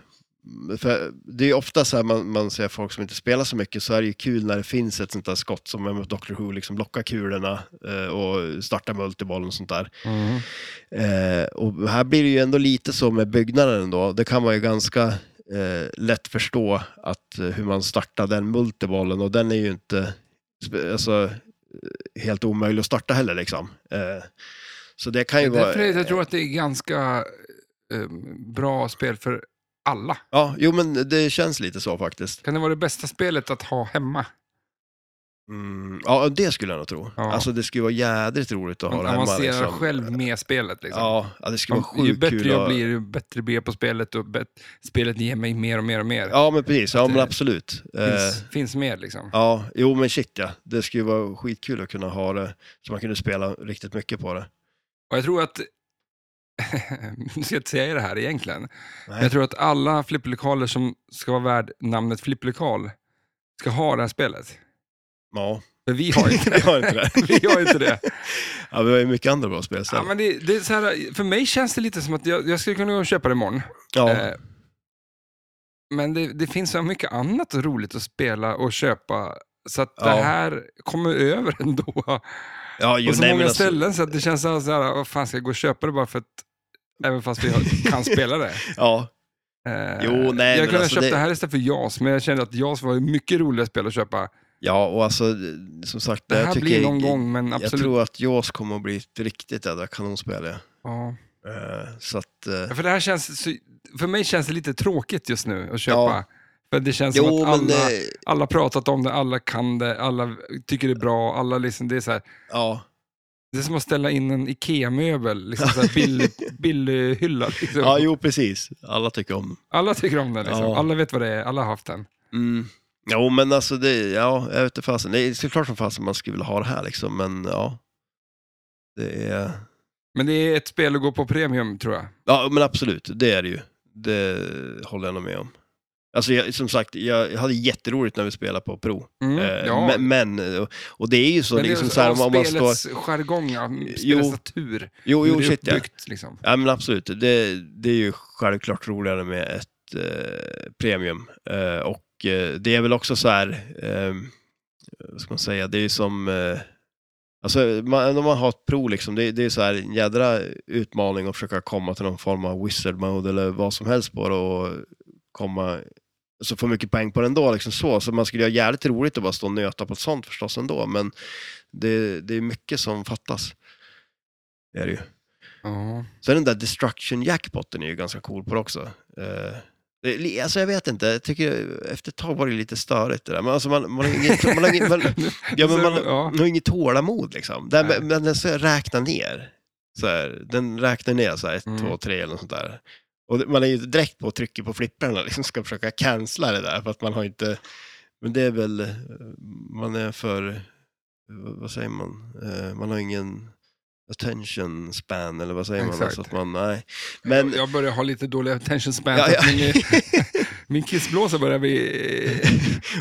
S2: för det är ju ofta så här man, man ser folk som inte spelar så mycket så är det ju kul när det finns ett sånt där skott som är mot Dr. Who, liksom lockar kulorna eh, och startar multibollen och sånt där.
S1: Mm.
S2: Eh, och här blir det ju ändå lite så med byggnaden då. Det kan man ju ganska eh, lätt förstå att eh, hur man startar den multibollen och den är ju inte spe- alltså, eh, helt omöjlig att starta heller liksom. Eh, så det eh, kan ju vara...
S1: Därför är det- jag tror att det är ganska eh, bra spel för alla.
S2: Ja, jo men det känns lite så faktiskt.
S1: Kan det vara det bästa spelet att ha hemma?
S2: Mm, ja, det skulle jag nog tro.
S1: Ja.
S2: Alltså det skulle vara jädrigt roligt att ha
S1: Man
S2: det hemma.
S1: avancerar
S2: Liksom.
S1: själv med spelet. Liksom.
S2: Ja, ja, det skulle
S1: Man,
S2: vara
S1: ju
S2: sjukt
S1: bättre
S2: kul.
S1: jag
S2: att-
S1: blir, ju bättre blir jag på spelet och bet- spelet ger mig mer och mer och mer.
S2: Ja, men precis. Ja,
S1: Att det-
S2: men absolut. Eh,
S1: Finns, finns med liksom.
S2: Ja, jo men shit ja. Det skulle ju vara skitkul att kunna ha det, så man kunde spela riktigt mycket på det.
S1: Och jag tror att, <laughs> nu ska jag inte säga det här egentligen, men
S2: Nej.
S1: jag tror att alla flipplokaler som ska vara värd namnet flipplokal ska ha det här spelet.
S2: Ja, <laughs>
S1: För vi har inte
S2: vi
S1: det. <laughs>
S2: har inte det.
S1: Vi har inte det.
S2: Ja, vi har ju mycket andra bra spel sen.
S1: Ja, men det, det är så här, för mig känns det lite som att jag, jag skulle kunna gå och köpa det imorgon.
S2: Ja,
S1: Eh, men det, det finns så mycket annat roligt att spela och köpa. Så att det
S2: Ja.
S1: här kommer över <laughs> ändå.
S2: ja jo,
S1: på så
S2: nej, men
S1: många
S2: alltså-
S1: ställen så att det känns så här, så här, vad fan ska jag gå och köpa det bara för att, även fast vi
S2: <laughs>
S1: har, kan spela det.
S2: Ja,
S1: Eh,
S2: Jo, nej, men
S1: jag kunde ha
S2: alltså
S1: köpt det...
S2: det-
S1: här istället för JAS, men jag kände att JAS var ett mycket roligare spel att köpa.
S2: ja, och alltså det- som sagt.
S1: Det
S2: jag
S1: här
S2: tycker
S1: blir någon
S2: jag,
S1: gång, men
S2: Jag
S1: absolut.
S2: tror att Jaws kommer att bli ett riktigt jädra kanonspel. Ja.
S1: Ja.
S2: Eh, Så att, eh,
S1: Ja, För, det här känns, så- för mig känns det lite tråkigt just nu att köpa.
S2: Ja.
S1: För det känns som
S2: jo,
S1: att
S2: men
S1: alla,
S2: eh,
S1: alla pratat om det, alla kan det, alla tycker det är bra. Alla liksom, det, är så här,
S2: ja,
S1: det är som att ställa in en IKEA-möbel, liksom så här bill, billhylla. Liksom.
S2: ja, jo precis. Alla tycker om
S1: Alla tycker om den, liksom.
S2: Ja.
S1: alla vet vad det är, alla har haft den.
S2: Mm. Jo, men alltså det, ja, jag vet inte fasen. Det är såklart som fasen man skulle vilja ha det här liksom, men ja. Det är,
S1: Men det är ett spel att gå på premium tror jag.
S2: Ja, men absolut, det är det ju. Det håller jag nog med om. Alltså jag, som sagt, jag hade jätteroligt när vi spelade på Pro.
S1: Mm,
S2: Eh,
S1: ja.
S2: men, men, och- och det är ju så,
S1: Men det är
S2: liksom så här, om, om man står...
S1: spelets jargong, ja, spelets
S2: Jo.
S1: natur.
S2: Jo,
S1: hur
S2: jo,
S1: det är
S2: shit ja.
S1: uppbyggt, liksom.
S2: ja men absolut, det, det är ju självklart roligare med ett eh, premium. Eh, och eh, det är väl också så här, eh, vad ska man säga, det är ju som... Eh, alltså, man, när man har ett Pro liksom, det, det är så här en jädra utmaning att försöka komma till någon form av wizard mode eller vad som helst på det och komma så få mycket poäng på det ändå. Liksom så. så man skulle ha jävligt roligt att bara stå och nöta på ett sånt förstås ändå, men det, det är mycket som fattas. Det är det ju.
S1: Ja.
S2: Sen den där destruction jackpotten är ju ganska cool på det också. Eh, det är li- alltså jag vet inte, jag tycker efter ett tag var det lite störigt det där. Men alltså man, man, har inget, man, har inget, man, <laughs>
S1: <laughs>
S2: ja, men man,
S1: Ja.
S2: man har inget tålamod liksom. Den,
S1: Nej.
S2: men den så här räknar ner. Så här, den räknar ner så här, ett,
S1: Mm.
S2: två, tre eller något sånt där. Och det- man är ju direkt på och trycker på flipprarna <laughs> liksom ska försöka cancella det där för att man har inte... Men det är väl, eh, man är för, vad säger man, Eh, man har ingen attention span eller vad säger man?
S1: Exakt.
S2: Alltså att man, nej. Men,
S1: Jag börjar ha lite dålig attention span.
S2: Ja, ja.
S1: Min,
S2: <laughs>
S1: min kissblåsa börjar bli...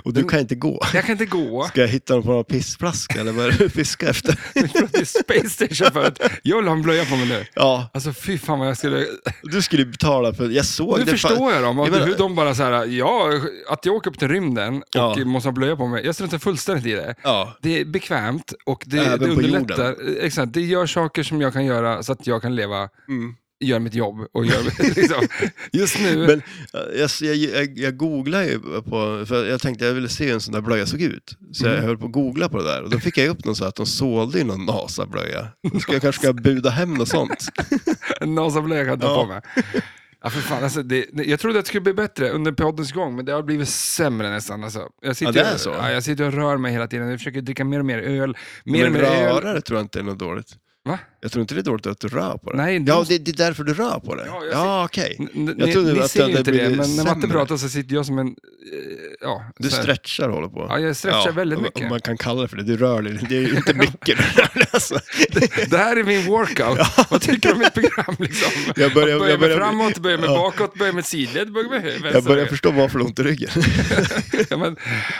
S2: och du kan inte gå.
S1: Jag kan inte gå.
S2: Ska jag hitta någon form av pissflaska eller vad är det du fiskar efter?
S1: <laughs> Jag tror att det är Space Station för att jag vill ha en blöja på mig nu.
S2: Ja,
S1: Alltså fy fan vad jag skulle...
S2: du skulle ju betala för, jag såg
S1: Nu
S2: det. fan-
S1: förstår jag dem.
S2: Jag menar-
S1: hur de bara så här, ja, att jag åker upp till rymden och
S2: Ja.
S1: måste ha blöja på mig. Jag struntar fullständigt i det.
S2: Ja,
S1: Det är bekvämt och det,
S2: Även
S1: det
S2: på
S1: underlättar. Exakt, det gör saker som jag kan göra så att jag kan leva,
S2: Mm.
S1: gör mitt <laughs> jobb och gör liksom. Just nu,
S2: Men eh, jag, jag, jag, jag googlade ju på, för jag tänkte jag ville se hur en sån där blöja såg ut. Så
S1: Mm.
S2: jag höll på att googla på det där och då fick jag upp någon så här att de sålde ju någon NASA-blöja. Då ska jag
S1: <laughs>
S2: kanske ska buda hem något sånt.
S1: en NASA-blöja kan jag ta
S2: Ja.
S1: på mig. Ja, för fan, alltså, det, det- jag trodde att det skulle bli bättre under poddens gång, men det har blivit sämre nästan. Alltså. Jag, sitter,
S2: Ja, det är
S1: och-
S2: så.
S1: Ja, jag sitter och rör mig hela tiden. Jag försöker dricka mer och mer öl. Mer
S2: Men
S1: och mer öl.
S2: rörare tror jag inte är något dåligt.
S1: Va?
S2: Jag tror inte det är dåligt att du rör på det.
S1: Nej,
S2: ja,
S1: de-
S2: det, det är därför du rör på det.
S1: Ja,
S2: Ja,
S1: jag
S2: okej.
S1: N- n-
S2: Jag
S1: ni
S2: trodde
S1: ni
S2: att
S1: ser
S2: det
S1: ju inte
S2: hade
S1: det,
S2: blivit
S1: men när Matte
S2: sämre.
S1: pratar så sitter jag som en... eh, Ja,
S2: Du
S1: så här.
S2: stretchar och håller på.
S1: Ja, jag stretchar väldigt
S2: om-
S1: mycket.
S2: Om man kan kalla det för det. Du rör dig. Det är
S1: <laughs>
S2: ju inte mycket <laughs> du rör dig, alltså.
S1: Det här är min workout. Vad tycker du om mitt program? Liksom?
S2: Jag börjar-
S1: Att börja med
S2: jag börjar-
S1: framåt, börja med
S2: Ja.
S1: bakåt, börja med sidled, börja med huvudet.
S2: Jag börjar förstå varför du har ont i ryggen.
S1: ja, men,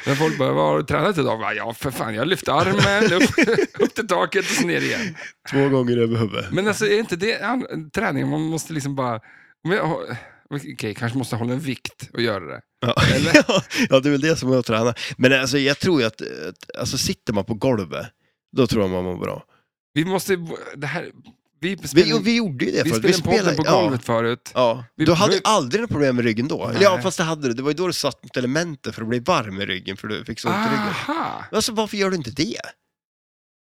S1: men folk bara, vad har du tränat idag? Va, Ja, för fan, jag lyfte armen, upp, <laughs> upp till taket och så ner igen.
S2: Två gånger över huvudet.
S1: Men alltså, är inte det an- träning? Man måste liksom bara... om jag har- Okej, kanske måste hålla en vikt och göra det.
S2: Ja. <laughs> ja, det är väl det som är att träna. Men alltså, jag tror ju att, att alltså, sitter man på golvet, då tror jag man mår bra.
S1: Vi måste... Det här, vi
S2: Vi,
S1: spelade,
S2: och vi gjorde ju det
S1: vi
S2: förut.
S1: spelade podden på golvet förut.
S2: Ja.
S1: Vi-
S2: ja. Du hade
S1: vi-
S2: ju aldrig några problem med ryggen då. Eller Ja,
S1: Nej.
S2: fast det hade du. Det var ju då du satt mot elementen för att bli varm i ryggen, för du fick så ont i ryggen.
S1: Aha!
S2: Alltså, varför gör du inte det?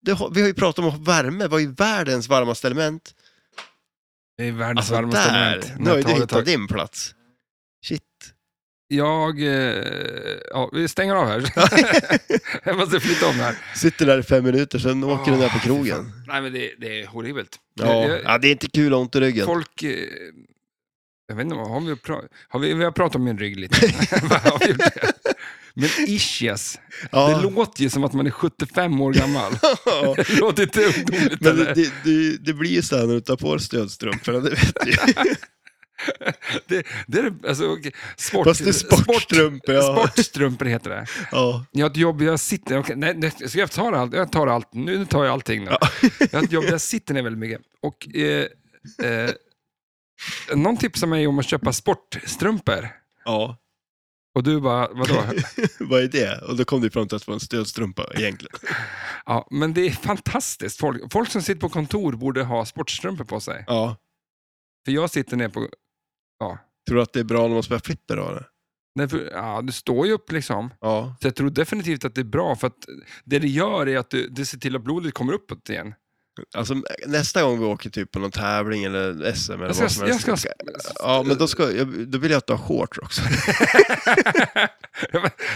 S2: det har, vi har ju pratat om värme. Vad är världens varmaste element?
S1: Det är världens
S2: Alltså,
S1: varmaste
S2: där!
S1: moment.
S2: Nu har ju du
S1: tar det
S2: hittat
S1: tag.
S2: din plats. Shit. <laughs>
S1: Jag... Eh, ja, vi stänger av här. <laughs> jag måste flytta om här.
S2: Sitter där i fem minuter, sen åker du ner på
S1: Åh, fy
S2: krogen.
S1: fan. Nej, men det, det är horribelt.
S2: Ja.
S1: Jag-
S2: ja, det är inte kul att ha ont i ryggen.
S1: Folk... eh, Jag vet inte, har vi, pra- har vi, vi har pratat om min rygg
S2: <laughs>
S1: lite. <laughs> Vad har vi gjort det? Men ischias,
S2: ja.
S1: det låter ju som att man är 75 år gammal.
S2: <laughs>
S1: <laughs>
S2: Ja.
S1: Det låter inte ungdomligt.
S2: Men
S1: eller?
S2: det, det, det, det blir ju så här när du tar på dig stödstrumporna, det vet
S1: <laughs>
S2: du ju.
S1: Det, det är det- alltså, okej. sport,
S2: Fast det är sportstrumpor. Ja.
S1: sportstrumpor heter det.
S2: Ja.
S1: Jag har ett jobb, jag sitter... okej, nej, nej, ska jag ta allt? Jag tar allt. Nu nu tar jag allting. Nu. Jag har ett jobb, jag sitter ner väldigt mycket. Och, eh, eh, någon tipsade mig om att köpa sportstrumpor.
S2: ja,
S1: Och du bara, vadå?
S2: vad är det? Och då kom du fram till att det var en stödstrumpa
S1: <laughs>
S2: egentligen.
S1: Ja, men det är fantastiskt. Folk, folk som sitter på kontor borde ha sportstrumpor på sig.
S2: Ja.
S1: För jag sitter ner på... Ja,
S2: Tror du att det är bra när man spelar flipper då? eller?
S1: Nej, för, ja du står ju upp liksom.
S2: Ja.
S1: Så jag tror definitivt att det är bra, för att det det gör är att du, det ser till att blodet kommer uppåt igen.
S2: Alltså nästa gång vi åker typ på någon tävling eller SM eller
S1: Jag ska,
S2: vad som
S1: jag
S2: helst.
S1: ska,
S2: Ja, men då, ska, jag, då vill jag att du har shorts
S1: <laughs>
S2: också.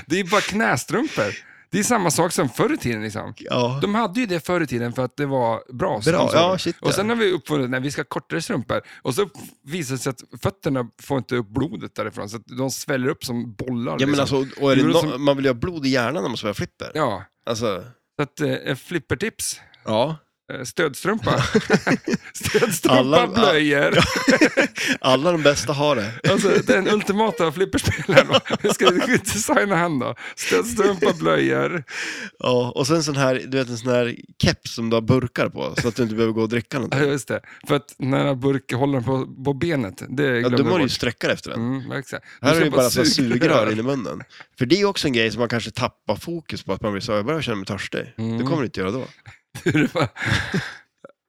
S1: det är bara knästrumpor. Det är samma sak som förr i tiden. Liksom.
S2: Ja.
S1: De hade ju det förr i tiden för att det var bra. så de
S2: Bra.
S1: såg
S2: Ja,
S1: det.
S2: shit,
S1: och
S2: ja.
S1: sen har vi uppfunnit när vi ska ha kortare strumpor och så visar det sig att fötterna får inte upp blodet därifrån så att de sväller upp som bollar.
S2: Ja, men
S1: liksom.
S2: alltså, och är det
S1: Jo, men
S2: nå-
S1: som-
S2: man vill ju ha blod i hjärnan när man spelar flipper.
S1: ja.
S2: Alltså,
S1: Så att, eh, flippertips.
S2: ja.
S1: Eh,
S2: <laughs>
S1: Stödstrumpa. Stödstrumpa,
S2: Alla-
S1: blöjor.
S2: Alla de bästa har det.
S1: Alltså den ultimata flipperspelaren.
S2: <laughs>
S1: va? Hur ska du designa han då? Stödstrumpa, blöjor.
S2: Ja, och sen sån här, du vet en sån här keps som du har burkar på så att du inte behöver gå och dricka
S1: Ja,
S2: någonting.
S1: just det. För att när burkhållaren på, på benet, det
S2: Ja,
S1: glömde
S2: du måste
S1: jag
S2: ju
S1: bort.
S2: sträcka dig efter den.
S1: Mm, exakt.
S2: Här är det
S1: ska
S2: ju bara så här sugrör in i munnen. För det är ju också en grej som man kanske tappar fokus på, att man blir så här, jag börjar känna mig törstig.
S1: Mm.
S2: Det kommer du inte göra då.
S1: Det var-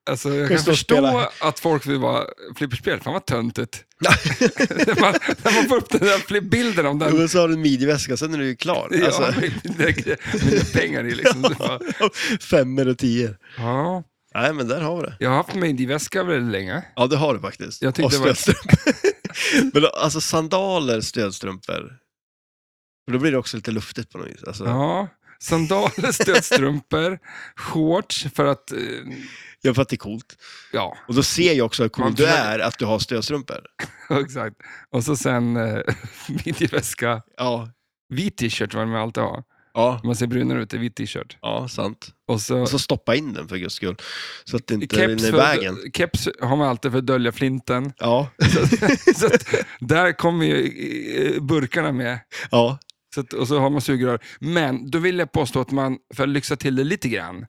S1: Alltså, jag
S2: Kan
S1: kan
S2: stå och
S1: förstå
S2: spela.
S1: att folk vill vara flipperspel. Fan vad
S2: <laughs>
S1: töntigt. när, man, när man får upp den där fli- bilden om den.
S2: Men så har du en midjeväska, sen är du ju klar.
S1: Ja,
S2: Alltså,
S1: med, med pengar i <laughs> liksom. Så bara,
S2: <laughs> fem eller tio.
S1: ja,
S2: Nej, men där har vi det.
S1: jag har haft midjeväska väldigt länge.
S2: Ja, det har du faktiskt.
S1: Jag tyckte
S2: och
S1: det var-
S2: stödstrumpor. <laughs> men alltså sandaler, stödstrumpor. För då blir det också lite luftigt på något vis. Alltså,
S1: Ja, sandaler, stödstrumpor, shorts för att, eh,
S2: Jag fattar det är coolt.
S1: ja, <laughs>
S2: Och då ser jag också hur cool
S1: Man
S2: du
S1: tror-
S2: är att du har stödstrumpor.
S1: exakt. Och så sen eh, <laughs> midjeväska,
S2: Ja,
S1: vit t-shirt var det man alltid har.
S2: ja,
S1: Man ser brunare ut i vit t-shirt.
S2: ja sant.
S1: Och så,
S2: Och så stoppa in den för guds skull. Så att det inte
S1: keps,
S2: rinner i vägen.
S1: för, keps har man alltid för att dölja
S2: <laughs>
S1: flinten.
S2: Ja,
S1: så att, där kommer ju eh, burkarna med.
S2: ja.
S1: Så att, och så har man sugrör. Men då vill jag påstå att man, för att lyxa till det lite grann,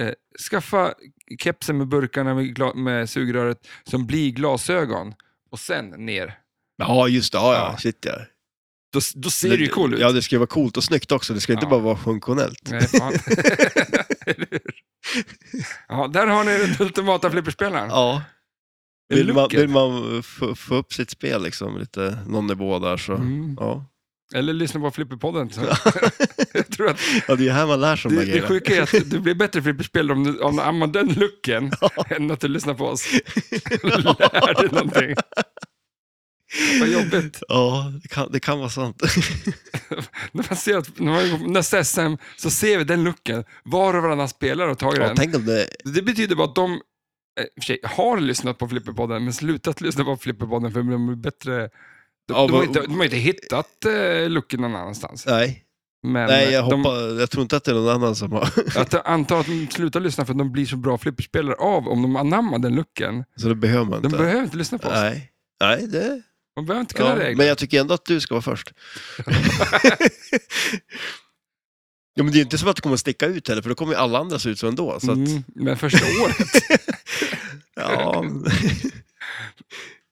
S1: eh, skaffa kepsen med burkarna med, gla- med sugröret som blir glasögon och sen ner.
S2: Ja, just det. Ja, ja.
S1: Ja.
S2: Shit, ja.
S1: Då, då ser det ju cool ut.
S2: Ja, det ska ju vara coolt och snyggt också. Det ska inte
S1: Ja.
S2: bara vara funktionellt.
S1: Nej, fan. <laughs> Eller hur? ja, där har ni den ultimata flipperspelaren.
S2: Ja. Vill man,
S1: Looken.
S2: vill man få, få upp sitt spel liksom, lite, någon nivå där så...
S1: Mm.
S2: Ja.
S1: Eller lyssna på
S2: <laughs>
S1: Flipperpodden. Så. <laughs> jag tror att
S2: ja, det är ju här man lär sig de
S1: det, det
S2: här grejerna.
S1: sjuka är att du blir bättre flipperspel om du, om du använder den looken än att du lyssnar på
S2: <laughs>
S1: oss. Lär dig någonting. Vad jobbigt.
S2: Ja, det kan, det kan vara sant.
S1: När man ser att, när man går på nästa SM så ser vi den looken. Var och varannan spelare har tagit
S2: Ja,
S1: den.
S2: tänk om det...
S1: Det betyder bara att de eh, i och för sig, har lyssnat på Flipperpodden men slutat lyssna på Flipperpodden för de är bättre. De,
S2: Ja,
S1: de, har,
S2: vad-
S1: inte, de har inte hittat eh, looken någon annanstans.
S2: Nej,
S1: Men
S2: Nej jag,
S1: eh, de,
S2: hoppar, jag tror inte att det är någon annan som har... <laughs>
S1: Att jag antar att de slutar lyssna för att de blir så bra flipperspelare av om de anammar den lucken.
S2: Så det behöver man
S1: De
S2: inte.
S1: behöver inte lyssna på oss.
S2: Nej. Nej, det...
S1: De behöver inte kunna
S2: Ja,
S1: regler.
S2: men jag tycker ändå att du ska vara först. <laughs> ja, men det är ju inte som att det kommer att sticka ut heller, för då kommer ju alla andra se ut så ändå. Så att,
S1: Mm, men första året.
S2: ja,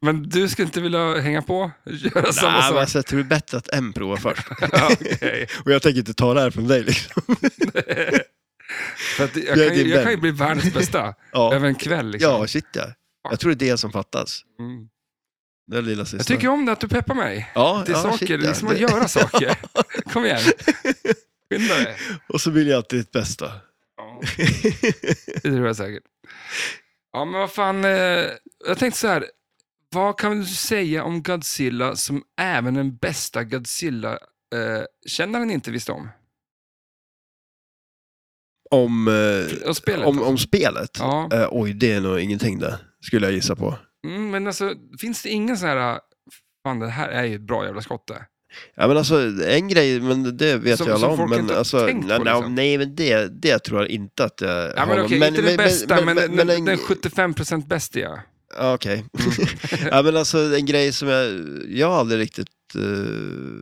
S1: Men du skulle inte vilja hänga på? Göra <laughs> samma
S2: Nej, men
S1: sak?
S2: alltså, jag tror det är bättre att en provar först.
S1: Ja, okej.
S2: Och jag tänker inte ta det här från dig. Liksom.
S1: För att
S2: Det
S1: jag,
S2: är
S1: kan ju,
S2: din
S1: jag kan ju
S2: vän.
S1: bli världens bästa.
S2: Ja.
S1: Över en kväll. Liksom.
S2: ja, shit ja. Jag tror det är det som fattas.
S1: Mm.
S2: Det är lilla sista.
S1: Jag tycker om det att du peppar mig.
S2: ja,
S1: Till
S2: ja,
S1: saker,
S2: shit, ja.
S1: liksom att
S2: Det-
S1: göra saker. Kom igen.
S2: <laughs>
S1: Skynda dig.
S2: Och så vill jag alltid ditt bästa.
S1: Ja. <laughs> Det tror jag säkert. Ja, men vad fan. Eh, jag tänkte så här. Vad kan du säga om Godzilla som även den bästa Godzilla-kännaren inte visste om?
S2: Om, eh,
S1: Om spelet?
S2: om, om spelet?
S1: Ja.
S2: Eh, oj, det är nog ingenting det, skulle jag gissa på.
S1: Mm, men alltså, finns det ingen sån här... Fan, det här är ju ett bra jävla skotte.
S2: Ja, men alltså, en grej, men det vet
S1: Som-
S2: jag alla
S1: som
S2: om.
S1: folk
S2: men
S1: inte har
S2: alltså,
S1: tänkt på,
S2: nej, nej,
S1: liksom.
S2: nej, men det, det tror jag inte att jag
S1: Ja, men
S2: någon-
S1: okej, inte den bästa, men, den, Mm. den 75% bästa ja.
S2: Ja, Okej. <laughs> ja, men alltså en grej som jag, jag aldrig riktigt uh,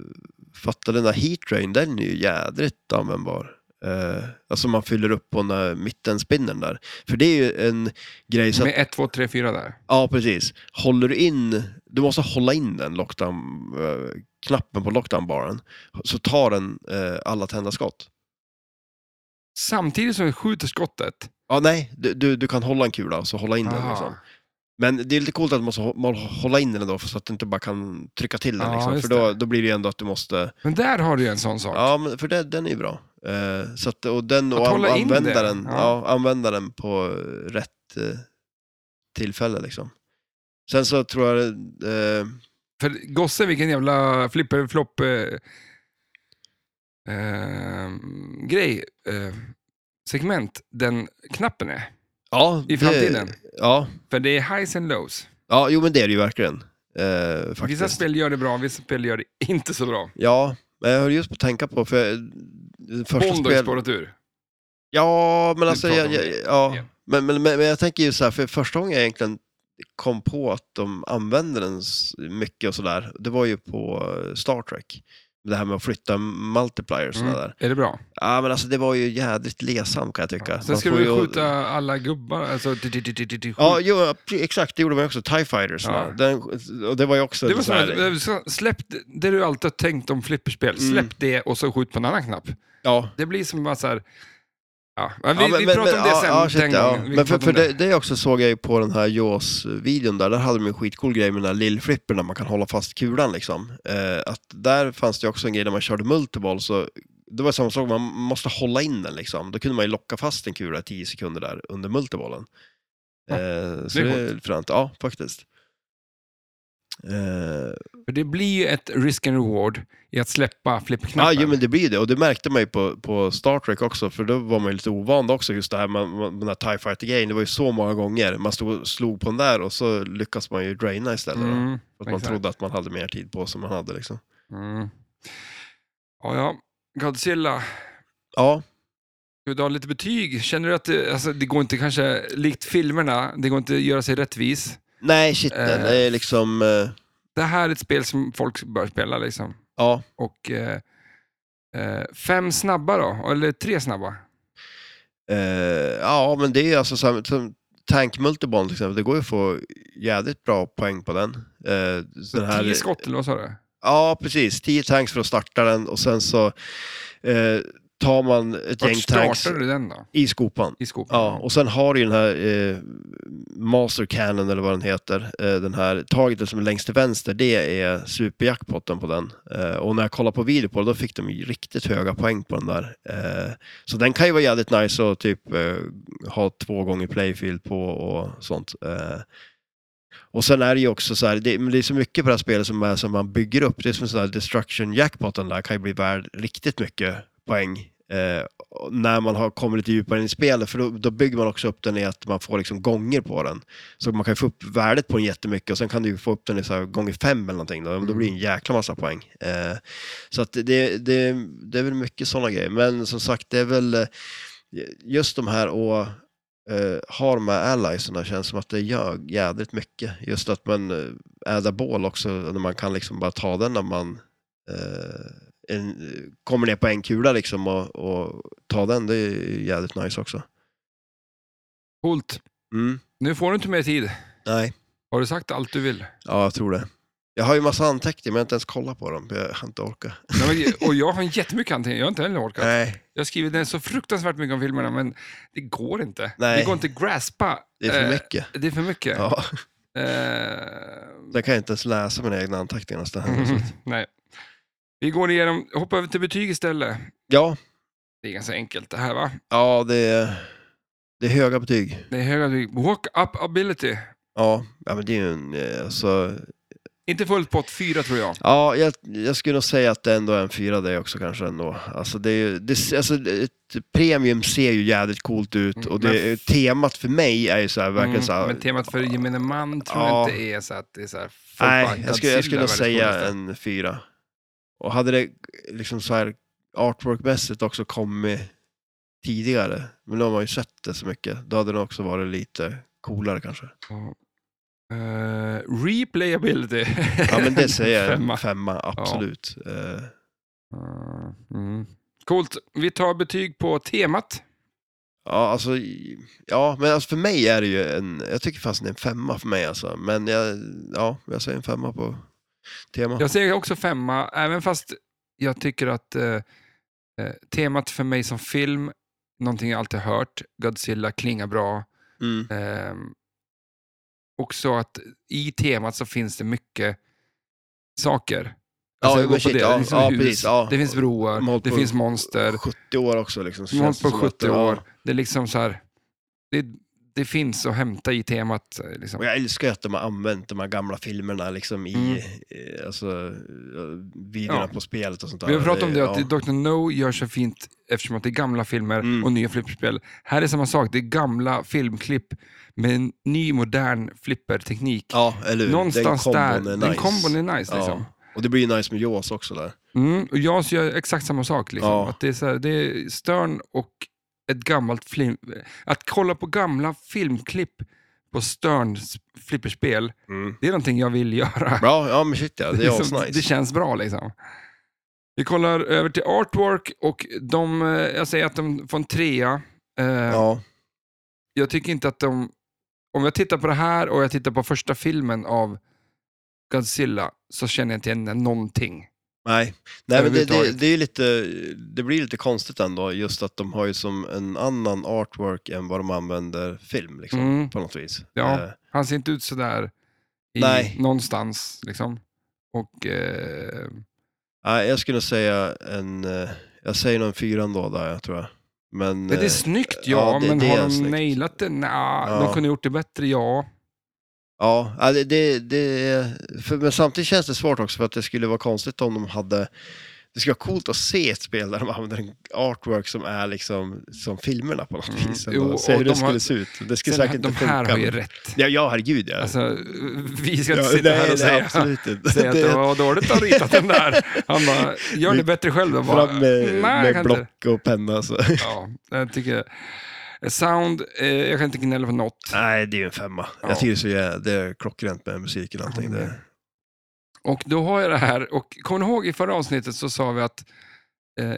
S2: fattade, den där heat drain, den är ju jädrigt användbar. Eh, alltså man fyller upp på den där mittenspinnen där. För det är ju en grej så att,
S1: Med 1, 2, 3, 4 där.
S2: ja precis, håller du in, du måste hålla in den lockdown, eh, knappen på lockdown-baren, så tar den eh, alla tända skott.
S1: Samtidigt som vi skjuter skottet.
S2: Ja, nej, du, du, du kan hålla en kula och så hålla in den
S1: Ah.
S2: liksom. Men det är lite coolt att man måste hå- man hålla in den då så att du inte bara kan trycka till den.
S1: Ja,
S2: liksom.
S1: just
S2: För då, då blir det ju ändå att du måste...
S1: Men där har du ju en sån sak.
S2: Ja, men för det, den är ju bra. Eh, så att, och den
S1: Att
S2: och an,
S1: hålla in
S2: använda,
S1: det,
S2: den, ja.
S1: ja.
S2: använda den på eh, rätt eh, tillfälle. Liksom. Sen så tror jag... Eh,
S1: För gossen, vilken jävla flipperflopp eh, eh, grej, eh, segment, den knappen är.
S2: ja,
S1: I framtiden.
S2: Det, ja,
S1: För det är highs and lows.
S2: ja, jo men det är det ju verkligen. Eh, faktiskt.
S1: Vissa spel gör det bra, vissa spel gör det inte så bra.
S2: Ja, men jag höll just på att tänka på, för jag- första
S1: Bond har ju
S2: spel...
S1: spårat ur.
S2: Ja, men alltså,
S1: pratar
S2: jag,
S1: om
S2: jag,
S1: det
S2: ja.
S1: igen.
S2: Men, men, men men jag tänker ju så här, för första gången jag egentligen kom på att de använder den s- mycket och sådär, det var ju på eh, Star Trek. Det här med att flytta multipliers och
S1: Mm.
S2: sådär.
S1: Är det bra?
S2: Ja, men alltså det var ju jädrigt lesamt kan jag tycka.
S1: Sen
S2: Man
S1: ska
S2: får
S1: vi
S2: ju-
S1: skjuta alla gubbar. Alltså, di- di- di- di- di- di-
S2: Ja,
S1: skjut.
S2: jo, ja, pre- exakt, det gjorde man ju också. TIE Fighters.
S1: Ja.
S2: va? Den, och det var ju också...
S1: det var
S2: så
S1: så
S2: här-
S1: här, så- släpp det- det du alltid har tänkt om flipperspel,
S2: Mm.
S1: släpp det och så skjut på en annan knapp.
S2: ja.
S1: Det blir som bara så här... Ja, men vi,
S2: Ja, men-
S1: vi
S2: men-
S1: pratar om
S2: men-
S1: det
S2: ja,
S1: sen.
S2: ja, shit,
S1: den
S2: ja.
S1: gången. Vi
S2: Men för,
S1: pratar
S2: för
S1: om
S2: det, det också såg jag ju på den här Jaws-videon där, där hade de en skitcool grej med den här lillflippen där man kan hålla fast kulan liksom. Eh, att där fanns det också en grej där man körde multiball så det var samma sak, man måste hålla in den liksom. Då kunde man ju locka fast en kula i 10 sekunder där under multibollen.
S1: Ja,
S2: Eh, så
S1: det är
S2: det är fränt, ja faktiskt. Eh,
S1: För det blir ju ett risk and reward i att släppa
S2: Ja,
S1: flipperknappen.
S2: jo, men det blir ju det. Och det märkte man ju på, på Star Trek också, för då var man ju lite ovan också, just det här med, med den här TIE Fighter-grejen. Det var ju så många gånger man stod och slog på den där och så lyckas man ju draina istället. då.
S1: Mm,
S2: för att man
S1: exakt.
S2: trodde att man hade mer tid på sig än man hade liksom.
S1: Mm. Ja, ja. Godzilla, ska
S2: Ja,
S1: vi ta lite betyg? Känner du att det, alltså, det går inte kanske, likt filmerna, det går inte att göra sig rättvis.
S2: nej shit,
S1: Eh.
S2: den är liksom, eh,
S1: Det här är ett spel som folk bör spela liksom.
S2: ja.
S1: Och eh, eh, fem snabba då, eller tre snabba.
S2: Eh, ja, men det är ju alltså som, som Tank Multibond till exempel, liksom. det går ju att få jävligt bra poäng på den. Eh, den här-
S1: Tio skott eller vad sa du?
S2: Ja, precis. 10 tanks för att starta den och sen så eh, tar man ett
S1: Vart
S2: gäng tanks
S1: startade du den då?
S2: i skopan.
S1: I skopan?
S2: Ja, och sen har du ju den här eh, Master Cannon eller vad den heter. Eh, den här taget som är längst till vänster, det är superjackpotten på den. Eh, och när jag kollade på video på det, då fick de ju riktigt höga poäng på den där. Eh, så den kan ju vara jävligt nice att typ eh, ha två gånger playfield på och sånt. Eh, och sen är det ju också så här, det, men det är så mycket på det här spelet som, är, som man bygger upp. Det är som så här destruction jackpotten där kan ju bli värd riktigt mycket poäng. Eh, och när man har kommit lite djupare in i spelet, för då, då bygger man också upp den i att man får liksom gånger på den. Så man kan ju få upp värdet på den jättemycket och sen kan du ju få upp den i så här gånger fem eller någonting. Då, då blir det en jäkla massa poäng. Eh, så att det, det, det är väl mycket sådana grejer. Men som sagt, det är väl eh, just de här och eh, har de här alliesen där känns som att det gör jädrigt mycket. Just att man eh, addar bål också, när man kan liksom bara ta den när man eh, en, kommer ner på en kula liksom och, och ta den. Det är ju jädrigt nice också.
S1: Coolt.
S2: Mm.
S1: Nu får du inte mer tid.
S2: Nej,
S1: Har du sagt allt du vill?
S2: ja jag tror det. Jag har ju massa anteckningar men jag har inte ens kollat på dem. för Jag har inte orkat.
S1: Nej, men- Och jag har jättemycket anteckningar, jag har inte heller orkat.
S2: Nej,
S1: Jag har skrivit ner så fruktansvärt mycket om filmerna, men det går inte.
S2: Nej.
S1: Det går inte att graspa.
S2: det är för
S1: Eh,
S2: mycket.
S1: Det är för mycket.
S2: Ja, <laughs>
S1: Eh,
S2: jag kan inte ens läsa mina egna anteckningar nästan.
S1: Mm. <laughs> nej. Vi går igenom, hoppa över till betyg istället.
S2: Ja,
S1: Det är ganska enkelt det här va?
S2: ja det, är, det är höga betyg.
S1: Det är höga betyg. Walk-up ability.
S2: Ja, ja men det är ju en... eh, Alltså,
S1: Inte fullt pott, fyra tror jag.
S2: Ja, jag, jag skulle nog säga att det ändå är en fyra det också kanske ändå. Alltså, det är, ju- det, alltså ett premium ser ju jävligt coolt ut
S1: Mm,
S2: och
S1: men-
S2: det, temat för mig är ju så här, verkligen så här,
S1: Mm, men temat för gemene man tror
S2: Ja.
S1: jag inte är så att det är så här. folk bara,
S2: Nej, jag
S1: Godzilla
S2: skulle, jag skulle
S1: är
S2: nog
S1: världens coolaste.
S2: säga en fyra. Och hade det liksom så här artworkmässigt också kommit tidigare, men nu har man ju sett det så mycket, då hade det också varit lite coolare kanske.
S1: Ja. Eh, replayability.
S2: Ja, men det
S1: <laughs>
S2: säger jag.
S1: Femma.
S2: Femma. Femma, absolut. Eh,
S1: Mm. Coolt. Vi tar betyg på temat.
S2: Ja, alltså, i- ja, men alltså för mig är det ju en, jag tycker fast det är en femma för mig alltså, men jag, ja, jag säger en femma på temat.
S1: Jag säger också femma, även fast jag tycker att eh, eh, temat för mig som film, någonting jag alltid hört, Godzilla klingar bra.
S2: Mm.
S1: Ehm, också att i temat så finns det mycket saker.
S2: Ja,
S1: Alltså,
S2: men
S1: gå på
S2: shit,
S1: det.
S2: ja,
S1: det finns
S2: ja,
S1: hus,
S2: precis, ja.
S1: det finns broar,
S2: De har hållit
S1: det
S2: på-
S1: finns monster.
S2: 70 år också liksom. så
S1: De har
S2: känns
S1: hållit
S2: det
S1: på
S2: som att
S1: 70
S2: det-
S1: år. Det är liksom så här, det, det finns att hämta i temat. eh, Liksom.
S2: Och jag älskar ju att de har använt de här gamla filmerna liksom i,
S1: Mm.
S2: eh, alltså, eh, videorna
S1: Ja.
S2: på spelet och sånt där.
S1: Vi har pratat om det,
S2: ja.
S1: att Dr. No gör så fint eftersom att det är gamla filmer
S2: Mm.
S1: och nya flipperspel. Här är samma sak, det är gamla filmklipp med en ny modern flipperteknik.
S2: Ja, eller hur?
S1: Någonstans
S2: den
S1: där,
S2: kombon är nice.
S1: den kombon är nice. Liksom.
S2: ja. Och det blir ju nice med Jaws också där.
S1: Mm, och jag gör exakt samma sak. Liksom.
S2: Ja.
S1: Att det, är så här, det är störn och ett gammalt film... Att kolla på gamla filmklipp på Sterns flipperspel,
S2: Mm.
S1: det är någonting jag vill <laughs> göra.
S2: Bra, ja men shit ja, Alltså, det
S1: <laughs>
S2: är
S1: Liksom,
S2: asnice.
S1: det känns bra liksom. Vi kollar över till artwork och de, eh, jag säger att de får en trea. Eh,
S2: Ja,
S1: Jag tycker inte att de... Om jag tittar på det här och jag tittar på första filmen av Godzilla så känner jag inte igen någonting.
S2: nej. nej men det, det,
S1: Överhuvudtaget.
S2: det, är ju lite, det blir lite konstigt ändå, just att de har ju som en annan artwork än vad de använder film liksom,
S1: Mm.
S2: på något vis.
S1: Ja.
S2: Eh,
S1: Han ser inte ut sådär i
S2: Nej.
S1: någonstans. Liksom. Och, eh,
S2: nej, jag skulle säga en, eh, jag säger nog en fyra ändå där, tror jag. Men,
S1: det är
S2: eh,
S1: snyggt, ja,
S2: ja, det-
S1: men
S2: det är
S1: har de
S2: snyggt.
S1: nailat det? Nja,
S2: Ja.
S1: de kunde gjort det bättre, ja.
S2: Ja, ja, det, det, det är- för, men samtidigt känns det svårt också för att det skulle vara konstigt om de hade... Det skulle vara coolt att se ett spel där de använder en artwork som är liksom som filmerna på något
S1: Mm,
S2: vis.
S1: jo,
S2: ändå. se
S1: och
S2: hur
S1: de
S2: det skulle
S1: har-
S2: se ut. Det skulle
S1: Sen,
S2: säkert
S1: de
S2: inte
S1: här
S2: funka.
S1: har ju
S2: men-
S1: rätt.
S2: Ja, ja, herregud ja.
S1: Alltså, vi ska
S2: ja
S1: inte sitta
S2: nej,
S1: här och
S2: nej,
S1: säga,
S2: Absolut
S1: <laughs>
S2: inte.
S1: säga att det var dåligt att ha ritat den där. Han bara, gör det
S2: Vi-
S1: bättre själv. Jag bara,
S2: Fram med,
S1: nej, jag
S2: med
S1: kan inte.
S2: block och penna. alltså.
S1: <laughs>
S2: Så.
S1: Ja, jag tycker... Sound, eh, jag kan inte gnälla på något.
S2: Nej, det är ju en femma.
S1: Ja.
S2: Jag tycker så är, det är klockrent med musiken och allting. Det.
S1: Och då har jag det här, och kommer ni ihåg i förra avsnittet så sa vi att eh,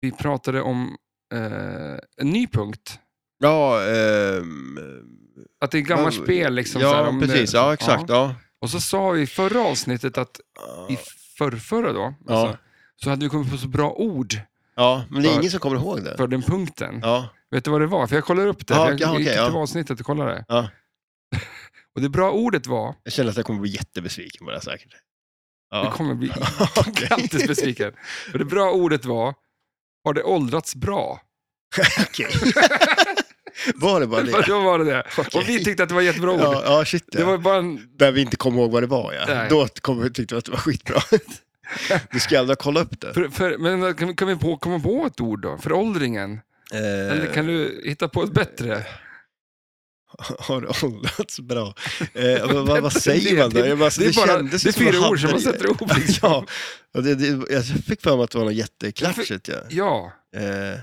S1: vi pratade om eh, en ny punkt.
S2: Ja, ehm,
S1: Att det är gamla
S2: Ja,
S1: spel. Liksom,
S2: ja
S1: så här, om det-
S2: precis. Ja, exakt. Ja.
S1: Och så sa vi i förra avsnittet att i förrförra då,
S2: Ja.
S1: alltså, så hade vi kommit på så bra ord
S2: Ja, men det är
S1: För-
S2: ingen som kommer ihåg det.
S1: för den punkten.
S2: Ja,
S1: Vet du vad det var? För jag kollade upp det.
S2: Ja,
S1: för jag
S2: okej,
S1: gick
S2: okej,
S1: till
S2: ja.
S1: avsnittet och kollade.
S2: Ja.
S1: <laughs> och det bra ordet var,
S2: jag känner att jag kommer bli jättebesviken på det här säkert.
S1: du
S2: Ja.
S1: kommer bli
S2: <laughs> Okej.
S1: gigantiskt besviken. Och det bra ordet var, har det åldrats bra?
S2: Okej. <laughs> Var
S1: <laughs>
S2: det bara det?
S1: Då var det det.
S2: Okej.
S1: Och vi tyckte att det var jättebra ord.
S2: Ja, ja shit ja.
S1: Det var bara en...
S2: Där vi inte kom ihåg vad det var ja.
S1: Nej.
S2: Då kom, tyckte vi att det var skitbra. Du ska aldrig kolla
S1: <laughs>
S2: upp det.
S1: För, för, men kan vi, kan vi på, komma på ett ord då? Föråldringen? Eller
S2: Eh,
S1: kan du hitta på ett bättre?
S2: <laughs> Har det åldrats bra? Eh, men vad,
S1: <laughs>
S2: vad säger man då? Jag bara,
S1: Det är bara
S2: kändes
S1: det är
S2: som jag
S1: fyra ord som
S2: hade
S1: man
S2: det.
S1: sätter ihop. Liksom.
S2: <laughs> Ja, och det, det, jag fick för mig att det var något jätteklatschigt. Ja.
S1: Ja,
S2: Eh,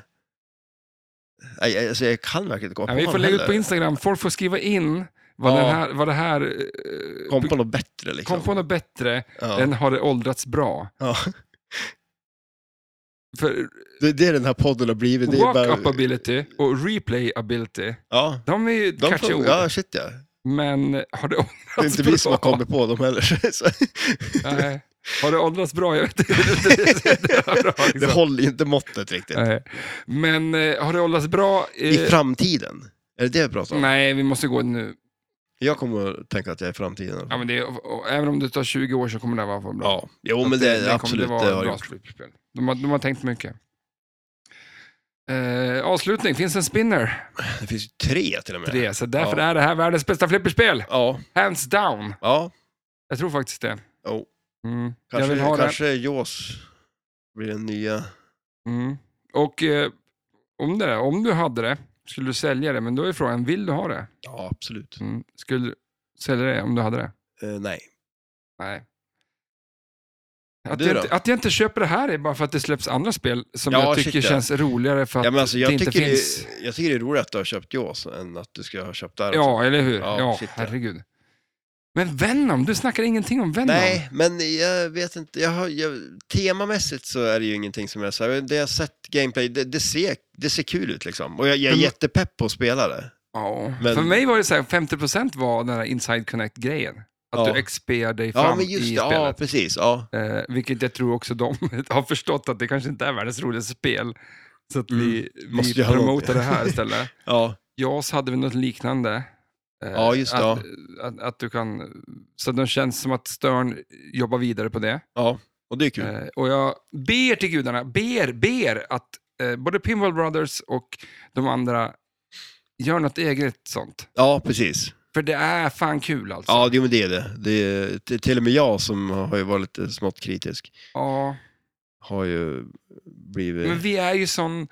S2: nej, alltså, jag kan verkligen inte komma
S1: ja
S2: på
S1: vi
S2: någon
S1: får lägga ut
S2: heller.
S1: på Instagram. Folk får skriva in vad,
S2: Ja.
S1: den här, vad det här... eh,
S2: Kom på något bättre liksom.
S1: kom på något bättre
S2: ja.
S1: än har det åldrats bra.
S2: <laughs> Ja.
S1: För
S2: Det, det är den här podden har blivit. Det är bara...
S1: walk-up ability och replay ability,
S2: Ja,
S1: de är ju
S2: de
S1: catchiga
S2: får,
S1: ord.
S2: ja, shit ja. Det
S1: Men har det åldrats
S2: är inte
S1: bra? <laughs>
S2: vi som har kommit på dem heller. <laughs> Så
S1: Nej. Har det åldrats bra? Jag
S2: <laughs>
S1: vet inte. Det, det, det, är bra,
S2: det
S1: liksom.
S2: håller ju inte måttet riktigt.
S1: Nej. Men eh, har det åldrats bra? Eh,
S2: I framtiden. Är det det vi pratar om?
S1: nej, vi måste gå nu.
S2: Jag kommer att tänka att jag är i framtiden.
S1: Ja, men det, är- och, och, även om det tar 20 år så kommer det här vara för bra.
S2: Ja. Jo,
S1: Att
S2: men det,
S1: kommer-
S2: absolut. Det,
S1: var ett
S2: har
S1: bra
S2: jag gjort.
S1: slutspel. De har, de har tänkt mycket. Eh, avslutning, finns en spinner.
S2: det finns ju tre till och med.
S1: Tre, så därför
S2: Ja.
S1: är det här världens bästa flipperspel.
S2: Ja,
S1: Hands down.
S2: ja.
S1: Jag tror faktiskt det.
S2: Jo.
S1: Mm. Jag
S2: Kanske,
S1: vill ha det.
S2: kanske Jaws blir den nya.
S1: Mm. Och eh, om, det, om du hade det, skulle du sälja det? Men då är frågan, vill du ha det?
S2: Ja, absolut.
S1: Mm. Skulle du sälja det om du hade det?
S2: Eh, nej.
S1: Nej. Att
S2: Du
S1: jag,
S2: då?
S1: inte- att jag inte köper det här är bara för att det släpps andra spel som
S2: Ja,
S1: jag tycker
S2: shit, ja.
S1: känns roligare för att
S2: Ja, men alltså,
S1: det
S2: jag,
S1: inte
S2: tycker det,
S1: finns.
S2: jag tycker det är roligt att du har köpt Jaws än att du ska ha köpt där.
S1: Ja, eller hur? Ja,
S2: Ja, shit, ja.
S1: herregud. Men Venom, du snackar ingenting om Venom.
S2: Nej, men jag vet inte. Jag har, jag, temamässigt så är det ju ingenting som jag... Så här, det jag har sett gameplay, det, det, ser, det ser kul ut liksom. Och jag, jag är
S1: Men-
S2: jättepepp på att spela det.
S1: Ja.
S2: Men-
S1: För mig var det så här, 50% var den här Inside Connect-grejen. Att
S2: Ja.
S1: du expear dig fram
S2: Ja, men just det.
S1: i
S2: Ja,
S1: spelet.
S2: precis. Ja.
S1: Eh, vilket jag tror också de <laughs> har förstått att det kanske inte är världens roligaste spel. Så att vi, vi
S2: Mm. Måste göra
S1: promotar
S2: någonting.
S1: det här
S2: <laughs>
S1: istället.
S2: Ja.
S1: JAS hade vi något liknande. Eh,
S2: Ja, just det,
S1: Att, att, att du kan, så det känns som att Stern jobbar vidare på det.
S2: ja. Och det är kul.
S1: Eh, och jag ber till gudarna, ber, ber att eh, både Pinball Brothers och de andra gör något eget sånt.
S2: Ja, precis.
S1: För det är fan kul alltså.
S2: Ja, det, men det är det. det är, t- till och med jag som har ju varit lite smått kritisk
S1: Ja,
S2: har ju blivit...
S1: Men vi är ju sån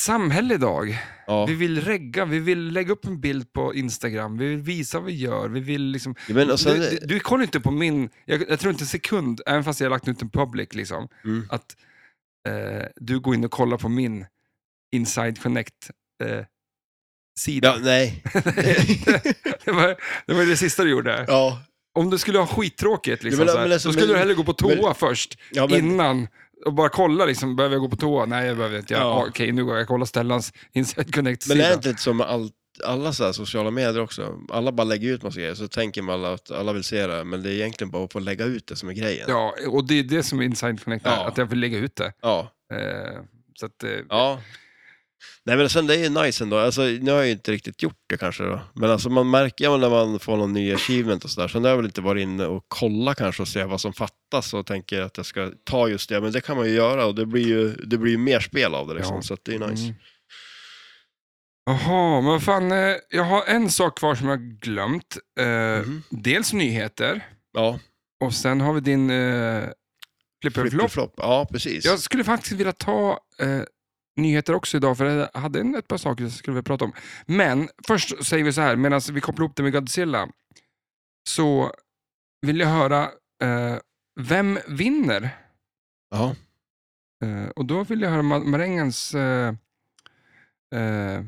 S1: samhälle idag.
S2: ja.
S1: Vi vill regga, vi vill lägga upp en bild på Instagram, vi vill visa vad vi gör, vi vill liksom...
S2: Ja, men alltså, och sen,
S1: du, du, du kollar inte på min, jag, jag tror inte en sekund, även fast jag har lagt ut en public, liksom,
S2: Mm.
S1: att eh, du går in och kollar på min Inside eh, Connect-sida.
S2: Ja, nej.
S1: <laughs> det, var, det var det sista du gjorde.
S2: ja.
S1: Om du skulle ha skittråkigt, liksom,
S2: Ja, men-
S1: så här,
S2: men alltså,
S1: då skulle
S2: men-
S1: du hellre gå på toa först,
S2: Ja, men-
S1: innan. Och bara kolla, liksom, behöver jag gå på toa? Nej, jag behöver inte. Ja.
S2: Ja.
S1: ah, Okej, nu går jag och kollar Stellans Inside
S2: Men det
S1: Connect-sida.
S2: är inte lite som med allt, alla så här sociala medier också. Alla bara lägger ut massa grejer, så tänker man alla att alla vill se det, men det är egentligen bara att få lägga ut det som är grejen.
S1: Ja, och det är det som Inside Connect är,
S2: Ja.
S1: att jag vill lägga ut det.
S2: Ja.
S1: Eh, så att, eh,
S2: ja. Nej men sen det är ju nice ändå, alltså, nu har jag ju inte riktigt gjort det kanske då. Men alltså man märker ju när man får någon ny achievement och sådär, sen har jag väl inte varit inne och kollat kanske och se vad som fattas och tänker att jag ska ta just det, men det kan man ju göra och det blir ju, det blir ju mer spel av det liksom,
S1: Ja.
S2: så att det är nice.
S1: Mm. Jaha, men vad fan, eh, jag har en sak kvar som jag glömt. Eh,
S2: Mhm.
S1: Dels nyheter,
S2: Ja,
S1: och sen har vi din eh, flipperflopp.
S2: flip-flop. Ja, precis.
S1: Jag skulle faktiskt vilja ta eh, nyheter också idag, för jag hade en- ett par saker som jag skulle vilja prata om. Men först säger vi så här, medan vi kopplar ihop det med Godzilla, så vill jag höra, eh, vem vinner?
S2: Ja.
S1: Eh, och då vill jag höra Ma- Marängens eh, eh,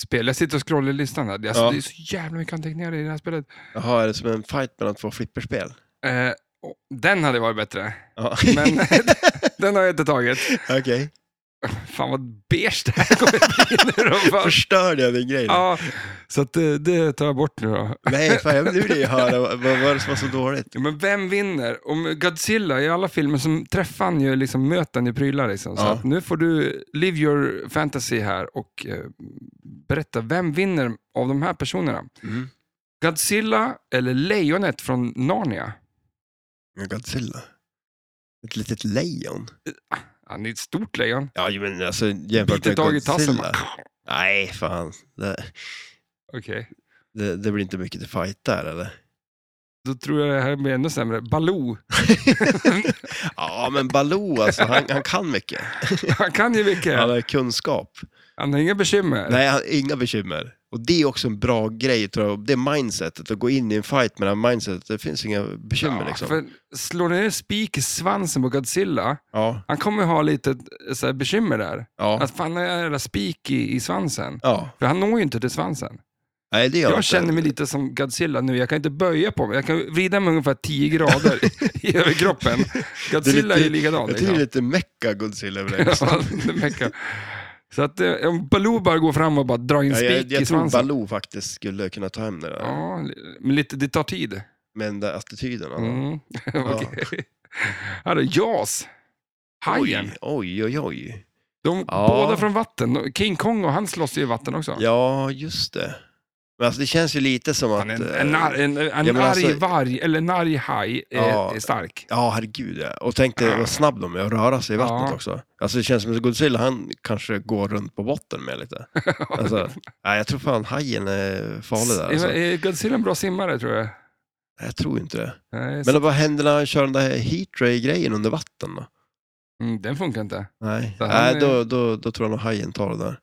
S1: spel. Jag sitter och scrollar i listan här. Alltså,
S2: Ja.
S1: Det är så jävla mycket anteckningar i det här spelet.
S2: Jaha, är det som en fight mellan två flipperspel?
S1: Eh, och den hade varit bättre,
S2: Ja. <laughs>
S1: men <laughs> den har jag inte tagit.
S2: Okej.
S1: Fan vad beige det här kommer bli nu då. Fan.
S2: Förstörde jag din grej? nu?
S1: Ja, så att, eh, det tar jag bort nu då.
S2: Nej, fan, jag- nu
S1: <laughs>
S2: vill jag ju höra. Vad vad var det som var så dåligt?
S1: Ja, Men vem vinner? Om Godzilla, i alla filmer som träffar han ju, liksom, möter han ju prylar. Liksom. Så
S2: Ja.
S1: att nu får du live your fantasy här och eh, berätta, vem vinner av de här personerna?
S2: Mm.
S1: Godzilla eller Lejonet från Narnia?
S2: Godzilla. Ett litet lejon.
S1: Han är ett stort lejon.
S2: Ja, ju, men alltså jämfört
S1: Biter
S2: med
S1: tag i tassen.
S2: Godzilla. Nej, fan. Det,
S1: Okej,
S2: det, det blir inte mycket till fight
S1: <laughs>
S2: där, eller?
S1: då tror jag det här blir ännu sämre. Baloo,
S2: <laughs> Ja, men Baloo alltså, han, han kan mycket.
S1: han kan ju
S2: Han
S1: mycket.
S2: har kunskap.
S1: Han har inga bekymmer.
S2: Nej, han, inga bekymmer. Och det är också en bra grej, tror jag. Det mindsetet, att gå in i en fight med det här mindsetet. Det finns inga bekymmer
S1: Ja,
S2: liksom.
S1: för slår ni ner spik i svansen på Godzilla,
S2: Ja,
S1: han kommer ju ha lite eh, så här, bekymmer där.
S2: ja,
S1: Att fan, har jag en jävla spik i, i svansen?
S2: ja.
S1: För han når ju inte till svansen.
S2: Nej, det gör
S1: Jag
S2: inte.
S1: känner mig lite som Godzilla nu. Jag kan inte böja på mig. Jag kan vrida mig ungefär 10 grader <laughs> i över kroppen. Godzilla är ju likadan.
S2: Jag tycker det är
S1: Liksom.
S2: lite mecka-Godzilla över det.
S1: Ja, det märker jag. Så att eh, om Baloo bara går fram och bara drar in
S2: Ja,
S1: spik
S2: jag, jag
S1: i
S2: tror
S1: svansen.
S2: Baloo faktiskt skulle kunna ta hem det där.
S1: Ja, men lite, det tar tid.
S2: Med den där attityden. han har.
S1: Mm. <laughs> Okej. Här är Jaws. Hajen.
S2: Oj, oj, oj.
S1: De
S2: Ja.
S1: båda från vatten. King Kong och han slåss ju i vatten också.
S2: Ja, just det. Men alltså, det känns ju lite som att...
S1: Fan, en,
S2: eh,
S1: en, ar- en, en arg
S2: men alltså-
S1: varg, eller en arg haj, är,
S2: Ja.
S1: är stark.
S2: Ja, herregud ja. Och tänk dig vad snabb de är att röra sig i vattnet
S1: Ja.
S2: också. Alltså det känns som att Godzilla, han kanske går runt på botten med lite. <laughs> Alltså, nej, jag tror fan hajen är
S1: <laughs>
S2: farlig där. Alltså.
S1: Är- Är eh, Godzilla en bra simmare tror jag?
S2: Jag tror inte det.
S1: Nej, så,
S2: Men vad händer när han kör den där heat ray-grejen under vatten då?
S1: mm, den funkar inte.
S2: Nej,
S1: Så han
S2: nej
S1: är-
S2: då, då, då tror jag nog hajen tar det där.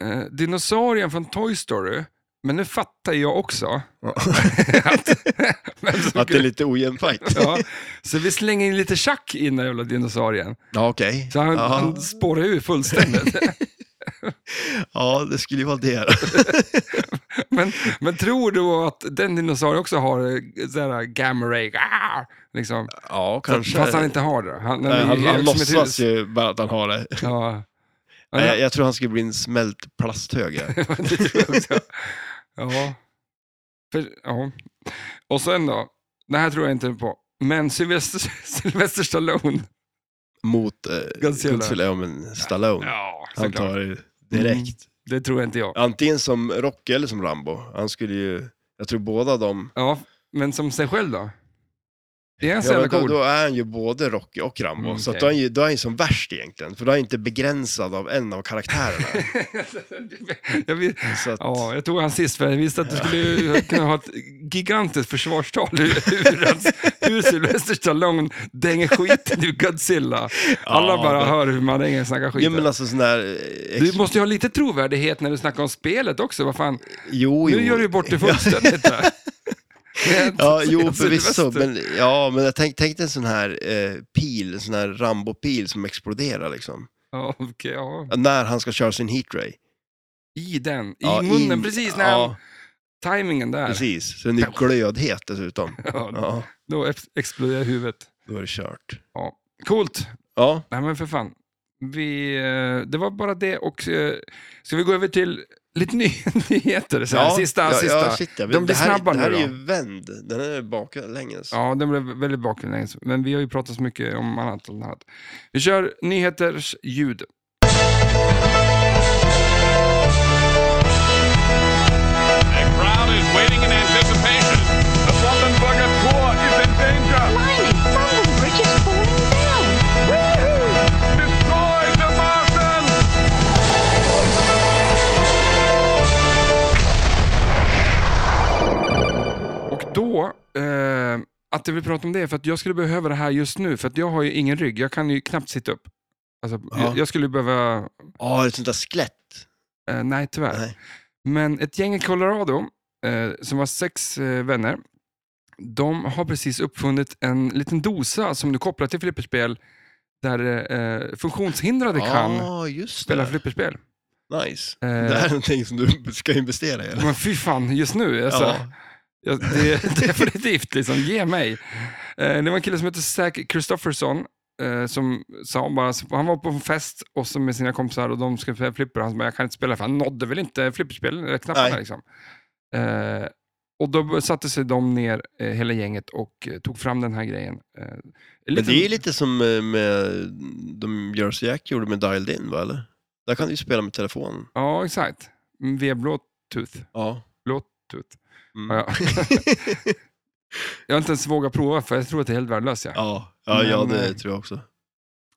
S1: Eh, dinosaurien från Toy Story, men nu fattar jag
S2: <laughs>
S1: också. <laughs> att, men så,
S2: Att det är lite ojämn fight.
S1: ja, så vi slänger in lite schack i den där jävla dinosaurien.
S2: Ja, okej.
S1: Så han,
S2: Ja.
S1: han spårar ur
S2: <laughs>
S1: fullständigt.
S2: Ja, det skulle ju
S1: <laughs>
S2: vara det. då.
S1: men, men tror du att den dinosaurien också har eh, sådär gamma ray? Ah, liksom.
S2: Ja,
S1: Kanske.
S2: kanske.
S1: Fast han inte har det. Han,
S2: Nej,
S1: är
S2: han,
S1: helt
S2: han
S1: som ett hus.
S2: låtsas ju bara att han har det.
S1: Ja. Ja,
S2: Nej, jag, jag tror han skulle bli en smält plasthög. ja.
S1: <laughs> det tror jag också. ja. För, ja. Och sen då, det här tror jag inte på, men Sylvester, <laughs> Sylvester Stallone.
S2: Mot eh,
S1: Godzilla.
S2: Godzilla, ja men Stallone.
S1: Ja,
S2: han
S1: såklart. Mm.
S2: tar det direkt.
S1: Det tror jag inte jag.
S2: Antingen som Rocky eller som Rambo. Han skulle ju, jag tror båda de...
S1: Ja, men som sig själv då? Det är en så
S2: Ja,
S1: jävla
S2: men då,
S1: cool.
S2: då är han ju både Rocky och Rambo,
S1: Mm,
S2: så att
S1: okej.
S2: då är, han ju, då är han ju som värst egentligen. För då är han inte begränsad av en
S1: <laughs>
S2: av karaktärerna.
S1: <laughs> jag, vet,
S2: så att,
S1: ja, jag tog han sist för jag visste att du skulle kunna ha ett gigantiskt försvarstal ur, ur, hans- ur Sylvester Stallone dänger skiten ur Godzilla. Alla
S2: Ja,
S1: bara
S2: men-
S1: hör hur man dänger snackar skit.
S2: Jo men alltså sån där... eh,
S1: Du måste ju ha lite trovärdighet när du snackar om spelet också. Vad fan?
S2: Jo, jo.
S1: Nu gör du ju bort det fullständigt. där. Med-
S2: <laughs> Ja, jo
S1: <laughs> Sylvester.
S2: förvisso. Men, ja, men jag tänk, tänk dig en sån här eh, pil, en sån här Rambo-pil som exploderar liksom.
S1: Ja, okej, ja.
S2: När han ska köra sin heatray.
S1: I den, i
S2: Ja,
S1: munnen,
S2: in-
S1: precis när
S2: Ja,
S1: han, timingen där.
S2: precis. Så den är glödhet dessutom.
S1: <laughs> Ja,
S2: Ja,
S1: då ex- exploderar huvudet.
S2: då är det kört.
S1: Ja. Coolt!
S2: Ja,
S1: Nej men för fan. Vi, eh, det var bara det och eh, ska vi gå över till lite ny, <laughs> nyheter? Så här,
S2: ja,
S1: sista,
S2: ja,
S1: sista.
S2: Ja,
S1: Ja,
S2: shit, jag
S1: De
S2: vet.
S1: blir
S2: det här,
S1: snabba
S2: det här
S1: nu
S2: är
S1: då.
S2: ju vänd. Den är baklänges.
S1: den blev väldigt baklänges. Men vi har ju pratat så mycket om annat. än annat. Vi kör nyheters ljud.
S4: The crowd is waiting in anticipation. The Brandenburger Tor is in danger.
S5: Blimey, Brandon Bridge is falling down.
S4: Destroy the Martians!
S1: Och då, eh, att jag vill prata om det, är för att jag skulle behöva det här just nu, för att jag har ju ingen rygg, jag kan ju knappt sitta upp. Alltså,
S2: Ja.
S1: jag, jag skulle behöva,
S2: Ja, ett sånt där skelett.
S1: eh, nej tyvärr.
S2: Nej.
S1: Men ett gäng i Colorado, eh, som var sex eh, vänner, de har precis uppfunnit en liten dosa som du kopplar till flipperspel, där eh, funktionshindrade
S2: Ah.
S1: kan
S2: Ja, just
S1: spela
S2: det.
S1: flipperspel.
S2: Nice.
S1: Eh,
S2: Det här är någonting som du <laughs> ska investera i, eller?
S1: Men fy fan, just nu. Alltså.
S2: Ja.
S1: Ja, det, <laughs> definitivt, liksom, ge mig. Eh, det var en kille som hette Zack Kristofferson eh, som sa bara, han var på en fest och så med sina kompisar och de skulle spela flipper och han bara, jag kan inte spela för han nådde väl inte flipperspel, eller knapparna
S2: Nej.
S1: liksom. Eh, och då satte sig de ner, eh, hela gänget, och eh, tog fram den här grejen. Eh,
S2: Men det är ju lite som eh, med, de Jersey Jack gjorde med Dialed In, va? Eller? Där kan du ju spela med telefonen.
S1: Ja, exakt. Mm, Via Bluetooth.
S2: Ja.
S1: Bluetooth.
S2: Mm.
S1: Ja, <laughs> ja. jag har inte ens vågat prova för jag tror att det är helt värdelöst. Ja.
S2: Ja, ja, ja
S1: Men,
S2: det
S1: eh,
S2: tror
S1: <laughs>
S2: jag också.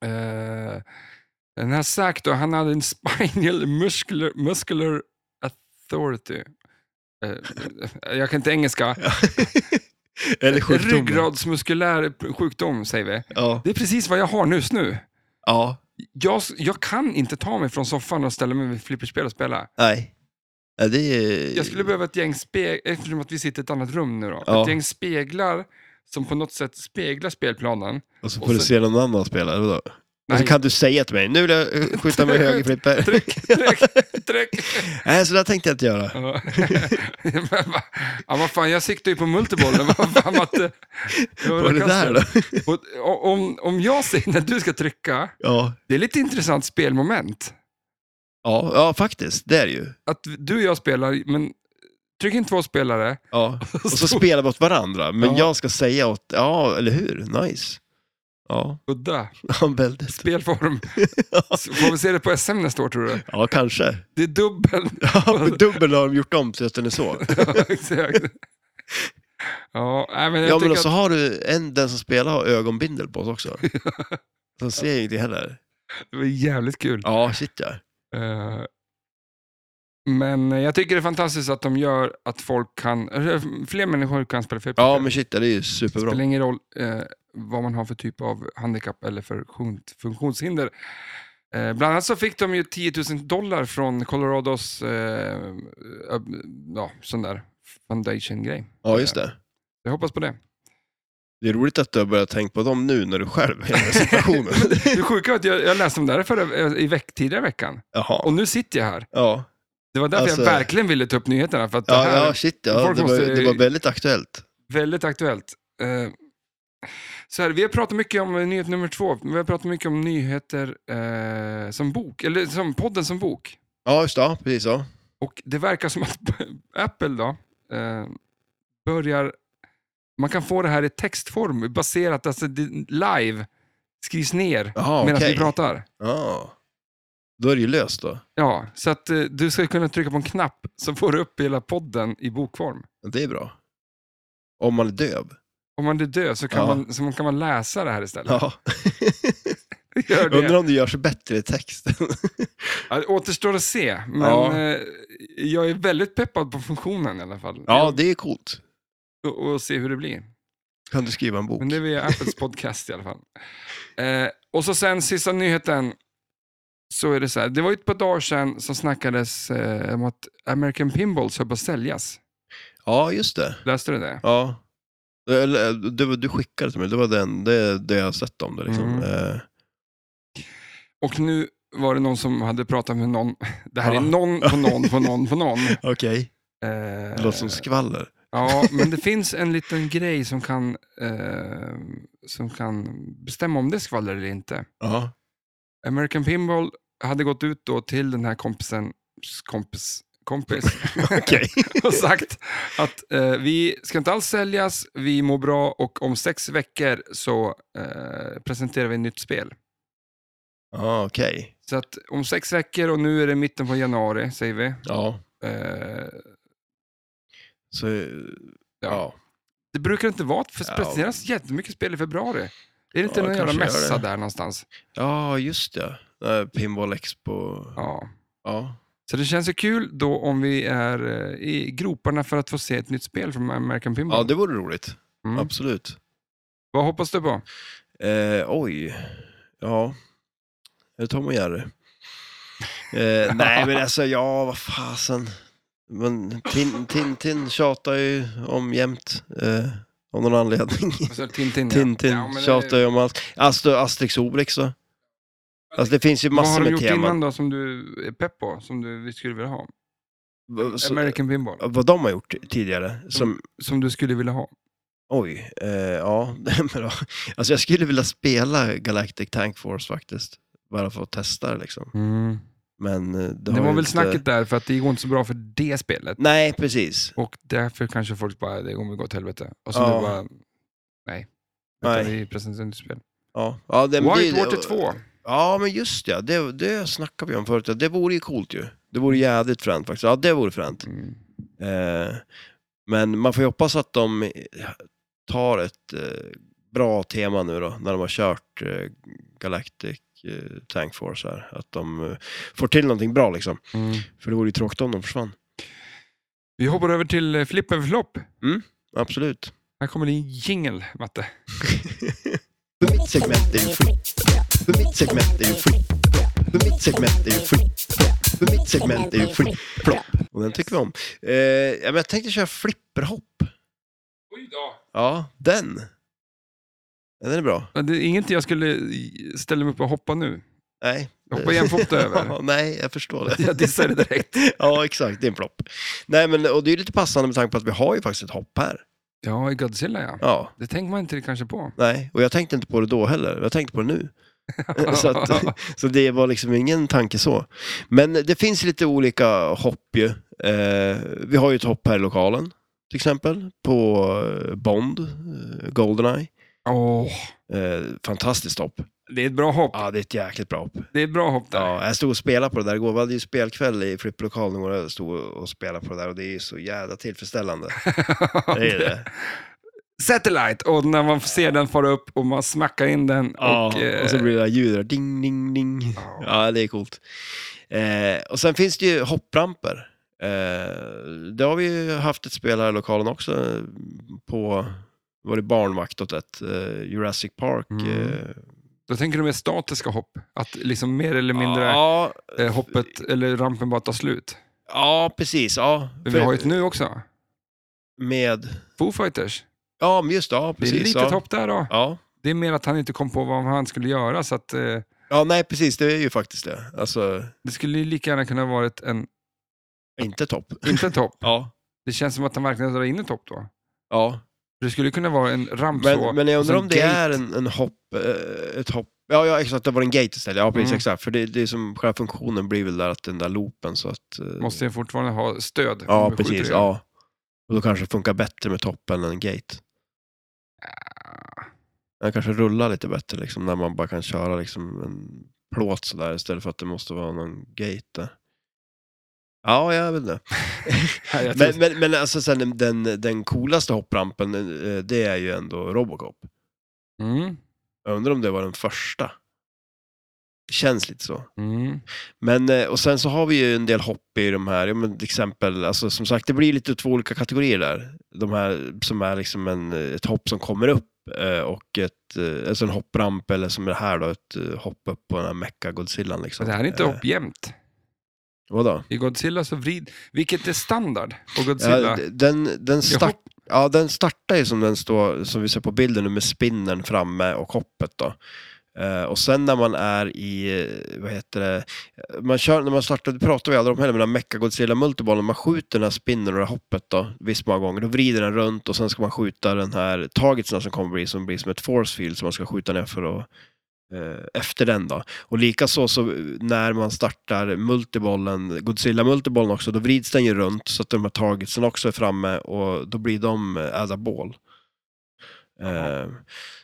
S1: Eh, den här Zack då, han hade en <laughs> spinal muscular, muscular authority. Eh, jag kan inte engelska.
S2: Eller sjukdomen.
S1: Ryggradsmuskulär sjukdom säger vi.
S2: Ja,
S1: Det är precis vad jag har just nu.
S2: ja,
S1: Jag, jag kan inte ta mig från soffan och ställa mig vid flipperspel och spela.
S2: nej. Ja, det är...
S1: Jag skulle behöva ett gäng speglar, eftersom att vi sitter i ett annat rum nu då.
S2: Eh. Ja.
S1: Ett gäng speglar som på något sätt speglar spelplanen.
S2: Och så får
S1: och
S2: du
S1: så-
S2: se någon annan spela, eller vadå? Och så
S1: Nej.
S2: Alltså, kan du säga till mig, nu vill jag eh, skjuta med högerflipper.
S1: Tryck, tryck, tryck.
S2: <laughs> Nej, så det tänkte jag inte göra.
S1: Ja. <laughs> Men va- ja, vad fan, jag siktar ju på multibollen. <laughs> Vad fan, Matte?
S2: Vad var det där då?
S1: Och, och- om, om jag säger när du ska trycka,
S2: Ja,
S1: det är lite intressant spelmoment.
S2: ja, ja faktiskt, det är det ju.
S1: Att du och jag spelar, men tryck in två spelare. <laughs>
S2: Ja. Och så
S1: Så-
S2: spelar vi åt varandra, men
S1: Ja.
S2: jag ska säga åt, ja, eller hur? Nice. Ja, <laughs>
S1: Udda
S2: ja väldigt. <laughs>
S1: spelform. Så Får vi se det på SM nästa år tror du?
S2: Ja, kanske.
S1: Det är dubbel. <laughs>
S2: Ja, men dubbel har de gjort om till att den är så.
S1: Ja,
S2: <laughs>
S1: exakt. Ja, nej, men jag
S2: Ja, men alltså-
S1: tycker
S2: och så har du en, den som spelar har ögonbindel på sig
S1: <laughs>
S2: också. De ser ju inte heller.
S1: att det var jävligt kul.
S2: Ja, shit ja.
S1: Eh, Men jag tycker det är fantastiskt att de gör att folk kan, eller eh, fler människor kan spela flipper.
S2: Ja, men shit ja, det är ju
S1: det spelar
S2: superbra.
S1: ingen roll eh, vad man har för typ av handikapp eller för sjunk- funktionshinder. Eh, bland annat så fick de ju 10 000 dollar från Colorados eh, eh, ja, sån där foundation-grej.
S2: Ja, just det.
S1: Jag hoppas på det.
S2: Det är roligt att du har börjat tänka på dem nu när du själv är i den
S1: <laughs>
S2: här situationen.
S1: Det sjuka är att jag, jag läste om det här förra, eh, i veck, tidigare veckan
S2: Jaha.
S1: och nu sitter jag här.
S2: Ja,
S1: Det var därför
S2: Alltså-
S1: jag verkligen ville ta upp nyheterna. För att det här,
S2: ja, ja shit ja.
S1: folk
S2: Det var,
S1: måste-
S2: det var väldigt aktuellt.
S1: Väldigt aktuellt. Eh, Så här, vi har pratat mycket om eh, nyhet nummer två. Vi har pratat mycket om nyheter eh, som bok, eller som podden som bok.
S2: Ja, just det. Ja, precis så.
S1: Och det verkar som att <laughs> Apple då eh, börjar... Man kan få det här i textform baserat, alltså det, live skrivs ner
S2: Jaha,
S1: medan
S2: okej.
S1: vi pratar.
S2: Ja. Då är det ju löst då.
S1: Ja, så att eh, du ska kunna trycka på en knapp så får du upp hela podden i bokform.
S2: Ja, Det är bra. Om man är döv.
S1: Om man är död så kan,
S2: Ja.
S1: man, så kan man läsa det här istället.
S2: <laughs> Ja.
S1: <laughs> Gör det.
S2: Undrar om det gör sig bättre i <laughs> texten.
S1: Ja, det återstår att se, men
S2: Ja.
S1: eh, jag är väldigt peppad på funktionen i alla fall.
S2: Ja, det är coolt.
S1: Och, och se hur det blir.
S2: Kan du skriva en bok?
S1: Men det är via Apples podcast i alla fall. Eh, och så sen sista nyheten. Så är det så här. Det var ju ett par dagar sedan som snackades eh, om att American Pinballs höll på att säljas.
S2: Ja, just det.
S1: Läste du det?
S2: Ja. Eller, det var, du Mm. Eh, skickade till mig, det var den, det, det jag har sett om det. Liksom.
S1: Mm.
S2: Eh,
S1: Och nu var det någon som hade pratat med någon. Det här
S2: Ja.
S1: är någon på någon på någon på
S2: <laughs>
S1: någon.
S2: Okej. Det
S1: Eh,
S2: låter som skvaller.
S1: ja, men det finns en liten grej som kan, eh, som kan bestämma om det är skvaller eller inte.
S2: Ja.
S1: American Pinball hade gått ut då till den här kompisen, kompis,
S2: <laughs>
S1: kompis
S2: <laughs> Okej.
S1: och sagt att eh, vi ska inte alls säljas, vi mår bra och om sex veckor så eh, presenterar vi ett nytt spel.
S2: Ja, okej.
S1: Så att om sex veckor och nu är det mitten på januari, säger vi.
S2: Ja.
S1: Eh,
S2: Så, ja. ja.
S1: det brukar inte vara, för det
S2: Ja.
S1: presenteras jättemycket spel i februari. Är det inte
S2: Ja,
S1: någon jävla
S2: kanske gör
S1: mässa
S2: det.
S1: där någonstans?
S2: just det. Eh, Pinball Expo.
S1: Ja.
S2: Ja.
S1: Så det känns ju kul då om vi är eh, i groparna för att få se ett nytt spel från American Pinball.
S2: Ja, det vore roligt.
S1: Mm.
S2: Absolut.
S1: Vad hoppas du på?
S2: Eh, oj. Ja. Är det Tom och Jerry?
S1: <laughs>
S2: Eh, nej, men alltså, ja, vad fasen. Men Tin- Tintin tjatar ju om jämt, eh, av någon anledning.
S1: Alltså, Tintin, <laughs> ja.
S2: Tintin
S1: Ja, men det-
S2: tjatar ju om allt. Alltså, Asterix och Obelix då? Alltså det finns ju
S1: Vad har
S2: massor
S1: de
S2: med
S1: gjort
S2: teman.
S1: innan då som du är pepp på, som du vi skulle vilja ha?
S2: V- så- eh,
S1: American Pinball,
S2: Vad de har gjort tidigare, som,
S1: som du skulle vilja ha.
S2: oj, eh, ja, <laughs> men då, alltså jag skulle vilja spela Galactic Tank Force faktiskt. Bara för att testa det liksom.
S1: Mm.
S2: Men eh, det,
S1: Det,
S2: har
S1: var
S2: ju
S1: väl
S2: inte...
S1: snacket där, för att det går inte så bra för det spelet.
S2: Nej, precis.
S1: Och därför kanske folk bara, det kommer gå åt helvete. Och så
S2: Ja.
S1: nu bara, nej.
S2: Nej.
S1: Utan vi presenterar inte spel.
S2: Ja, ja det, men det-
S1: Whitewater 2.
S2: Ja, men just det. Det, det snackade vi om förut. Det vore ju coolt ju. Det vore jävligt fränt faktiskt. Ja, det vore fränt.
S1: Mm.
S2: Eh, men man får ju hoppas att de eh, tar ett eh, bra tema nu då, när de har kört eh, Galactic eh, Tank Force här. Att de eh, får till någonting bra liksom.
S1: Mm.
S2: För det vore ju tråkigt om de försvann.
S1: Vi hoppar över till eh, flipp över flopp.
S2: Absolut.
S1: Här kommer din jingel, Matte.
S2: För mitt segment är ju fritt. För mitt segment är ju fritt. För mitt segment är ju fritt. För mitt segment är ju fritt. Plopp. Och den tycker vi om. Eh, ja, men jag tänkte köra flipperhopp.
S1: Oj då.
S2: Ja, den. Ja, Den är bra.
S1: Det är inget jag skulle i- ställa mig upp och hoppa nu.
S2: Nej.
S1: Hoppa jämfota över.
S2: Ja, nej, <laughs> jag förstår det.
S1: Jag dissar det direkt.
S2: Ja, exakt. Det är en plopp. Nej, men och det är lite passande med tanke på att vi har ju faktiskt ett hopp här.
S1: Ja, i Godzilla ja.
S2: Ja.
S1: Det tänker man inte kanske på.
S2: Nej, och jag tänkte inte på det då heller. Jag tänkte på det nu. Eh, så, att, så det var liksom ingen tanke så. Men det finns lite olika hopp ju. Eh, vi har ju ett hopp här i lokalen, till exempel, på eh, Bond, eh, Goldeneye.
S1: Åh,
S2: Eh, fantastiskt hopp.
S1: det är ett bra hopp.
S2: Ja, det är ett jäkligt bra hopp.
S1: Det är ett bra hopp där.
S2: Ja, jag stod och spelade på det där igår. Vi hade ju spelkväll i flipplokalen och jag stod och spelade på det där och det är ju så jävla tillfredsställande. Det är det.
S1: Satellite, och när man ser den fara upp och man smackar in den.
S2: Ja,
S1: och, eh,
S2: och så blir det där ljudet. Ding, ding, ding.
S1: Ja.
S2: Ja, det är coolt. Eh, och sen finns det ju hoppramper. Eh, det har vi ju haft ett spel här i lokalen också eh, på, var det barnvakt åt ett, eh, Jurassic Park.
S1: Mm.
S2: Eh,
S1: Då tänker du mer statiska hopp. Att liksom mer eller mindre
S2: Ja,
S1: eh, hoppet, eller rampen bara tar slut.
S2: ja precis. Ja,
S1: Men
S2: För-
S1: vi har ju ett nu också.
S2: med,
S1: Foo Fighters.
S2: ja men just det, ja,
S1: Det är ett
S2: precis.
S1: litet
S2: ja.
S1: hopp där då.
S2: Ja.
S1: Det är mer att han inte kom på vad han skulle göra, så att eh,
S2: ja, nej precis, det är ju faktiskt det. Alltså,
S1: det skulle ju lika gärna kunna ha varit en,
S2: inte topp.
S1: inte ett hopp.
S2: Ja.
S1: Det känns som att han verkligen drar in ett hopp då.
S2: ja.
S1: Det skulle kunna vara en ramp så.
S2: Men, men jag
S1: och sen
S2: undrar om det
S1: gate.
S2: är en, en hopp, eh, ett hopp. Ja, ja, exakt, det var en gate istället. Ja, precis,
S1: Mm.
S2: exakt. För det, det är som själva funktionen blir väl där att den där loopen så att... eh,
S1: Måste jag fortfarande ha stöd? om
S2: ja,
S1: vi skjuter
S2: precis.
S1: det?
S2: Ja. Och då kanske det funkar bättre med toppen än en gate.
S1: Ah.
S2: Den kanske rullar lite bättre liksom, när man bara kan köra liksom en plåt sådär istället för att det måste vara någon gate där. Ja, jag vet inte.
S1: Ja, jag tror-
S2: Men, men, men alltså sen den, den coolaste hopprampen, eh, det är ju ändå Robocop.
S1: Mm,
S2: Jag undrar om det var den första. Det känns lite så.
S1: mm.
S2: Men, eh, och sen så har vi ju en del hopp i de här, ja, men till exempel, alltså, som sagt, det blir lite två olika kategorier där. De här som är liksom en, eh, ett hopp som kommer upp eh, och ett, eh, alltså en hoppramp eller som är det här då, ett eh, hopp upp på den här Mecha-Godzillan. Liksom.
S1: Men det här är inte
S2: Eh,
S1: hopp jämnt.
S2: Vadå?
S1: I Godzilla så vrid... Vilket är standard på
S2: Ja,
S1: Godzilla?
S2: d- den, den, start,
S1: hopp-
S2: ja, den startar ju som den står, som vi ser på bilden nu med spinnen framme och hoppet då. Eh, och sen när man är i, eh, vad heter det, man kör, när man startar, det pratar vi aldrig om heller, men den här Mechagodzilla multiballen, man skjuter den här spinnen och det här hoppet då, visst många gånger, då vrider den runt och sen ska man skjuta den här targetsen som kommer bli, som blir som ett force field som man ska skjuta ner för att eh, efter den då. Och likaså så eh, när man startar multibollen, Godzilla multibollen också, då vrids den ju runt så att de här targetsen också är framme och då blir de eh, as a ball. Eh,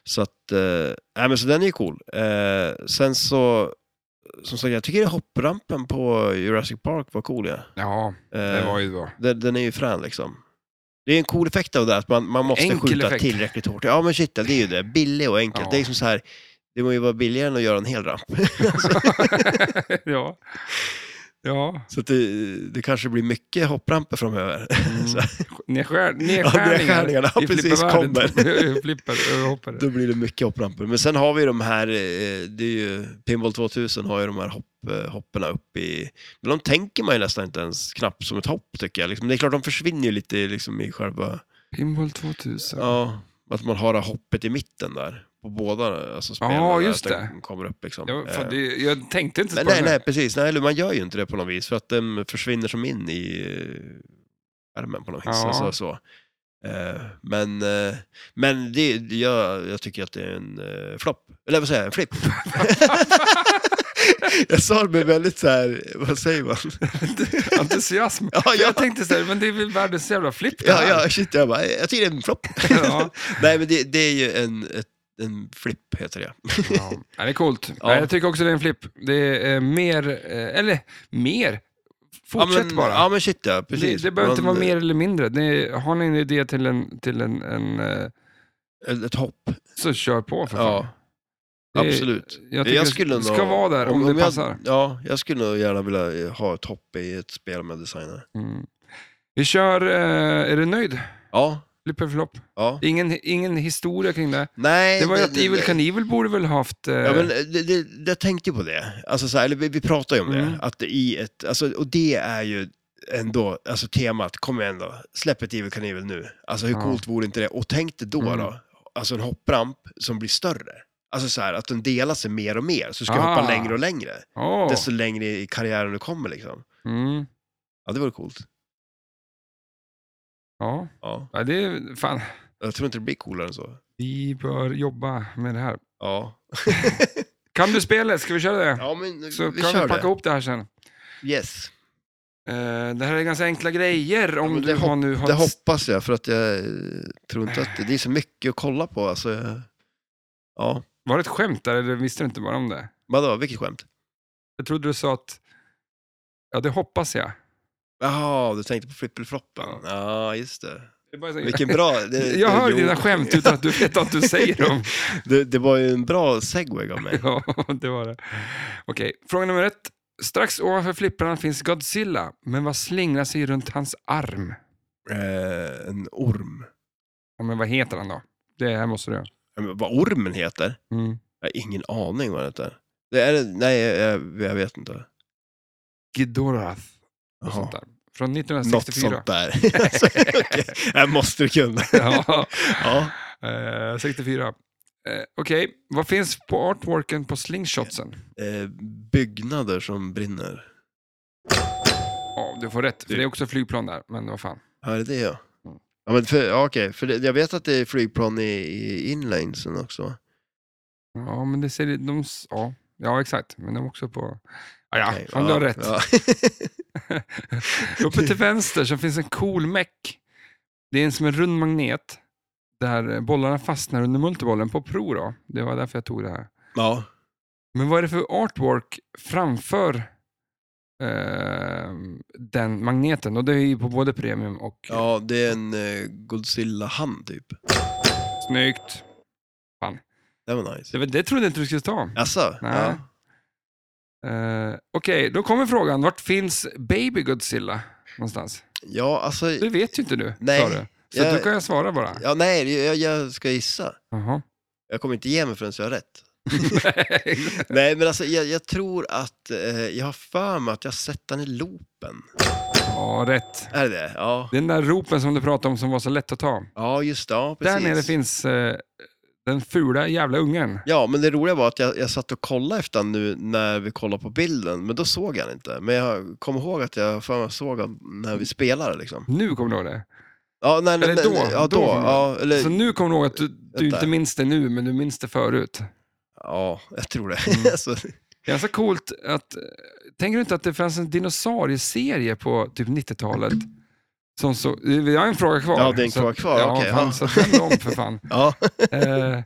S2: så att, eh, nej men så den är ju cool. Eh, sen så, som sagt, jag tycker hopprampen på Jurassic Park var cool ja.
S1: Ja, det
S2: Eh,
S1: var ju då. <laughs>
S2: den, den är ju frän liksom. Det är en cool effekt av det, att man, man måste
S1: Enkel
S2: skjuta
S1: effekt.
S2: tillräckligt hårt. Ja men shit, det är ju det. Billig och enkel.
S1: Ja.
S2: Det är liksom så här, det må ju vara billigare än att göra en hel ramp.
S1: ja.
S2: <laughs>
S1: Ja,
S2: Så att det, det kanske blir mycket hoppramper framöver. <laughs> Så,
S1: Mm. nedskär,
S2: nedskärningarna,
S1: nedskärningar
S2: ja, precis,
S1: <laughs>
S2: kommer.
S1: Flipper, hoppare.
S2: då blir det mycket hoppramper. Men sen har vi de här, eh, det är ju, Pinball 2000 har ju de här hopp, eh, hopperna upp i... Men de tänker man ju nästan inte ens knappt som ett hopp tycker jag. Liksom, det är klart, de försvinner ju lite liksom, i själva...
S1: Pinball 2000.
S2: Ja, att man har det här hoppet i mitten där. På båda alltså spelen.
S1: Ja,
S2: där,
S1: just
S2: att den
S1: det.
S2: Kommer upp liksom.
S1: Jag,
S2: Eh,
S1: fan, det, jag tänkte inte
S2: men
S1: på
S2: nej,
S1: det.
S2: nej, precis. Nej, eller man gör ju inte det på något vis. För att den försvinner som in i eh, värmen på något vis.
S1: Ja.
S2: Alltså, så. Eh, Men, eh, men det, det- jag, jag tycker att det är en eh, flopp. Eller vad säger jag,
S1: <laughs>
S2: en flipp. jag sa det med väldigt så här, vad säger man?
S1: Entusiasm.
S2: Ja,
S1: För
S2: <laughs> ja.
S1: Jag tänkte så här, men det är väl världens jävla flipp det
S2: Ja,
S1: här.
S2: ja, shit, jag bara, jag tycker det är en flopp.
S1: <laughs> Ja.
S2: Nej, men det, det är ju en, ett, en flipp heter det.
S1: Ja. Ja, det är coolt.
S2: Ja.
S1: Nej, jag tycker också det är en flipp. Det är eh, mer, eh, eller mer, fortsätt
S2: ja, men,
S1: bara.
S2: Ja, men shit ja, precis.
S1: det, det behöver inte
S2: Man-
S1: vara mer eller mindre. Det, har ni en idé till en, till en, en eh,
S2: Ett, ett hopp,
S1: så kör på för fan.
S2: ja.
S1: Det är-
S2: absolut.
S1: Jag tycker det
S2: nog-
S1: ska vara där om, det
S2: jag,
S1: passar.
S2: Ja, jag skulle nog gärna vilja eh, ha ett hopp i ett spel med designer.
S1: Mm. Vi kör, eh, är du nöjd?
S2: Ja,
S1: Flipp eller flopp?
S2: ja.
S1: Ingen, ingen historia kring det.
S2: Nej,
S1: Det var ju att Evil Knievel borde väl haft... eh,
S2: Ja, men det, det, jag tänkte ju på det. Alltså, så här, eller vi, vi pratade ju om
S1: Mm.
S2: det. Att det i ett, alltså, och det är ju ändå, alltså temat, kom igen då. Släpp ett Evil Knievel nu. Alltså hur
S1: Ja.
S2: coolt vore inte det? Och tänk dig då
S1: Mm.
S2: då, alltså en hoppramp som blir större. Alltså så här, att den delar sig mer och mer. Så du ska
S1: Ah.
S2: hoppa längre och längre.
S1: åh.
S2: Desto längre i karriären du kommer liksom.
S1: Mm.
S2: Ja, det vore coolt.
S1: Ja.
S2: Ja.
S1: ja, det är fan.
S2: Jag tror inte det blir coolare än så.
S1: Vi bör jobba med det här.
S2: Ja.
S1: Kan du spelet? Ska vi köra det?
S2: Ja, men
S1: Så
S2: vi
S1: kan vi
S2: kör
S1: packa
S2: det.
S1: ihop det här sen.
S2: Yes.
S1: Eh, det här är ganska enkla grejer om
S2: men
S1: du
S2: det
S1: har nu har...
S2: Det hoppas jag, för att jag eh, tror inte att det, det är så mycket att kolla på. Alltså, jag- ja.
S1: Var det ett skämt där eller visste du inte bara om det?
S2: Vadå, vilket skämt?
S1: Jag trodde du sa att... Ja, det hoppas jag.
S2: Jaha, du tänkte på flippelfloppen. Ja, just det.
S1: Det är bara så-
S2: Vilken bra...
S1: <laughs>
S2: Det,
S1: Jag hör
S2: jo,
S1: dina skämt utan att du vet att du säger dem.
S2: <laughs> Det, det var ju en bra segway av mig.
S1: Ja, det var det. Okej, fråga nummer ett. Strax ovanför flipprarna finns Godzilla, men vad slingrar sig runt hans arm?
S2: Eh, en orm.
S1: Ja, men vad heter han då? Det här måste du göra.
S2: Ja, men Eh, Vad ormen heter?
S1: Mm.
S2: Jag har ingen aning vad den heter. Det är, nej, jag, jag vet inte.
S1: Ghidorah. och
S2: Jaha.
S1: sånt där. Från
S2: Något
S1: 1964.
S2: <laughs> sånt där. alltså, okay. Jag måste du kunna.
S1: ja.
S2: Ja.
S1: Eh, 64. Eh, Okej, vad finns på artworken på slingshotsen?
S2: Eh, byggnader som brinner.
S1: Ja, du får rätt, för det är också flygplan där, men vad fan.
S2: Ja, det är det ja.
S1: Mm.
S2: Ja, men för, ja, okej. för det, jag vet att det är flygplan i, i inlanesen också.
S1: Ja, men det ser de... s- Ja, ja exakt, men de är också på... Ah, ja,
S2: Okej,
S1: fan, du har rätt.
S2: Ja.
S1: <laughs> Uppe till vänster så finns en cool meck. Det är en som en rund magnet där bollarna fastnar under multibollen på pro. Då. Det var därför jag tog det här.
S2: ja.
S1: Men vad är det för artwork framför eh, den magneten? Och det är ju på både premium och
S2: ja, det är en eh, Godzilla-hand typ.
S1: snyggt.
S2: Det var nice.
S1: Det, var- det trodde jag inte du skulle ta.
S2: Jaså?
S1: Nej.
S2: Ja.
S1: Eh, Okej, då kommer frågan. Vart finns Baby Godzilla någonstans?
S2: ja, alltså...
S1: Det vet ju inte du,
S2: Nej,
S1: sa du. Så
S2: jag-
S1: då kan jag svara bara.
S2: Ja, nej, jag, jag ska gissa.
S1: Jaha. <laughs>
S2: Jag kommer inte ge mig förrän jag har rätt. Nej, men alltså jag, jag tror att eh, jag har för mig att jag har sett den i loopen.
S1: ja, rätt.
S2: Är det det? Ja.
S1: Den där ropen som du pratade om som var så lätt att ta.
S2: Ja, just det. Ja, precis.
S1: Där nere finns eh, Den fula jävla ungen.
S2: Ja, men det roliga var att jag, jag satt och kollade efter han nu när vi kollade på bilden, men då såg jag han inte. Men jag kommer ihåg att jag för mig såg han när vi spelade liksom.
S1: Nu kommer du ihåg det.
S2: Ja, nej, nej,
S1: Eller
S2: nej,
S1: då,
S2: nej, ja,
S1: då Alltså-
S2: då.
S1: kommer jag.
S2: ja, eller,
S1: Så nu kommer du ihåg att du, du
S2: Vänta.
S1: inte minns det nu, men du minns det förut.
S2: ja, jag tror det.
S1: Mm.
S2: <laughs> alltså,
S1: Ganska coolt att... Tänker du inte att det fanns en dinosaurieserie på typ 90-talet? Som så, vi har en fråga kvar.
S2: Ja, det är en
S1: Så-
S2: fråga kvar,
S1: Ja,
S2: okej,
S1: fan,
S2: ja.
S1: så vänd om för
S2: <laughs>
S1: fan.
S2: ja.
S1: Eh,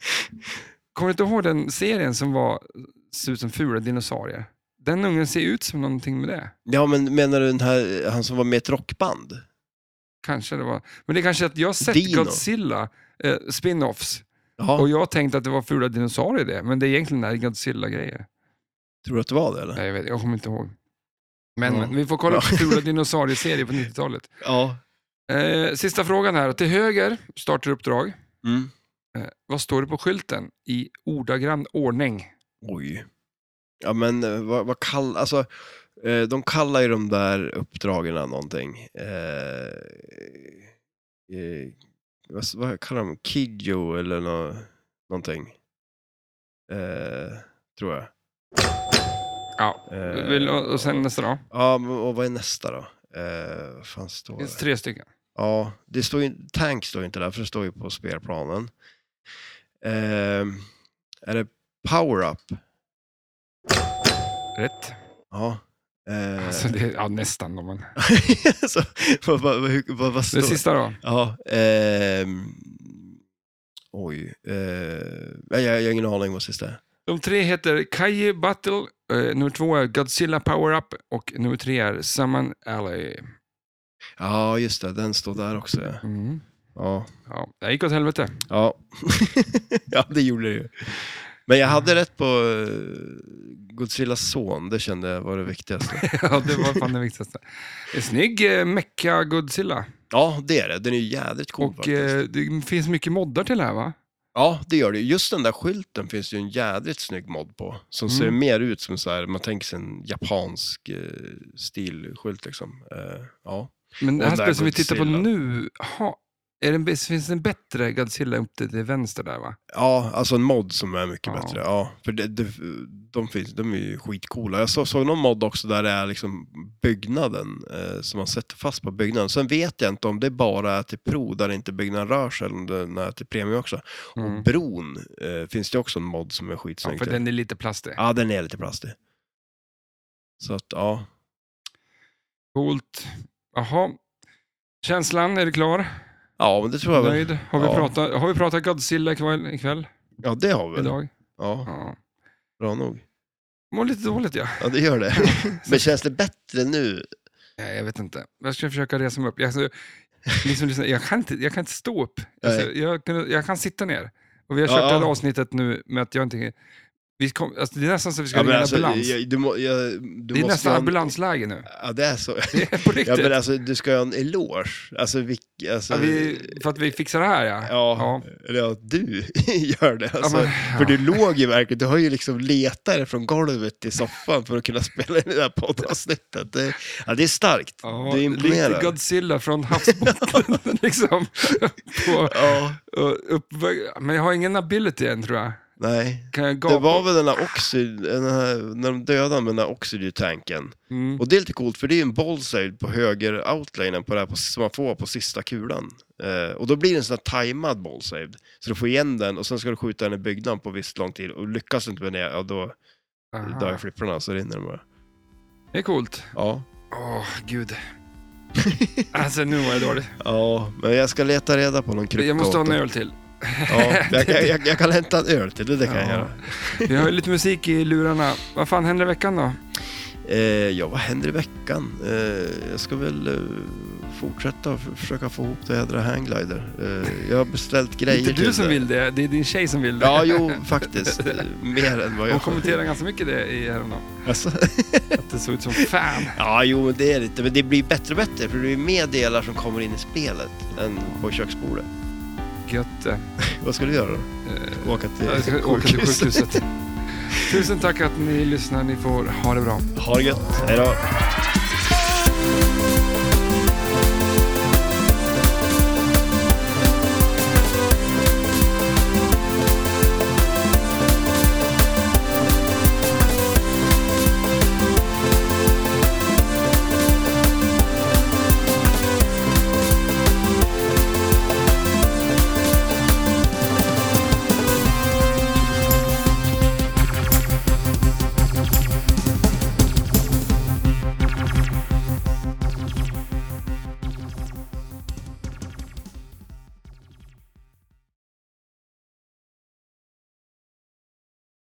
S1: kommer du inte ihåg den serien som var, såg ut som fula dinosaurier? Den ungen ser ut som någonting med det.
S2: ja, men menar du den här, han som var med i ett rockband?
S1: Kanske det var. Men det är kanske att jag har sett
S2: Dino.
S1: Godzilla eh, spin-offs
S2: Ja,
S1: och jag tänkte att det var fula dinosaurier i det, men det är egentligen den här Godzilla-grejer.
S2: tror du att det var det eller?
S1: Nej, jag, vet, jag kommer inte ihåg. Men,
S2: Ja.
S1: men vi får kolla upp
S2: Ja. <laughs>
S1: fula dinosaurieserier på 90-talet.
S2: Ja.
S1: Eh, sista frågan här. Till höger, startaruppdrag.
S2: Mm.
S1: Eh, vad står det på skylten i ordagrann ordning?
S2: Oj. Ja, men eh, vad, vad kall, alltså, eh, de kallar ju de där uppdragen någonting. Eh, eh, vad, vad kallar de Kidjo eller nå, någonting. Eh, tror jag.
S1: Ja.
S2: Eh,
S1: Vill, och, och sen nästa då?
S2: Ja, men- och vad är nästa då? Eh, vad fan står
S1: Det
S2: det?
S1: finns tre stycken.
S2: Ja, det står ju, tank står ju inte där, för det står ju på spelplanen. Eh, är det power-up?
S1: Rätt.
S2: Ja. Eh,
S1: Alltså, det, ja, nästan. då, Men.
S2: <laughs> så, vad, vad, hur- vad, vad står
S1: Det sista då?
S2: Ja, ehm, oj. Eh, jag, jag har ingen aning vad sista är.
S1: De tre heter Kaiji Battle, eh, nummer två är Godzilla Power-Up och nummer tre är Summon Alley.
S2: Ja, just det. Den står där också. ja.
S1: Mm.
S2: Ja,
S1: Ja, det gick åt helvete.
S2: ja. <laughs> ja det gjorde det ju. Men jag hade rätt på eh, Godzillas son. Det kände jag var det viktigaste.
S1: <laughs> ja, det var fan det viktigaste. En snygg eh, mecka Godzilla.
S2: Ja, det är det. Den är ju jädrigt cool
S1: Och
S2: faktiskt.
S1: eh, det finns mycket moddar till det här va?
S2: Ja, det gör det. Just den där skylten finns ju en jädrigt snygg mod på. Som ser
S1: Mm.
S2: mer ut som så här, man tänker sig en japansk eh, stilskylt liksom. Eh, ja.
S1: Men det här
S2: Och där
S1: spelet som vi tittar på
S2: Godzilla.
S1: nu, ha, är det en, finns det en bättre Godzilla upp till, till vänster där va?
S2: ja, alltså en mod som är mycket
S1: Ja.
S2: bättre. Ja, för det, det, de, finns, de är ju skitcoola. Jag så, såg någon mod också där det är liksom byggnaden eh, som man sätter fast på byggnaden. Sen vet jag inte om det bara är till pro där inte byggnaden rör sig eller om det är till premium också.
S1: Mm.
S2: Och bron eh, finns det också en mod som är skitsnygg
S1: Ja, för
S2: till.
S1: den är lite plastig.
S2: Ja, den är lite plastig. Så att, ja.
S1: Coolt. Jaha. Känslan, är du klar?
S2: Ja, men det tror jag väl.
S1: Nöjd? Har vi,
S2: Ja.
S1: pratat, har vi pratat Godzilla ikväll? ikväll
S2: Ja, det har vi väl.
S1: idag?
S2: Ja,
S1: Ja.
S2: bra nog.
S1: Mår lite dåligt ja.
S2: Ja, det gör det. <laughs> men känns det bättre nu?
S1: Nej, jag vet inte. Jag ska försöka resa mig upp. Jag, alltså, ni som lyssnar, jag, kan, inte, jag kan inte stå upp. Alltså,
S2: Nej.
S1: jag, kan, jag kan sitta ner. Och vi har
S2: Ja,
S1: kört det här
S2: ja.
S1: avsnittet nu med att jag inte... Vi kom, alltså, det är nästan så att vi ska
S2: Ja, men
S1: ringa
S2: alltså,
S1: ambulans.
S2: jag, du må, jag, du
S1: det är
S2: måste
S1: nästan
S2: ha en-
S1: ambulansläge nu.
S2: Ja, det är så.
S1: Det är <laughs> på
S2: <laughs> Ja,
S1: riktigt.
S2: men alltså, du ska ha en eloge. Alltså, vilk, alltså,
S1: Ja, vi, för att vi fixar det här ja.
S2: ja, Eller ja, du <laughs> gör det. Alltså,
S1: men-
S2: För du låg ju verkligen, du har ju liksom letat dig från golvet till soffan för att kunna spela in det här poddavsnittet. Det, ja, det är starkt.
S1: Ja,
S2: det
S1: lite
S2: imponerar.
S1: Godzilla från
S2: <laughs>
S1: havsbotten. <laughs> liksom. på,
S2: Ja,
S1: och upp, men jag har ingen ability än tror jag.
S2: nej.
S1: Kan jag gapa?
S2: Det var väl den här oxid, den här, när de dödade med den här oxidtanken.
S1: Mm.
S2: Och det är lite coolt för det är ju en ballside på höger outlinen på det här på, som man får på sista kulan. Eh, och då blir det en sån här tajmad ballside. Så du får igen den och sen ska du skjuta den i byggnaden på visst lång tid. Och lyckas du inte med det, ja då
S1: Aha.
S2: dör flipprarna så rinner de bara.
S1: Det är coolt.
S2: Ja.
S1: Åh,
S2: <laughs>
S1: gud. alltså nu var jag dålig.
S2: ja, men jag ska leta reda på någon krypto.
S1: Jag måste ha en öl till.
S2: Ja, jag, jag, jag, jag kan hämta en öl till det, det kan jag
S1: Ja.
S2: göra.
S1: Vi har ju lite musik i lurarna. Vad fan händer i veckan då?
S2: Eh, ja, vad händer i veckan? Eh, jag ska väl eh, fortsätta f- försöka få ihop det jädra hangglider. Eh, jag har beställt
S1: Det är
S2: grejer
S1: inte du
S2: till
S1: som
S2: det.
S1: vill det, det är din tjej som vill det.
S2: Ja, jo, faktiskt. Eh, Mer än vad
S1: Hon
S2: jag...
S1: kommenterade ganska mycket det i häromdagen.
S2: Alltså. <laughs>
S1: Att det såg ut som fan.
S2: Ja, jo, men det är det inte. Men det blir bättre och bättre, för det är mer delar som kommer in i spelet än på köksbordet.
S1: Gött. eh.
S2: Vad ska du göra då? Åka till
S1: Jag ska åka till
S2: sjukhuset?
S1: sjukhuset. Tusen tack att ni lyssnar. Ni får ha det bra.
S2: Ha det gött. Hej då.